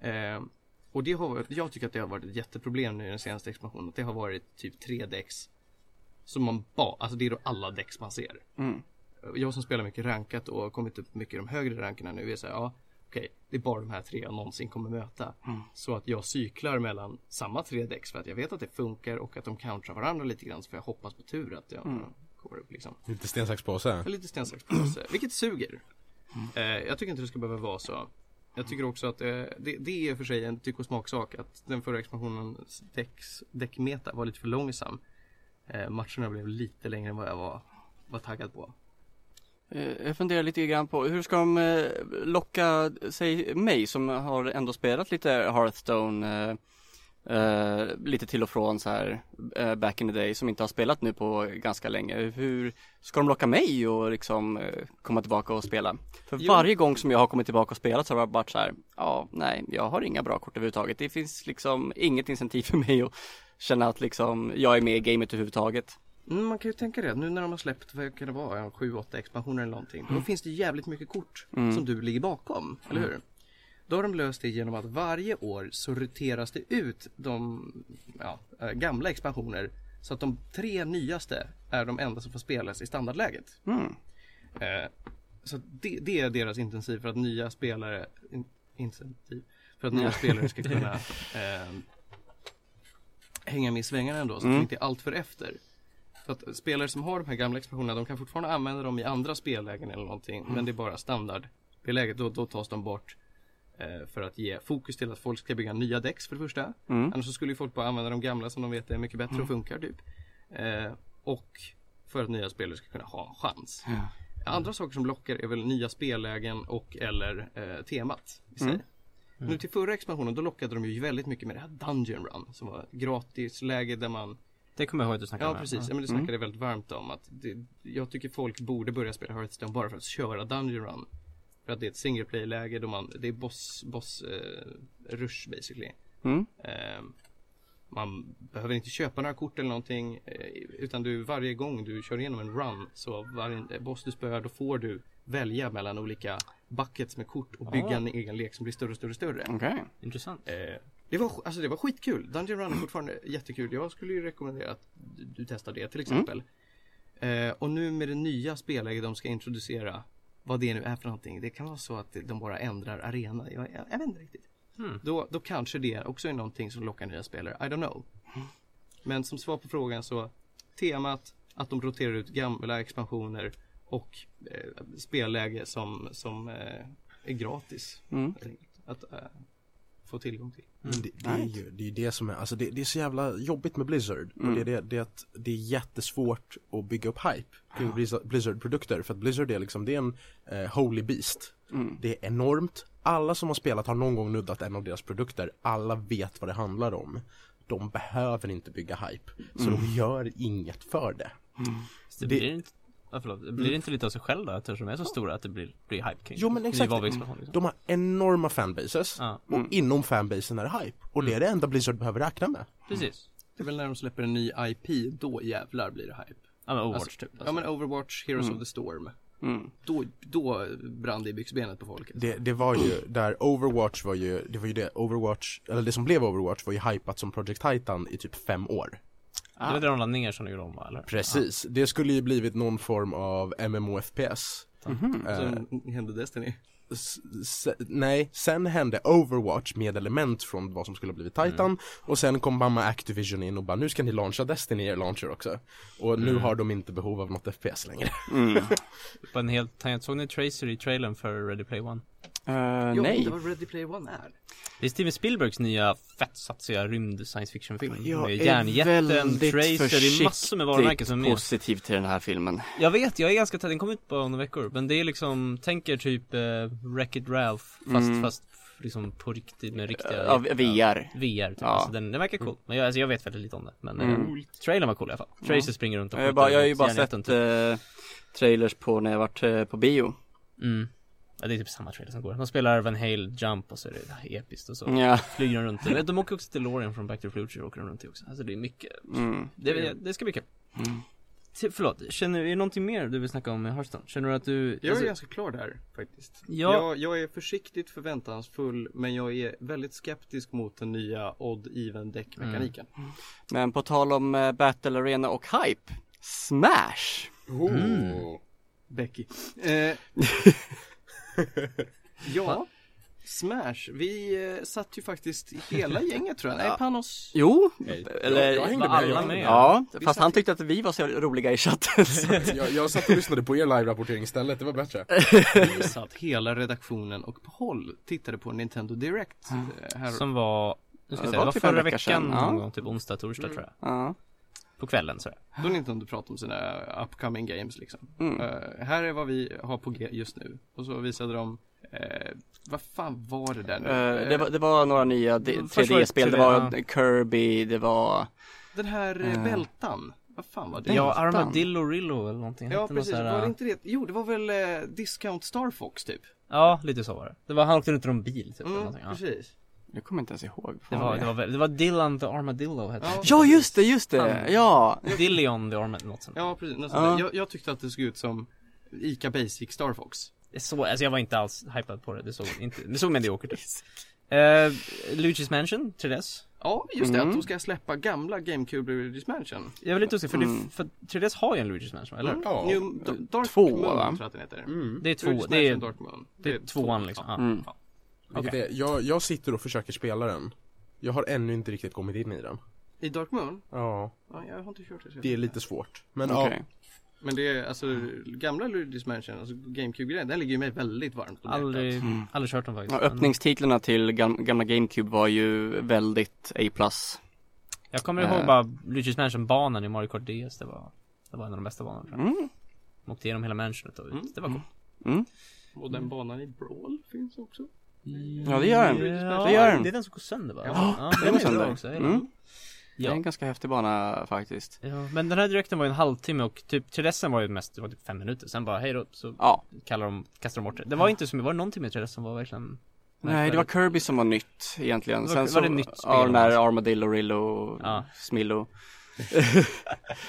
Speaker 2: Eh, och det har, varit- jag tycker att det har varit ett jätteproblem nu i den senaste expansionen. Att det har varit typ tre decks som man bara, alltså det är då alla decks man ser. Jag som spelar mycket rankat och har kommit upp mycket i de högre rankerna nu är så här, ja okej, det är bara de här tre jag någonsin kommer möta. Så att jag cyklar mellan samma tre decks för att jag vet att det funkar och att de countrar varandra lite grann så får jag hoppas på tur att jag kommer upp liksom.
Speaker 3: Lite sten, sax, påse.
Speaker 2: Ja, Lite sten, sax, påse. Vilket suger. Eh, jag tycker inte det ska behöva vara så. Jag tycker också att eh, det, det är i och för sig en tyck och smaksak att den förra expansionens däcks- däckmeta var lite för långsam. Eh, matcherna blev lite längre än vad jag var, var taggad på.
Speaker 4: Eh, Jag funderar lite grann på hur ska de eh, locka, säg mig som har ändå spelat lite Hearthstone eh, eh, lite till och från så här eh, back in the day som inte har spelat nu på ganska länge. Hur ska de locka mig och liksom eh, komma tillbaka och spela? För
Speaker 2: Jo.
Speaker 4: varje gång som jag har kommit tillbaka och spelat så har det varit så här, ja nej jag har inga bra kort överhuvudtaget. Det finns liksom inget incentiv för mig att känna att liksom jag är med i gamet överhuvudtaget.
Speaker 2: Mm, man kan ju tänka det, nu när de har släppt, vad kan det vara, ja, sju, åtta expansioner eller någonting. Då finns det jävligt mycket kort som du ligger bakom, eller hur? Då har de löst det genom att varje år så roteras det ut de ja, eh, gamla expansioner så att de tre nyaste är de enda som får spelas i standardläget. Eh, så att det, det är deras intensiv för att nya spelare in, incentiv, för att nya spelare ska kunna eh, hänga med i svängarna ändå så att de inte är alltför efter. För att spelare som har de här gamla expansionerna de kan fortfarande använda dem i andra spellägen eller någonting men det är bara standard spelläget. Då, då tas de bort eh, för att ge fokus till att folk ska bygga nya däcks för det första. Annars så skulle ju folk bara använda de gamla som de vet är mycket bättre och funkar typ. Eh, och för att nya spelare ska kunna ha en chans. Andra saker som lockar är väl nya spellägen och eller eh, temat i sig. Nu till förra expansionen då lockade de ju väldigt mycket med det här Dungeon Run som var gratisläge där man
Speaker 1: Det kommer jag ihåg att du snackade
Speaker 2: Ja
Speaker 1: om.
Speaker 2: precis, ja, men det snackade jag väldigt varmt om att det, jag tycker folk borde börja spela Hearthstone bara för att köra Dungeon Run. För att det är ett single play läge då man, det är boss, boss eh, rush basically.
Speaker 4: Mm.
Speaker 2: Eh, man behöver inte köpa några kort eller någonting eh, utan du varje gång du kör igenom en run så varje eh, boss du spöar då får du välja mellan olika buckets med kort och bygga en egen lek som blir större och större och större.
Speaker 4: Okej.
Speaker 1: Intressant.
Speaker 2: Eh, det, var, alltså det var skitkul. Dungeon Run är fortfarande jättekul. Jag skulle ju rekommendera att du, du testar det till exempel. Eh, och nu med det nya spelläget de ska introducera, vad det nu är för någonting. Det kan vara så att de bara ändrar arena. Jag, jag, jag vet inte riktigt. Då, då kanske det också är någonting som lockar nya spelare. I don't know. Men som svar på frågan så temat att de roterar ut gamla expansioner och eh, spelläge som, som eh, är gratis. helt enkelt. Att eh, få tillgång till.
Speaker 3: Men Det, det, är ju, det är ju det som är, alltså det, det är så jävla jobbigt med Blizzard. Och det, är det, det är att det är jättesvårt att bygga upp hype kring Blizz- Blizzard-produkter. För att Blizzard är liksom, det är en eh, holy beast. Det är enormt. Alla som har spelat har någon gång nuddat en av deras produkter. Alla vet vad det handlar om. De behöver inte bygga hype. Så de gör inget för det.
Speaker 1: Det Mm.
Speaker 3: det-
Speaker 1: blir inte... Ja, förlåt. Blir det inte lite av sig själv då eftersom de är så stora att det blir, blir hype kring
Speaker 3: Jo men
Speaker 1: det?
Speaker 3: exakt.
Speaker 1: Ny varuexpansion, liksom.
Speaker 3: De har enorma fanbases.
Speaker 1: Ja.
Speaker 3: Och inom fanbasen är det hype. Och det är det enda Blizzard behöver räkna med.
Speaker 1: Precis.
Speaker 2: Det är väl när de släpper en ny IP, då jävlar blir det hype.
Speaker 1: Ja men Overwatch
Speaker 2: Alltså,
Speaker 1: typ. Mm.
Speaker 2: Ja men Overwatch, Heroes of the Storm. Då, då brann det i byxbenet på folket.
Speaker 3: Det, det var ju där Overwatch var ju, det var ju det Overwatch, eller det som blev Overwatch var ju hypat som Project Titan i typ fem år.
Speaker 1: Det var
Speaker 4: ah.
Speaker 1: det de la ner som de gjorde om va, eller?
Speaker 3: Precis, det skulle ju blivit någon form av MMOFPS. Mm-hmm.
Speaker 2: Sen hände Destiny.
Speaker 3: S- Eh, se- nej, sen hände Overwatch med element från vad som skulle ha blivit Titan och sen kom mamma Activision in och bara nu ska ni launcha Destiny i er launcher också. Och nu har de inte behov av något FPS längre.
Speaker 1: På en helt tangent. Såg ni Tracer i trailern för Ready Play One?
Speaker 4: Eh,
Speaker 2: Jag vet
Speaker 4: nej.
Speaker 2: inte vad Ready Player One är.
Speaker 1: Det är Steven Spielbergs nya fett satsiga rymd science fiction film
Speaker 4: Jag
Speaker 1: med
Speaker 4: är
Speaker 1: järnjätten,
Speaker 4: väldigt
Speaker 1: Tracer, det är massor med varumärken
Speaker 4: försiktigt
Speaker 1: som är med.
Speaker 4: positiv till den här filmen.
Speaker 1: Jag vet, jag är ganska taggad, den kom ut på några veckor Men det är liksom, tänk er typ eh, Wreck-It Ralph fast, fast liksom på riktigt med riktiga
Speaker 4: Mm. Eh, Av VR.
Speaker 1: VR typ.
Speaker 4: Ja. Mm.
Speaker 1: alltså, den, den verkar cool Men jag, alltså, jag vet väldigt lite om det Men eh, trailern var cool i alla fall Tracer springer runt och
Speaker 4: Jag, har bara, jag har ju
Speaker 1: mot
Speaker 4: bara sett
Speaker 1: järnjätten,
Speaker 4: eh, trailers på när jag varit eh, på bio.
Speaker 1: typ. mm. ja, Det är typ samma trailer som går De spelar Van Halen Jump och så är det episkt och så
Speaker 4: Ja.
Speaker 1: Flyger de runt, Eller, de åker också till Lorien från Back to the Future åker de runt i också Alltså det är mycket
Speaker 4: Mm.
Speaker 1: Det, det ska bli kul. T- Förlåt, känner, är det någonting mer du vill snacka om med Hearthstone? Känner du att du...
Speaker 2: Jag
Speaker 1: alltså,
Speaker 2: är ganska klar där faktiskt.
Speaker 1: Ja.
Speaker 2: Jag, jag är försiktigt förväntansfull men jag är väldigt skeptisk mot den nya odd even deck mekaniken.
Speaker 4: Men på tal om eh, Battle Arena och Hype. Smash!
Speaker 3: Mm.
Speaker 2: Becky. Eh, ja, Smash. Vi eh, satt ju faktiskt hela gänget tror jag. Nej, Panos.
Speaker 4: Jo, eller
Speaker 3: jag hängde
Speaker 1: var
Speaker 3: med, jag
Speaker 1: alla
Speaker 3: hängde
Speaker 1: med?
Speaker 4: Ja, fast han tyckte att vi var så roliga i chatten. så att-
Speaker 3: Jag, jag satt och lyssnade på er live-rapportering istället, det var bättre.
Speaker 2: Vi satt hela redaktionen och på håll tittade på Nintendo Direct. eh, Här
Speaker 1: Som var... Nu ska jag
Speaker 4: Ja, det
Speaker 1: säga, det
Speaker 4: var
Speaker 1: var
Speaker 4: typ en
Speaker 1: förra
Speaker 4: vecka
Speaker 1: veckan
Speaker 4: sedan, ja. Mm.
Speaker 1: någon gång, typ onsdag, torsdag tror jag.
Speaker 4: ja.
Speaker 1: På kvällen sådär.
Speaker 2: Då har Nintendo pratat om sina upcoming games liksom.
Speaker 4: Mm.
Speaker 2: Eh, här är vad vi har på G just nu. Och så visade de, eh, vad fan var det där nu?
Speaker 4: Eh, det,
Speaker 2: Eh,
Speaker 4: var, det var några nya D-
Speaker 1: Först var det
Speaker 4: 3D-spel, det
Speaker 1: 3D,
Speaker 4: var Kirby, det var
Speaker 2: Den här eh, bältan, vad fan var det?
Speaker 1: Ja, Armadillo Rillo eller någonting.
Speaker 2: Ja,
Speaker 1: Hette något
Speaker 2: precis,
Speaker 1: sådär,
Speaker 2: var det inte det? Jo det var väl eh, Discount Star Fox typ?
Speaker 1: Ja, lite så var det. Det var, han åkte runt i en bil typ eller
Speaker 2: Mm,
Speaker 1: någonting. Ja.
Speaker 2: precis.
Speaker 4: Nu kommer jag inte ens ihåg.
Speaker 1: Det var, det var, väl- det var Dylan the Armadillo hette han.
Speaker 4: Ja, just det, just det.
Speaker 1: Han-
Speaker 4: Ja.
Speaker 1: Dillion the Armadillo, något sånt.
Speaker 2: Ja, precis. Något
Speaker 4: Ja.
Speaker 2: sånt där. Jag, jag tyckte att det såg ut som Ica Basic Star Fox.
Speaker 1: Det Så, alltså jag var inte alls hypad på det, det såg inte, det såg mediokert ut. Uh, Luigi's Mansion, 3DS.
Speaker 2: Ja, just det.
Speaker 4: Mm.
Speaker 2: Att de ska släppa gamla GameCube Luigi's Mansion.
Speaker 1: Jag vill inte osäker, för,
Speaker 4: Mm.
Speaker 1: det, för 3DS har ju en Luigi's Mansion, eller?
Speaker 3: Ja.
Speaker 2: New,
Speaker 1: eh,
Speaker 2: D- Dark
Speaker 4: Två,
Speaker 2: Moon
Speaker 4: va?
Speaker 2: tror jag att den heter.
Speaker 1: Det är Mm. två,
Speaker 2: Luigi's
Speaker 1: det är,
Speaker 2: Mansion Dark Moon.
Speaker 1: det är tvåan liksom. Ja.
Speaker 4: Mm.
Speaker 3: Vilket är, jag, jag sitter och försöker spela den Jag har ännu inte riktigt kommit in i den
Speaker 2: I Dark Moon?
Speaker 3: Ja
Speaker 2: Ja, jag har inte kört det.
Speaker 3: Det är lite svårt Men ja,
Speaker 4: Okej.
Speaker 2: Men det är alltså gamla Luigi's Mansion, alltså GameCube-grejen, den ligger ju mig väldigt varmt om
Speaker 1: Aldrig,
Speaker 2: hjärtat.
Speaker 1: aldrig kört dem faktiskt.
Speaker 4: Mm. Ja,
Speaker 1: men
Speaker 4: öppningstitlarna till gam- gamla GameCube var ju väldigt A+.
Speaker 1: Jag kommer ihåg
Speaker 4: Eh.
Speaker 1: bara Luigi's Mansion-banan i Mario Kart DS, det var, det var en av de bästa banorna. tror jag.
Speaker 4: Mm.
Speaker 1: Man åkte igenom hela mansionet och ut, det var coolt.
Speaker 2: Och den banan i Brawl finns också.
Speaker 4: Ja, det gör den.
Speaker 1: Ja,
Speaker 4: Det gör den.
Speaker 1: Det är den som går sönder va?
Speaker 2: Ja,
Speaker 1: den är sönder.
Speaker 4: går sönder.
Speaker 1: Också, hela.
Speaker 4: Mm. Det är
Speaker 1: ja.
Speaker 4: en ganska häftig bana faktiskt.
Speaker 1: ja, men den här direkten var ju en halvtimme och typ 3DSen var ju mest, det var typ fem minuter, sen bara hej då, så
Speaker 4: Ja.
Speaker 1: kallar de, kastar de bort det. Det var inte som, var det någonting med 3DS som var verkligen
Speaker 4: Nej, det var Kirby som var nytt egentligen.
Speaker 1: Var-
Speaker 4: Sen
Speaker 1: var
Speaker 4: så,
Speaker 1: det nytt spel? alltså?
Speaker 4: Ja, den där Armadillo, Rillo,
Speaker 1: Ja.
Speaker 4: Smillo.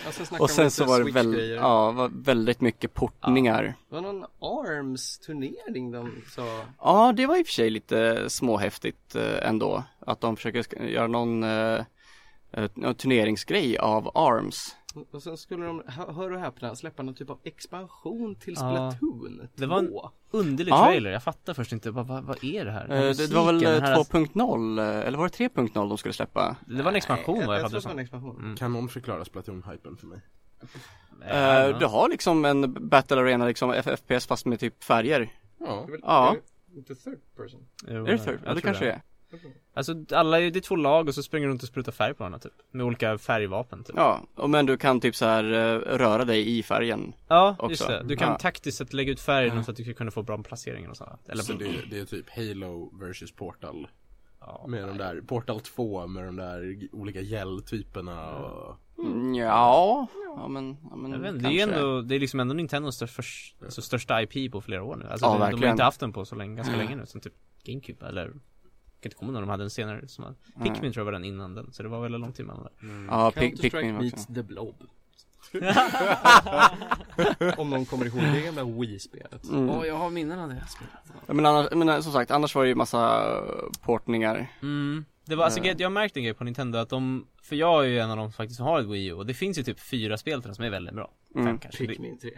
Speaker 2: Alltså, snacka om
Speaker 4: Och sen
Speaker 2: lite
Speaker 4: så var det väl,
Speaker 2: Switch-grejer.
Speaker 4: ja, var väldigt mycket portningar.
Speaker 2: Det var någon ARMS-turnering de sa.
Speaker 4: Ja, det var i och för sig lite småhäftigt eh, ändå. Att de försöker sk- göra någon eh, eh, turneringsgrej av ARMS.
Speaker 2: Och sen skulle de, hö- hör och häpna, släppa någon typ av expansion till
Speaker 1: Ja.
Speaker 2: Splatoon 2.
Speaker 1: Det var en- Oh, underlig
Speaker 4: Ja.
Speaker 1: trailer? Jag fattar först inte, vad, vad, vad är det här? Den
Speaker 4: Eh,
Speaker 1: här
Speaker 4: det, det var väl
Speaker 1: musiken, den
Speaker 4: eh,
Speaker 1: här-
Speaker 4: 2.0 eh, eller var det 3.0 de skulle släppa?
Speaker 1: Det var en expansion vad jag
Speaker 2: jag tror
Speaker 1: fattade
Speaker 2: att det var en
Speaker 1: som.
Speaker 2: expansion.
Speaker 3: Mm. kan någon förklara Splatoon-hypen för mig?
Speaker 1: Eh,
Speaker 4: Eh, du har liksom en battle arena, liksom F- FPS fast med typ färger.
Speaker 3: Ja,
Speaker 4: Ja,
Speaker 2: Inte third person.
Speaker 1: jo,
Speaker 4: är det third? Ja,
Speaker 1: jag
Speaker 4: det
Speaker 1: tror
Speaker 4: kanske det är.
Speaker 1: Alltså alla, är- det är två lag och så springer de runt och sprutar färg på varandra typ. Med olika färgvapen typ.
Speaker 4: Ja, och men du kan typ så här eh, röra dig i färgen.
Speaker 1: Ja,
Speaker 4: Också.
Speaker 1: just det. Du kan
Speaker 4: Ja.
Speaker 1: taktiskt sett lägga ut färgen så att du ska kunna få bra placeringar och sådär. Eller
Speaker 3: så det, är- det är typ Halo versus Portal
Speaker 1: ja.
Speaker 3: Med de där, Portal 2 med de där g- olika gälltyperna och
Speaker 4: Mm, ja, ja men, ja, men
Speaker 1: Jag vet inte, det är ju
Speaker 4: kanske.
Speaker 1: ändå, det är liksom ändå Nintendos största, förs- alltså, största IP på flera år nu. Alltså
Speaker 4: Ja,
Speaker 1: de, de har
Speaker 4: verkligen.
Speaker 1: inte haft den på så länge, ganska länge nu. Sen typ GameCube eller, jag kan inte komma ihåg när de hade den senare. Som var, Pikmin tror jag var den innan den, så det var väl långt innan där.
Speaker 4: Ja, Pik-
Speaker 2: Counter-Strike
Speaker 4: Pikmin
Speaker 2: meets
Speaker 4: också.
Speaker 2: the blob. Om någon kommer ihåg det gamla Wii-spelet.
Speaker 4: Mm.
Speaker 1: jag har minnen av det spelet.
Speaker 4: Ja, Men, annars, men eh, som sagt, annars var det ju massa eh, portningar.
Speaker 1: Mm. Det var, alltså,
Speaker 4: Eh.
Speaker 1: grejen- jag har märkt en grej på Nintendo att de, för jag är ju en av de som faktiskt har ett Wii U och det finns ju typ fyra spel till den som är väldigt bra. Fem
Speaker 4: Mm.
Speaker 1: kanske. Det,
Speaker 2: Pikmin 3.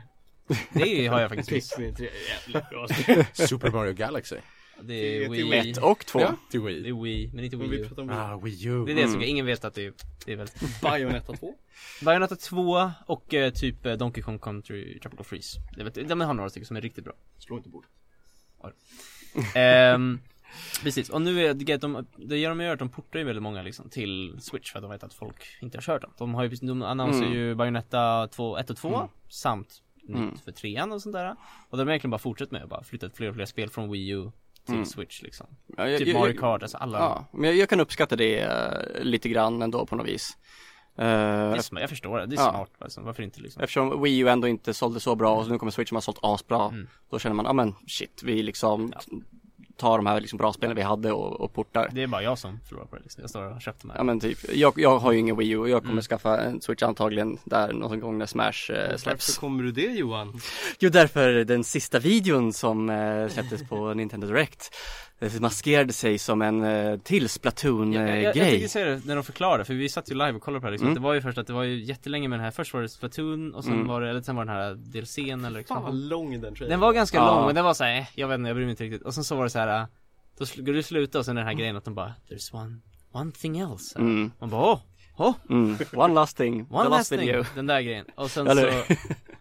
Speaker 1: det har jag faktiskt missat.
Speaker 2: Pikmin 3 är jävligt bra spel.
Speaker 3: Super Mario Galaxy
Speaker 1: Det är
Speaker 2: Det är till
Speaker 1: Wii.
Speaker 4: Ett och två.
Speaker 3: till
Speaker 1: Det
Speaker 3: Wii
Speaker 1: är Wii, men inte
Speaker 2: Men
Speaker 1: Wii
Speaker 2: vi
Speaker 1: U.
Speaker 2: pratar om
Speaker 3: Ah, Wii U
Speaker 1: Det är det som, ingen vet att det är, det är väl
Speaker 2: Bayonetta 2.
Speaker 1: Bayonetta 2 och eh, typ eh, Donkey Kong Country Tropical Freeze. Det vet, de har några stycken som är riktigt bra.
Speaker 2: Slå inte bordet.
Speaker 1: Ehm, precis, och nu är det grejen att de, det gör de ju att de portar ju väldigt många liksom till Switch för att de vet att folk inte har kört dem. De har ju, de annonserar
Speaker 4: Mm.
Speaker 1: ju Bayonetta 2, 1 och 2 samt
Speaker 4: Mm.
Speaker 1: nytt för trean och sånt där. Och de har egentligen bara fortsatt med att bara flytta fler och fler spel från Wii U till
Speaker 4: Mm.
Speaker 1: Switch liksom.
Speaker 4: Ja, jag-
Speaker 1: Typ
Speaker 4: jag-
Speaker 1: Mario Kart, alltså alla.
Speaker 4: Ja, men jag, jag kan uppskatta det eh, lite grann ändå på något vis. Eh,
Speaker 1: Det är, sm- jag förstår det, det är
Speaker 4: Ja.
Speaker 1: smart alltså. varför inte liksom?
Speaker 4: Eftersom Wii U ändå inte sålde så bra och nu kommer Switch som har sålt asbra.
Speaker 1: Mm.
Speaker 4: Då känner man, ja men shit, vi liksom tar de här liksom bra spelen vi hade och, och portar.
Speaker 1: Det är bara jag som förlorar på det liksom. Jag står och köpt de här.
Speaker 4: Ja men typ, jag, jag har ju ingen Wii U och jag kommer
Speaker 1: Mm.
Speaker 4: skaffa en Switch antagligen där någon gång när Smash eh,
Speaker 2: Varför
Speaker 4: släpps.
Speaker 2: kommer du det Johan?
Speaker 4: Jo därför den sista videon som eh, släpptes på Nintendo Direct eh, maskerade sig som en eh, till eh,
Speaker 1: jag, jag, jag
Speaker 4: Splatoon-grej.
Speaker 1: tänkte säga det när de förklarade, för vi satt ju live och kollade på det här liksom.
Speaker 4: Mm.
Speaker 1: Det var ju först att det var ju jättelänge med den här, först var det Splatoon och sen
Speaker 4: Mm.
Speaker 1: var det, eller sen var den här DLCn eller
Speaker 2: Fan vad
Speaker 1: liksom.
Speaker 2: lång den trailern
Speaker 1: Den var ganska
Speaker 4: Ja.
Speaker 1: lång men den var såhär, eh, jag vet inte, jag bryr mig inte riktigt. Och sen så var det så här. eh, då sl- går du sluta och sen är den här grejen att de bara, there's one, one thing else.
Speaker 4: Mm,
Speaker 1: Man bara, åh, åh,
Speaker 4: mm. One last thing, the
Speaker 1: one last
Speaker 4: last, video.
Speaker 1: thing, den där grejen. Och sen
Speaker 4: Eller
Speaker 1: så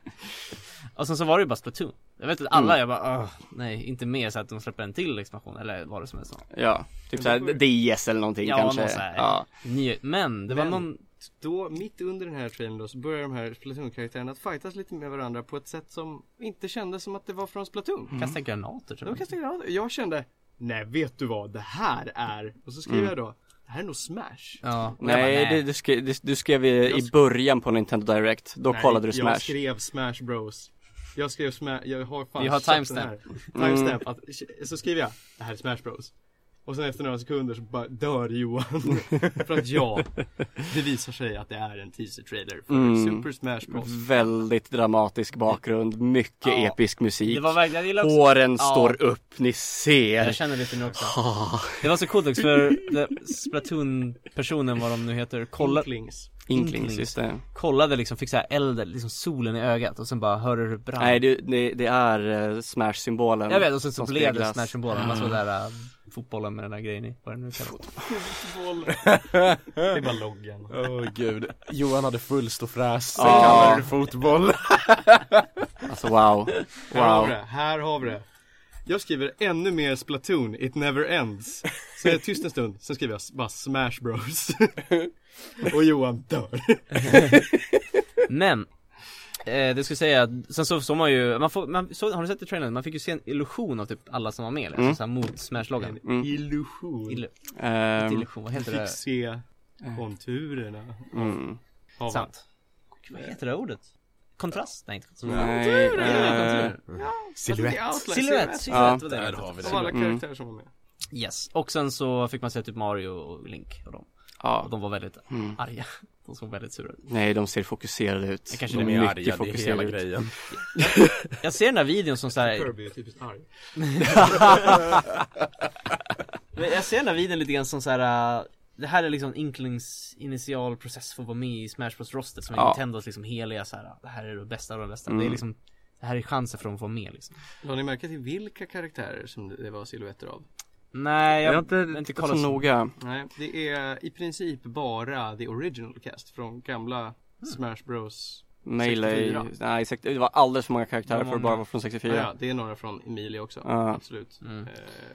Speaker 1: och sen så var det ju bara Splatoon. Jag vet att
Speaker 4: Mm.
Speaker 1: alla, jag bara, åh, nej, inte mer så att de släpper en till expansion eller vad det som helst.
Speaker 4: Ja, typ såhär DS eller någonting
Speaker 1: Ja,
Speaker 4: kanske.
Speaker 1: någon så här.
Speaker 4: Ja,
Speaker 1: Ny, men det var
Speaker 2: Men- Mm.
Speaker 1: någon,
Speaker 2: Då, mitt under den här trailern då, så börjar de här Splatoon-karaktärerna att fightas lite med varandra på ett sätt som inte kändes som att det var från Splatoon.
Speaker 1: kasta granater tror
Speaker 2: De
Speaker 1: jag.
Speaker 2: kastade granater. Jag kände, nej vet du vad, det här är... Och så skriver jag då, det här är nog Smash.
Speaker 1: Ja, och jag
Speaker 4: Nej,
Speaker 1: bara,
Speaker 4: Det, du skrev, det, du skrev i,
Speaker 2: Jag
Speaker 4: i
Speaker 2: sk-
Speaker 4: början på Nintendo Direct, då
Speaker 2: Nej,
Speaker 4: kollade du Smash
Speaker 2: Jag skrev Smash Bros. Jag skrev Smash, jag har fan
Speaker 1: Vi har
Speaker 2: köpt den
Speaker 1: timestamp.
Speaker 4: Mm.
Speaker 2: här. Timestamp, att, så skriver jag, det här är Smash Bros. Och sen efter några sekunder så bara dör Johan. för att ja, det visar sig att det är en teaser trailer för
Speaker 4: Mm.
Speaker 2: Super Smash Bros.
Speaker 4: Väldigt dramatisk bakgrund, mycket
Speaker 1: Ja.
Speaker 4: episk musik.
Speaker 1: Det var verkligen, jag gillar också
Speaker 4: Håren
Speaker 1: Ja.
Speaker 4: står upp, ni
Speaker 1: Jag
Speaker 4: ser.
Speaker 1: känner lite nu också
Speaker 4: Ah,
Speaker 1: Det var så coolt också för det- Splatoon-personen, vad de nu heter, kolla,
Speaker 2: Inklings.
Speaker 4: Inklings, just det.
Speaker 1: kollade liksom, fick såhär elden, liksom solen i ögat och sen bara hörde du hur det brann
Speaker 4: Nej, det, det, det är eh, Smash-symbolen.
Speaker 1: Jag vet, och sen så
Speaker 4: som
Speaker 1: blev det
Speaker 4: speglas.
Speaker 1: Smash-symbolen, man såg där äh, fotbollen med den där grejen i, vad den nu kallas
Speaker 2: Det
Speaker 4: Äh.
Speaker 2: är bara loggan.
Speaker 3: Åh gud, Johan hade full ståfräs, sen
Speaker 4: Ja.
Speaker 3: kallade du fotboll
Speaker 4: Alltså wow.
Speaker 2: Här har vi
Speaker 4: Wow.
Speaker 2: det, här har vi det. Jag skriver ännu mer Splatoon, it never ends. Så är jag tyst en stund, sen skriver jag s- bara Smash Bros. Och Johan dör.
Speaker 1: Men eh, det skulle säga att, sen så såg man ju, man får, man, så, har du sett i trailern? Man fick ju se en illusion av typ alla som var med liksom,
Speaker 4: Mm.
Speaker 1: såhär mot smash-loggan
Speaker 2: Illusion.
Speaker 1: Illu-
Speaker 4: Ehm,
Speaker 1: Illusion, vad heter
Speaker 2: Fick
Speaker 1: det?
Speaker 2: se konturerna.
Speaker 4: mm.
Speaker 2: av-
Speaker 1: Sant Gud, Vad heter det ordet? Kontrast? Nej inte kontrast
Speaker 4: Nej, eh,
Speaker 2: Silhuett.
Speaker 1: Silhuett,
Speaker 4: Ja.
Speaker 1: silhuett var det
Speaker 3: Där
Speaker 1: jag
Speaker 3: har vi
Speaker 2: Av alla
Speaker 3: det
Speaker 4: Mm.
Speaker 2: karaktärer som var med.
Speaker 1: Yes, och sen så fick man se typ Mario och Link och dem. Och
Speaker 4: ja.
Speaker 1: de var väldigt
Speaker 4: Mm.
Speaker 1: arga. De såg väldigt sura ut.
Speaker 4: Nej, de ser fokuserade ut.
Speaker 1: Det kanske
Speaker 4: de
Speaker 1: det
Speaker 3: De
Speaker 1: är
Speaker 3: är
Speaker 4: mycket
Speaker 3: arga, det är hela
Speaker 4: fokuserade ut.
Speaker 3: grejen
Speaker 1: Jag ser den här videon som såhär,
Speaker 2: Kirby är typiskt arg.
Speaker 1: jag ser den här videon lite grann som såhär äh, det här är liksom Inklings initialprocess för att vara med i Smash Bros rostet som är
Speaker 4: Ja. Mm.
Speaker 1: Nintendos liksom heliga såhär, äh, det här är det bästa av det bästa. Det är liksom, det här är chansen för dem att få vara med liksom.
Speaker 2: Har ni märke till vilka karaktärer som det var silhuetter av?
Speaker 1: Nej,
Speaker 4: Jag
Speaker 1: jag,
Speaker 4: har inte, inte kollat så noga.
Speaker 2: Nej, det är i princip bara the original cast från gamla Smash Bros.
Speaker 4: Melee,
Speaker 2: 64.
Speaker 4: nej exakt, det var alldeles för många karaktärer
Speaker 1: Det
Speaker 4: för
Speaker 1: var
Speaker 4: att bara vara från
Speaker 2: Ja.
Speaker 4: 64.
Speaker 2: ja, det är några från Emilia också.
Speaker 4: Ja.
Speaker 2: Absolut.
Speaker 1: Mm.
Speaker 2: Eh,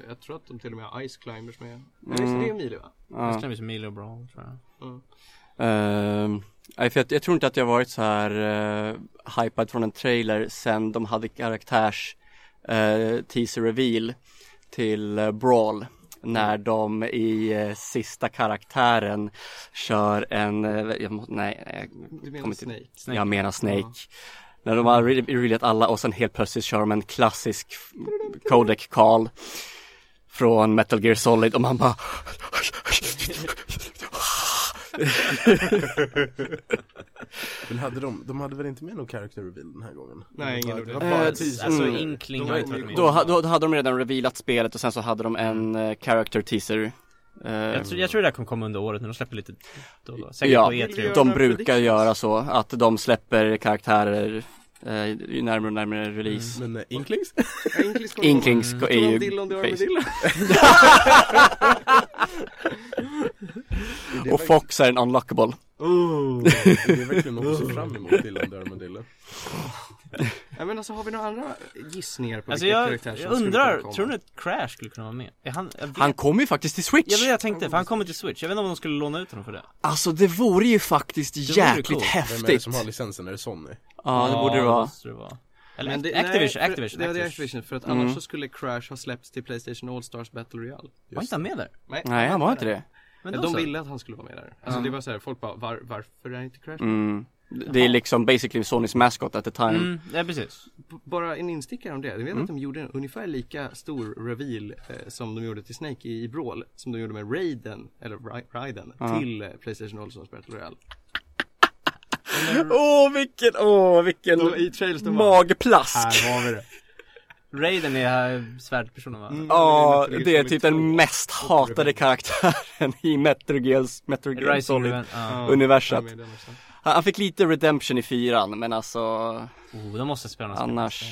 Speaker 2: jag tror att de till och med har Ice Climbers med. Nej, mm. det är Emilia va?
Speaker 1: Jag
Speaker 4: Ja.
Speaker 1: stämmer som Milo Brown tror jag.
Speaker 4: Ehm, nej, för jag, jag tror inte att jag varit så här eh, hypad från en trailer sen de hade karaktärs eh, teaser reveal till eh, Brawl. När de i eh, sista karaktären kör en, eh, jag, må- nej, nej,
Speaker 2: Du menar
Speaker 4: Kommer till-
Speaker 2: Snake?
Speaker 1: Snake.
Speaker 4: Jag menar Snake. När de har re- revealat alla och sen helt plötsligt kör de en klassisk f- codec call från Metal Gear Solid och man bara
Speaker 3: Men hade de, de hade väl inte med någon character reveal den här gången?
Speaker 2: Nej, ingen
Speaker 3: det
Speaker 2: ordentlig.
Speaker 3: var bara
Speaker 4: Eh,
Speaker 3: ett teaser.
Speaker 1: Alltså
Speaker 4: Mm.
Speaker 1: Inkling
Speaker 2: De
Speaker 1: har
Speaker 2: är
Speaker 1: inte
Speaker 2: ju
Speaker 1: varit med.
Speaker 4: då, ha- då, då hade de redan revealat spelet och sen så hade de en eh, character teaser Eh,
Speaker 1: Jag tror, jag tror det där kommer komma under året när de släpper lite då och då. Säkert
Speaker 4: Ja.
Speaker 1: på E E3
Speaker 4: De
Speaker 2: några
Speaker 4: brukar
Speaker 2: predictions?
Speaker 4: göra så att de släpper karaktärer eh, ju närmare och närmare release Mm.
Speaker 3: Men eh, Inklings?
Speaker 2: Ja, Inklings kommer
Speaker 4: Inklings
Speaker 3: Mm.
Speaker 2: komma.
Speaker 4: är
Speaker 2: Tror du om
Speaker 4: ju
Speaker 2: Dillon, du har
Speaker 4: face.
Speaker 2: med Dillon?
Speaker 4: Och Fox är en unlockable
Speaker 2: Oh.
Speaker 3: Det är verkligen något att se fram emot, Dylan Dermadille
Speaker 2: Ja, men alltså har vi några andra gissningar på
Speaker 1: Alltså
Speaker 2: vilka
Speaker 1: jag,
Speaker 2: karaktärer som
Speaker 1: jag
Speaker 2: skulle kunna
Speaker 1: undrar,
Speaker 2: komma?
Speaker 1: tror ni att Crash skulle kunna vara med? Är han, jag vet,
Speaker 4: Han kommer ju faktiskt till Switch!
Speaker 1: jag, vet, jag tänkte, för han kommer till Switch, jag vet inte om de skulle låna ut honom för det
Speaker 4: Alltså det vore ju faktiskt
Speaker 1: vore
Speaker 4: jäkligt
Speaker 1: coolt.
Speaker 4: häftigt
Speaker 3: Vem är det som har licensen? Är det Sony?
Speaker 4: Ja, det borde det vara.
Speaker 1: måste det vara Eller
Speaker 2: Men det- nej,
Speaker 1: Activision,
Speaker 2: för-
Speaker 1: Activision,
Speaker 2: Det var det
Speaker 1: Activision
Speaker 2: Activision, för att
Speaker 4: Mm.
Speaker 2: annars så skulle Crash ha släppts till Playstation All-Stars Battle Royale.
Speaker 1: Var inte han med där?
Speaker 4: Nej, han var inte det.
Speaker 1: Men
Speaker 2: Men
Speaker 1: då
Speaker 2: de
Speaker 1: så.
Speaker 2: ville att han skulle vara med där. Alltså det var såhär, folk bara, var, varför är inte Crash?
Speaker 4: Mm. Det är liksom basically Sonys mascot at the time.
Speaker 1: Mm, ja precis
Speaker 2: B- Bara en instickare om det, ni vet att de gjorde en ungefär lika stor reveal eh, som de gjorde till Snake i Brawl, som de gjorde med Raiden, eller Ra- Raiden, till eh, Playstation All-Stars Battle Royale.
Speaker 4: Åh, vilken, åh, vilken
Speaker 2: Då, I trailers de bara,
Speaker 4: magplask!
Speaker 2: här har vi det.
Speaker 1: Raiden är äh, svärdpersonen va?
Speaker 2: Mm.
Speaker 4: Ja,
Speaker 2: Metal Gear
Speaker 4: det är
Speaker 2: Solid
Speaker 4: typ
Speaker 2: 2.
Speaker 4: den mest hatade karaktären i Metal Gear Metal Gear
Speaker 1: Rising
Speaker 4: Solid
Speaker 1: Revenge, ja
Speaker 4: universat.
Speaker 2: Ja, med den också.
Speaker 4: Han han fick lite redemption i fyran, men alltså
Speaker 1: oh, de måste spela något spel.
Speaker 4: annars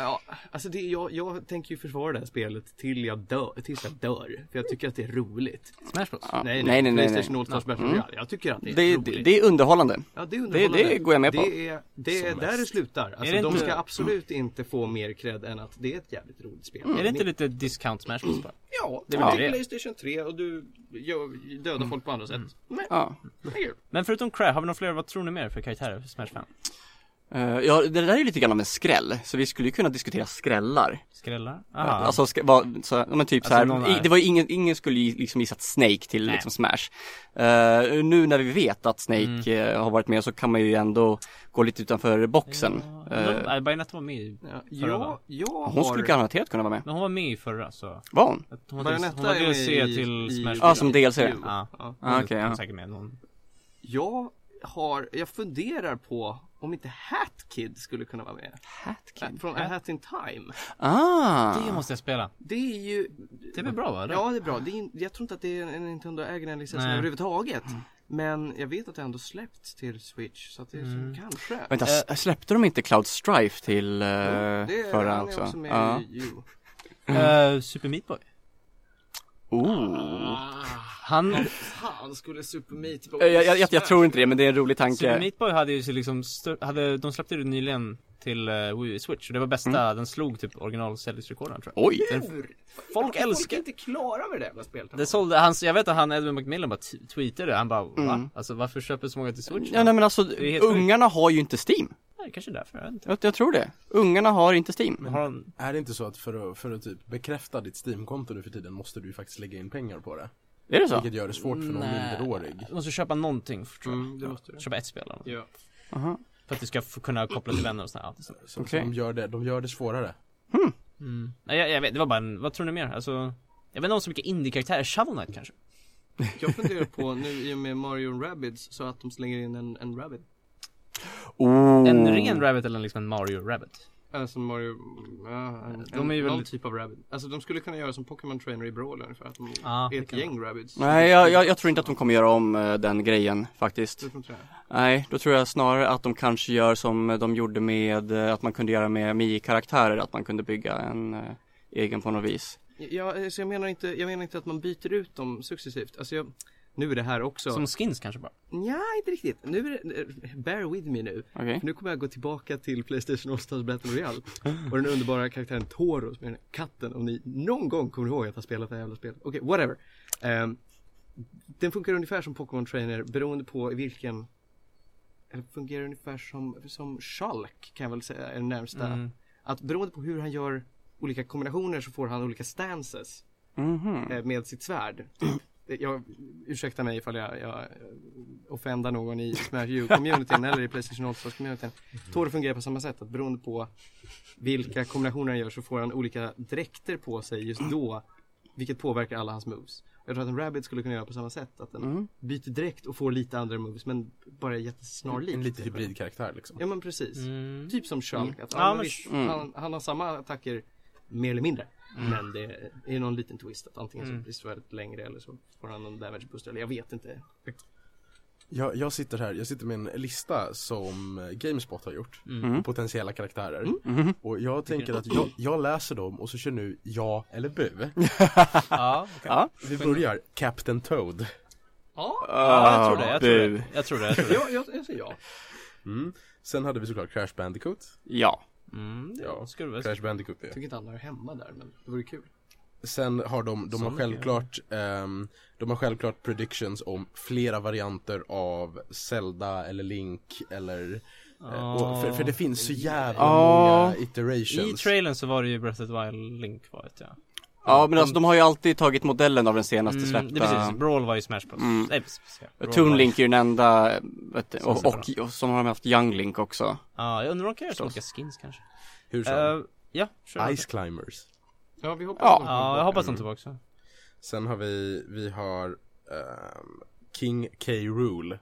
Speaker 2: Ja, alltså det, jag, jag tänker ju försvara det här spelet till jag dör, tills jag dör. För jag tycker att det är roligt.
Speaker 1: Smash Bros
Speaker 4: ja. nej, nej, nej, nej,
Speaker 2: Playstation All-Stars Battle Royale. Jag tycker att det är
Speaker 4: Det,
Speaker 2: roligt.
Speaker 4: det, det är underhållande.
Speaker 2: ja, det, är
Speaker 4: det- det går jag med på.
Speaker 2: Det är, det är där det slutar. Alltså
Speaker 1: det
Speaker 2: de
Speaker 1: inte-
Speaker 2: ska absolut inte få mer cred än att det är ett jävligt roligt spel.
Speaker 1: Mm. Är det inte lite discount Smash Bros bara?
Speaker 2: Ja, det
Speaker 1: Ja.
Speaker 2: är ja. Playstation 3 och du gör, dödar folk på andra sätt. Men,
Speaker 4: Ja.
Speaker 2: det är kul.
Speaker 1: Men förutom Crash, har vi några fler, vad tror ni mer för karaktärer för Smash 5?
Speaker 4: Eh, ja, det där är ju lite grann av en skräll, så vi skulle ju kunna diskutera skrällar.
Speaker 1: Skrällar?
Speaker 4: Alltså, sk- vad, så, ja, men typ
Speaker 1: Ah. Alltså,
Speaker 4: så
Speaker 1: någon
Speaker 4: här, i,
Speaker 1: är-
Speaker 4: det var ju ingen, ingen skulle ju liksom gissat Snake till
Speaker 1: Nej.
Speaker 4: liksom Smash. Eh, nu när vi vet att Snake
Speaker 1: Mm.
Speaker 4: eh, har varit med så kan man ju ändå gå lite utanför boxen. Eh,
Speaker 1: Nej, Bajonetta var med i-
Speaker 2: Ja,
Speaker 1: Förra, va?
Speaker 2: jag, jag
Speaker 4: hon skulle
Speaker 2: har...
Speaker 4: garanterat kunna vara med.
Speaker 1: Men hon var med i förra så
Speaker 4: Var hon?
Speaker 1: att Hon var
Speaker 2: Bajonetta
Speaker 1: hon var
Speaker 2: är med
Speaker 1: DLC
Speaker 2: i-
Speaker 1: till
Speaker 2: i-
Speaker 1: Smash
Speaker 4: Ja, som DLC.
Speaker 2: Jo.
Speaker 1: Ja,
Speaker 2: Ja.
Speaker 1: hon
Speaker 4: Ah,
Speaker 1: är-
Speaker 4: okej,
Speaker 1: hon är
Speaker 4: ja.
Speaker 1: säkert med någon
Speaker 2: Jag har, jag funderar på om inte Hat Kid skulle kunna vara med.
Speaker 4: Hatkin.
Speaker 2: Äh, Från A Hat in Time.
Speaker 4: Ah!
Speaker 1: Det måste jag spela
Speaker 2: Det är ju...
Speaker 1: Det blir bra va? eller?
Speaker 2: Ja, det är bra. Det är, in- jag tror inte att det är en Nintendo-ägare licens
Speaker 1: Nej.
Speaker 2: överhuvudtaget.
Speaker 4: Mm.
Speaker 2: Men jag vet att det ändå släppts till Switch, så att det är
Speaker 4: Mm.
Speaker 2: kanske.
Speaker 4: Vänta, s- släppte de inte Cloud Strife till eh,
Speaker 2: Eh. Mm, det är,
Speaker 4: förra
Speaker 2: han är
Speaker 4: också?
Speaker 2: också med
Speaker 4: Ja.
Speaker 2: i U.
Speaker 1: Eh, Super Meat Boy
Speaker 4: Oh.
Speaker 1: Han,
Speaker 2: Ah, Fan, skulle Super Meat Boy...
Speaker 4: Eh, Jag, jag, jag, jag tror inte det, men det är en rolig
Speaker 1: Super
Speaker 4: tanke.
Speaker 1: Meat Boy hade ju så liksom, stör, hade, de släppte det nyligen till eh, Wii U Switch och det var bästa, den slog typ originalsäljningsrekorden tror jag
Speaker 4: Oj!
Speaker 1: Den, folk
Speaker 2: Folk är
Speaker 1: älskar
Speaker 2: inte klara med det jävla spelet.
Speaker 1: det sålde, han, jag vet att han Edwin McMillan bara t- tweetade det, han bara va? Alltså varför köper så många till Switch?
Speaker 4: Ja, nej men alltså,
Speaker 1: är helt
Speaker 4: ungarna har ju inte Steam.
Speaker 1: Nej, kanske därför, jag vet inte
Speaker 4: Jag, jag tror det. Ungarna har inte Steam.
Speaker 1: Har han,
Speaker 3: Är det inte så att för att, för att typ bekräfta ditt Steam-konto nu för tiden måste du ju faktiskt lägga in pengar på det?
Speaker 4: Är det så?
Speaker 3: Vilket gör det svårt för någon minderårig.
Speaker 1: jag måste köpa någonting tror jag.
Speaker 2: det måste du.
Speaker 1: Köpa ett spel eller något.
Speaker 2: Ja.
Speaker 4: Aha.
Speaker 1: För att du ska få kunna koppla till vänner och sådär. Ja, det är så.
Speaker 3: Så,
Speaker 4: Okej.
Speaker 3: så de, gör det, de gör det svårare.
Speaker 1: Nej, jag, jag vet, det var bara en, vad tror ni mer? Alltså, jag vet inte om så mycket indie-karaktärer, Shovel Knight kanske?
Speaker 2: Jag funderar på nu i och med Mario Rabbids så att de slänger in en, en rabbit.
Speaker 4: Oh.
Speaker 1: En ren rabbit eller liksom en Mario rabbit?
Speaker 2: Alltså Mario, ja, en,
Speaker 1: De är ju
Speaker 2: en, någon
Speaker 1: väldigt-
Speaker 2: typ av rabbit. Alltså de skulle kunna göra som Pokémon Trainer i Brawl ungefär, att de
Speaker 1: Ja,
Speaker 2: är
Speaker 1: det
Speaker 2: ett
Speaker 1: kan
Speaker 2: gäng rabbits.
Speaker 4: Nej, jag, jag, jag tror inte att de kommer göra om eh, den grejen faktiskt.
Speaker 2: Du tror inte det?
Speaker 4: Nej, då tror jag snarare att de kanske gör som de gjorde med, eh, att man kunde göra med Mii-karaktärer, att man kunde bygga en eh, egen på något vis.
Speaker 2: Ja, eh, så jag menar inte, jag menar inte att man byter ut dem successivt. Alltså jag, nu är det här också.
Speaker 1: Som skins kanske bara?
Speaker 2: Nja, inte riktigt. Nu är det, eh, bear with me nu.
Speaker 4: Okej?
Speaker 2: Nu kommer jag gå tillbaka till Playstation Allstars Battle Royale och den underbara karaktären Toro som är den här katten om ni någon gång kommer ihåg att ha spelat det här jävla spelet. Okej, whatever. Ehm, den funkar ungefär som Pokémon Trainer beroende på i vilken eller fungerar ungefär som, som Shulk kan jag väl säga är den närmsta.
Speaker 1: Mm.
Speaker 2: Att beroende på hur han gör olika kombinationer så får han olika stances
Speaker 4: Mhm.
Speaker 2: eh, med sitt svärd. Typ. Jag, ursäkta mig ifall jag, jag eh, offendar någon i Smash U-communityn eller i Playstation Allstars-communityn. Tor fungerar på samma sätt, att beroende på vilka kombinationer han gör så får han olika dräkter på sig just då, vilket påverkar alla hans moves. Jag tror att en rabbit skulle kunna göra på samma sätt, att den byter dräkt och får lite andra moves men bara är jättesnarlikt.
Speaker 3: En lite hybridkaraktär liksom.
Speaker 2: Ja men precis.
Speaker 1: Mm.
Speaker 2: Typ som Shulk, att
Speaker 1: Ja,
Speaker 2: ja, men mm.
Speaker 1: men-
Speaker 2: visst, han, han har samma attacker mer eller mindre. Men det är någon liten twist att antingen så blir svärdet längre eller så får han någon damage booster eller jag vet inte.
Speaker 3: Jag, jag sitter här, jag sitter med en lista som eh, Gamespot har gjort.
Speaker 4: Mm.
Speaker 3: Potentiella karaktärer. Och jag tänker att jag, jag läser dem och så kör nu ja eller bu.
Speaker 1: Ja,
Speaker 4: Ja.
Speaker 3: Vi börjar Captain Toad.
Speaker 1: ja,
Speaker 4: Ah,
Speaker 1: jag tror det, jag tror
Speaker 4: Bu.
Speaker 1: det. Jag tror det, jag tror det.
Speaker 2: Ja, jag, jag säger ja.
Speaker 3: Sen hade vi såklart Crash Bandicoot.
Speaker 4: Ja.
Speaker 1: Mm, det
Speaker 3: Ja,
Speaker 1: skulle väl
Speaker 3: Crash Bandicoot det.
Speaker 2: Jag tycker inte han hör hemma där men det vore kul.
Speaker 3: Sen har de, de har självklart, ehm, de har självklart predictions om flera varianter av Zelda eller Link eller eh, och för, för det finns så jävla
Speaker 4: Ja.
Speaker 3: många
Speaker 1: I
Speaker 3: iterations.
Speaker 1: trailern så var det ju Breath of the Wild Link var det ja.
Speaker 4: Ja, men alltså de har ju alltid tagit modellen av den senaste
Speaker 1: Mm, det är
Speaker 4: släppta.
Speaker 1: precis, Brawl var ju Smash Bros. Nej precis. Ja. Brawl
Speaker 4: Toon
Speaker 1: var-
Speaker 4: Link är ju den enda, eh, vet, du, och,
Speaker 1: Som
Speaker 4: och, och som har de haft Young Link också.
Speaker 1: Ja, jag undrar om de kan göra så olika skins kanske?
Speaker 3: Hur som.
Speaker 1: Eh, ja, kör.
Speaker 3: Ice Climbers.
Speaker 2: Ja vi hoppas
Speaker 4: Ja.
Speaker 2: att de kommer
Speaker 1: Ja, jag
Speaker 2: tillbaka.
Speaker 1: hoppas de är tillbaka.
Speaker 3: Sen har vi, vi har ehm, King K. Rule.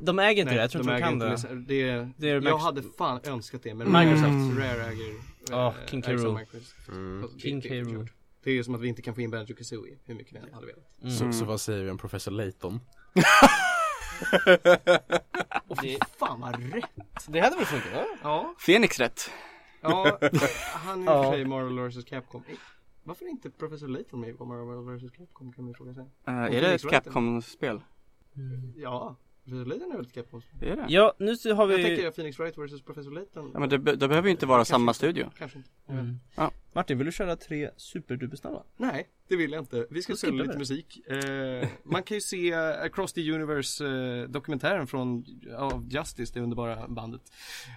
Speaker 1: De äger inte det, jag tror inte de
Speaker 2: äger
Speaker 1: kan det.
Speaker 2: licens- det,
Speaker 1: Det är
Speaker 2: jag
Speaker 1: Max-
Speaker 2: hade fan önskat det men
Speaker 1: Microsoft.
Speaker 2: Microsoft, Rare äger
Speaker 1: Ja,
Speaker 2: eh,
Speaker 1: King K.
Speaker 2: ägs av
Speaker 1: Rool.
Speaker 2: Microsoft.
Speaker 3: Mm.
Speaker 2: Fast det-
Speaker 1: King
Speaker 2: det-
Speaker 1: K.
Speaker 2: det är
Speaker 1: Rool.
Speaker 2: klart. Det är ju som att vi inte kan få in Banjo Kazooie hur mycket vi än hade velat.
Speaker 3: Så, så vad säger vi om Professor Layton?
Speaker 2: Och fy fan vad rätt!
Speaker 1: Det hade väl funkat? va?
Speaker 2: Ja.
Speaker 4: Phoenix rätt.
Speaker 2: Ja, han är i och för sig Marvel vs Capcom. Eh, Varför är inte Professor Layton med på Marvel vs Capcom kan man ju fråga sig.
Speaker 4: Eh,
Speaker 2: Och
Speaker 4: är det
Speaker 2: Phoenix
Speaker 4: ett
Speaker 2: Wright.
Speaker 4: Capcom-spel?
Speaker 2: Ja, Professor Layton är väl ett Capcom.
Speaker 4: Det är det. Ja,
Speaker 1: Mm. Ja, nu så har
Speaker 2: Jag
Speaker 1: vi...
Speaker 2: tänker Phoenix Wright vs Professor Layton.
Speaker 4: men det, be- det behöver ju inte vara
Speaker 2: Kanske
Speaker 4: samma
Speaker 2: inte.
Speaker 4: studio.
Speaker 2: Kanske inte.
Speaker 1: Mm.
Speaker 4: Ja.
Speaker 1: Martin, vill du köra tre superdupersnabba?
Speaker 2: Nej, det vill jag inte. Vi ska
Speaker 1: Då
Speaker 2: spela
Speaker 1: skippar
Speaker 2: lite
Speaker 1: vi.
Speaker 2: musik. Eh, man kan ju se Across the Universe eh, dokumentären från av Justice, det underbara bandet.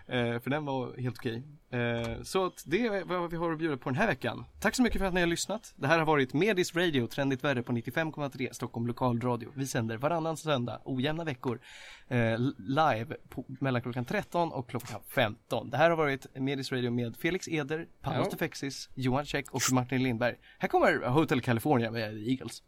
Speaker 2: Eh, för den var helt okej. Eh, så att det är vad vi har att bjuda på den här veckan. Tack så mycket för att ni har lyssnat. Det här har varit Medis Radio, trendigt värre på 95,3 Stockholm Lokalradio. Vi sänder varannan söndag, ojämna veckor, eh, live på, mellan klockan 13 och klockan 15. Det här har varit Medis Radio med Felix Eder, Panos Tufexis, Johan Käck och Martin Lindberg. Här kommer Hotel California med Eagles.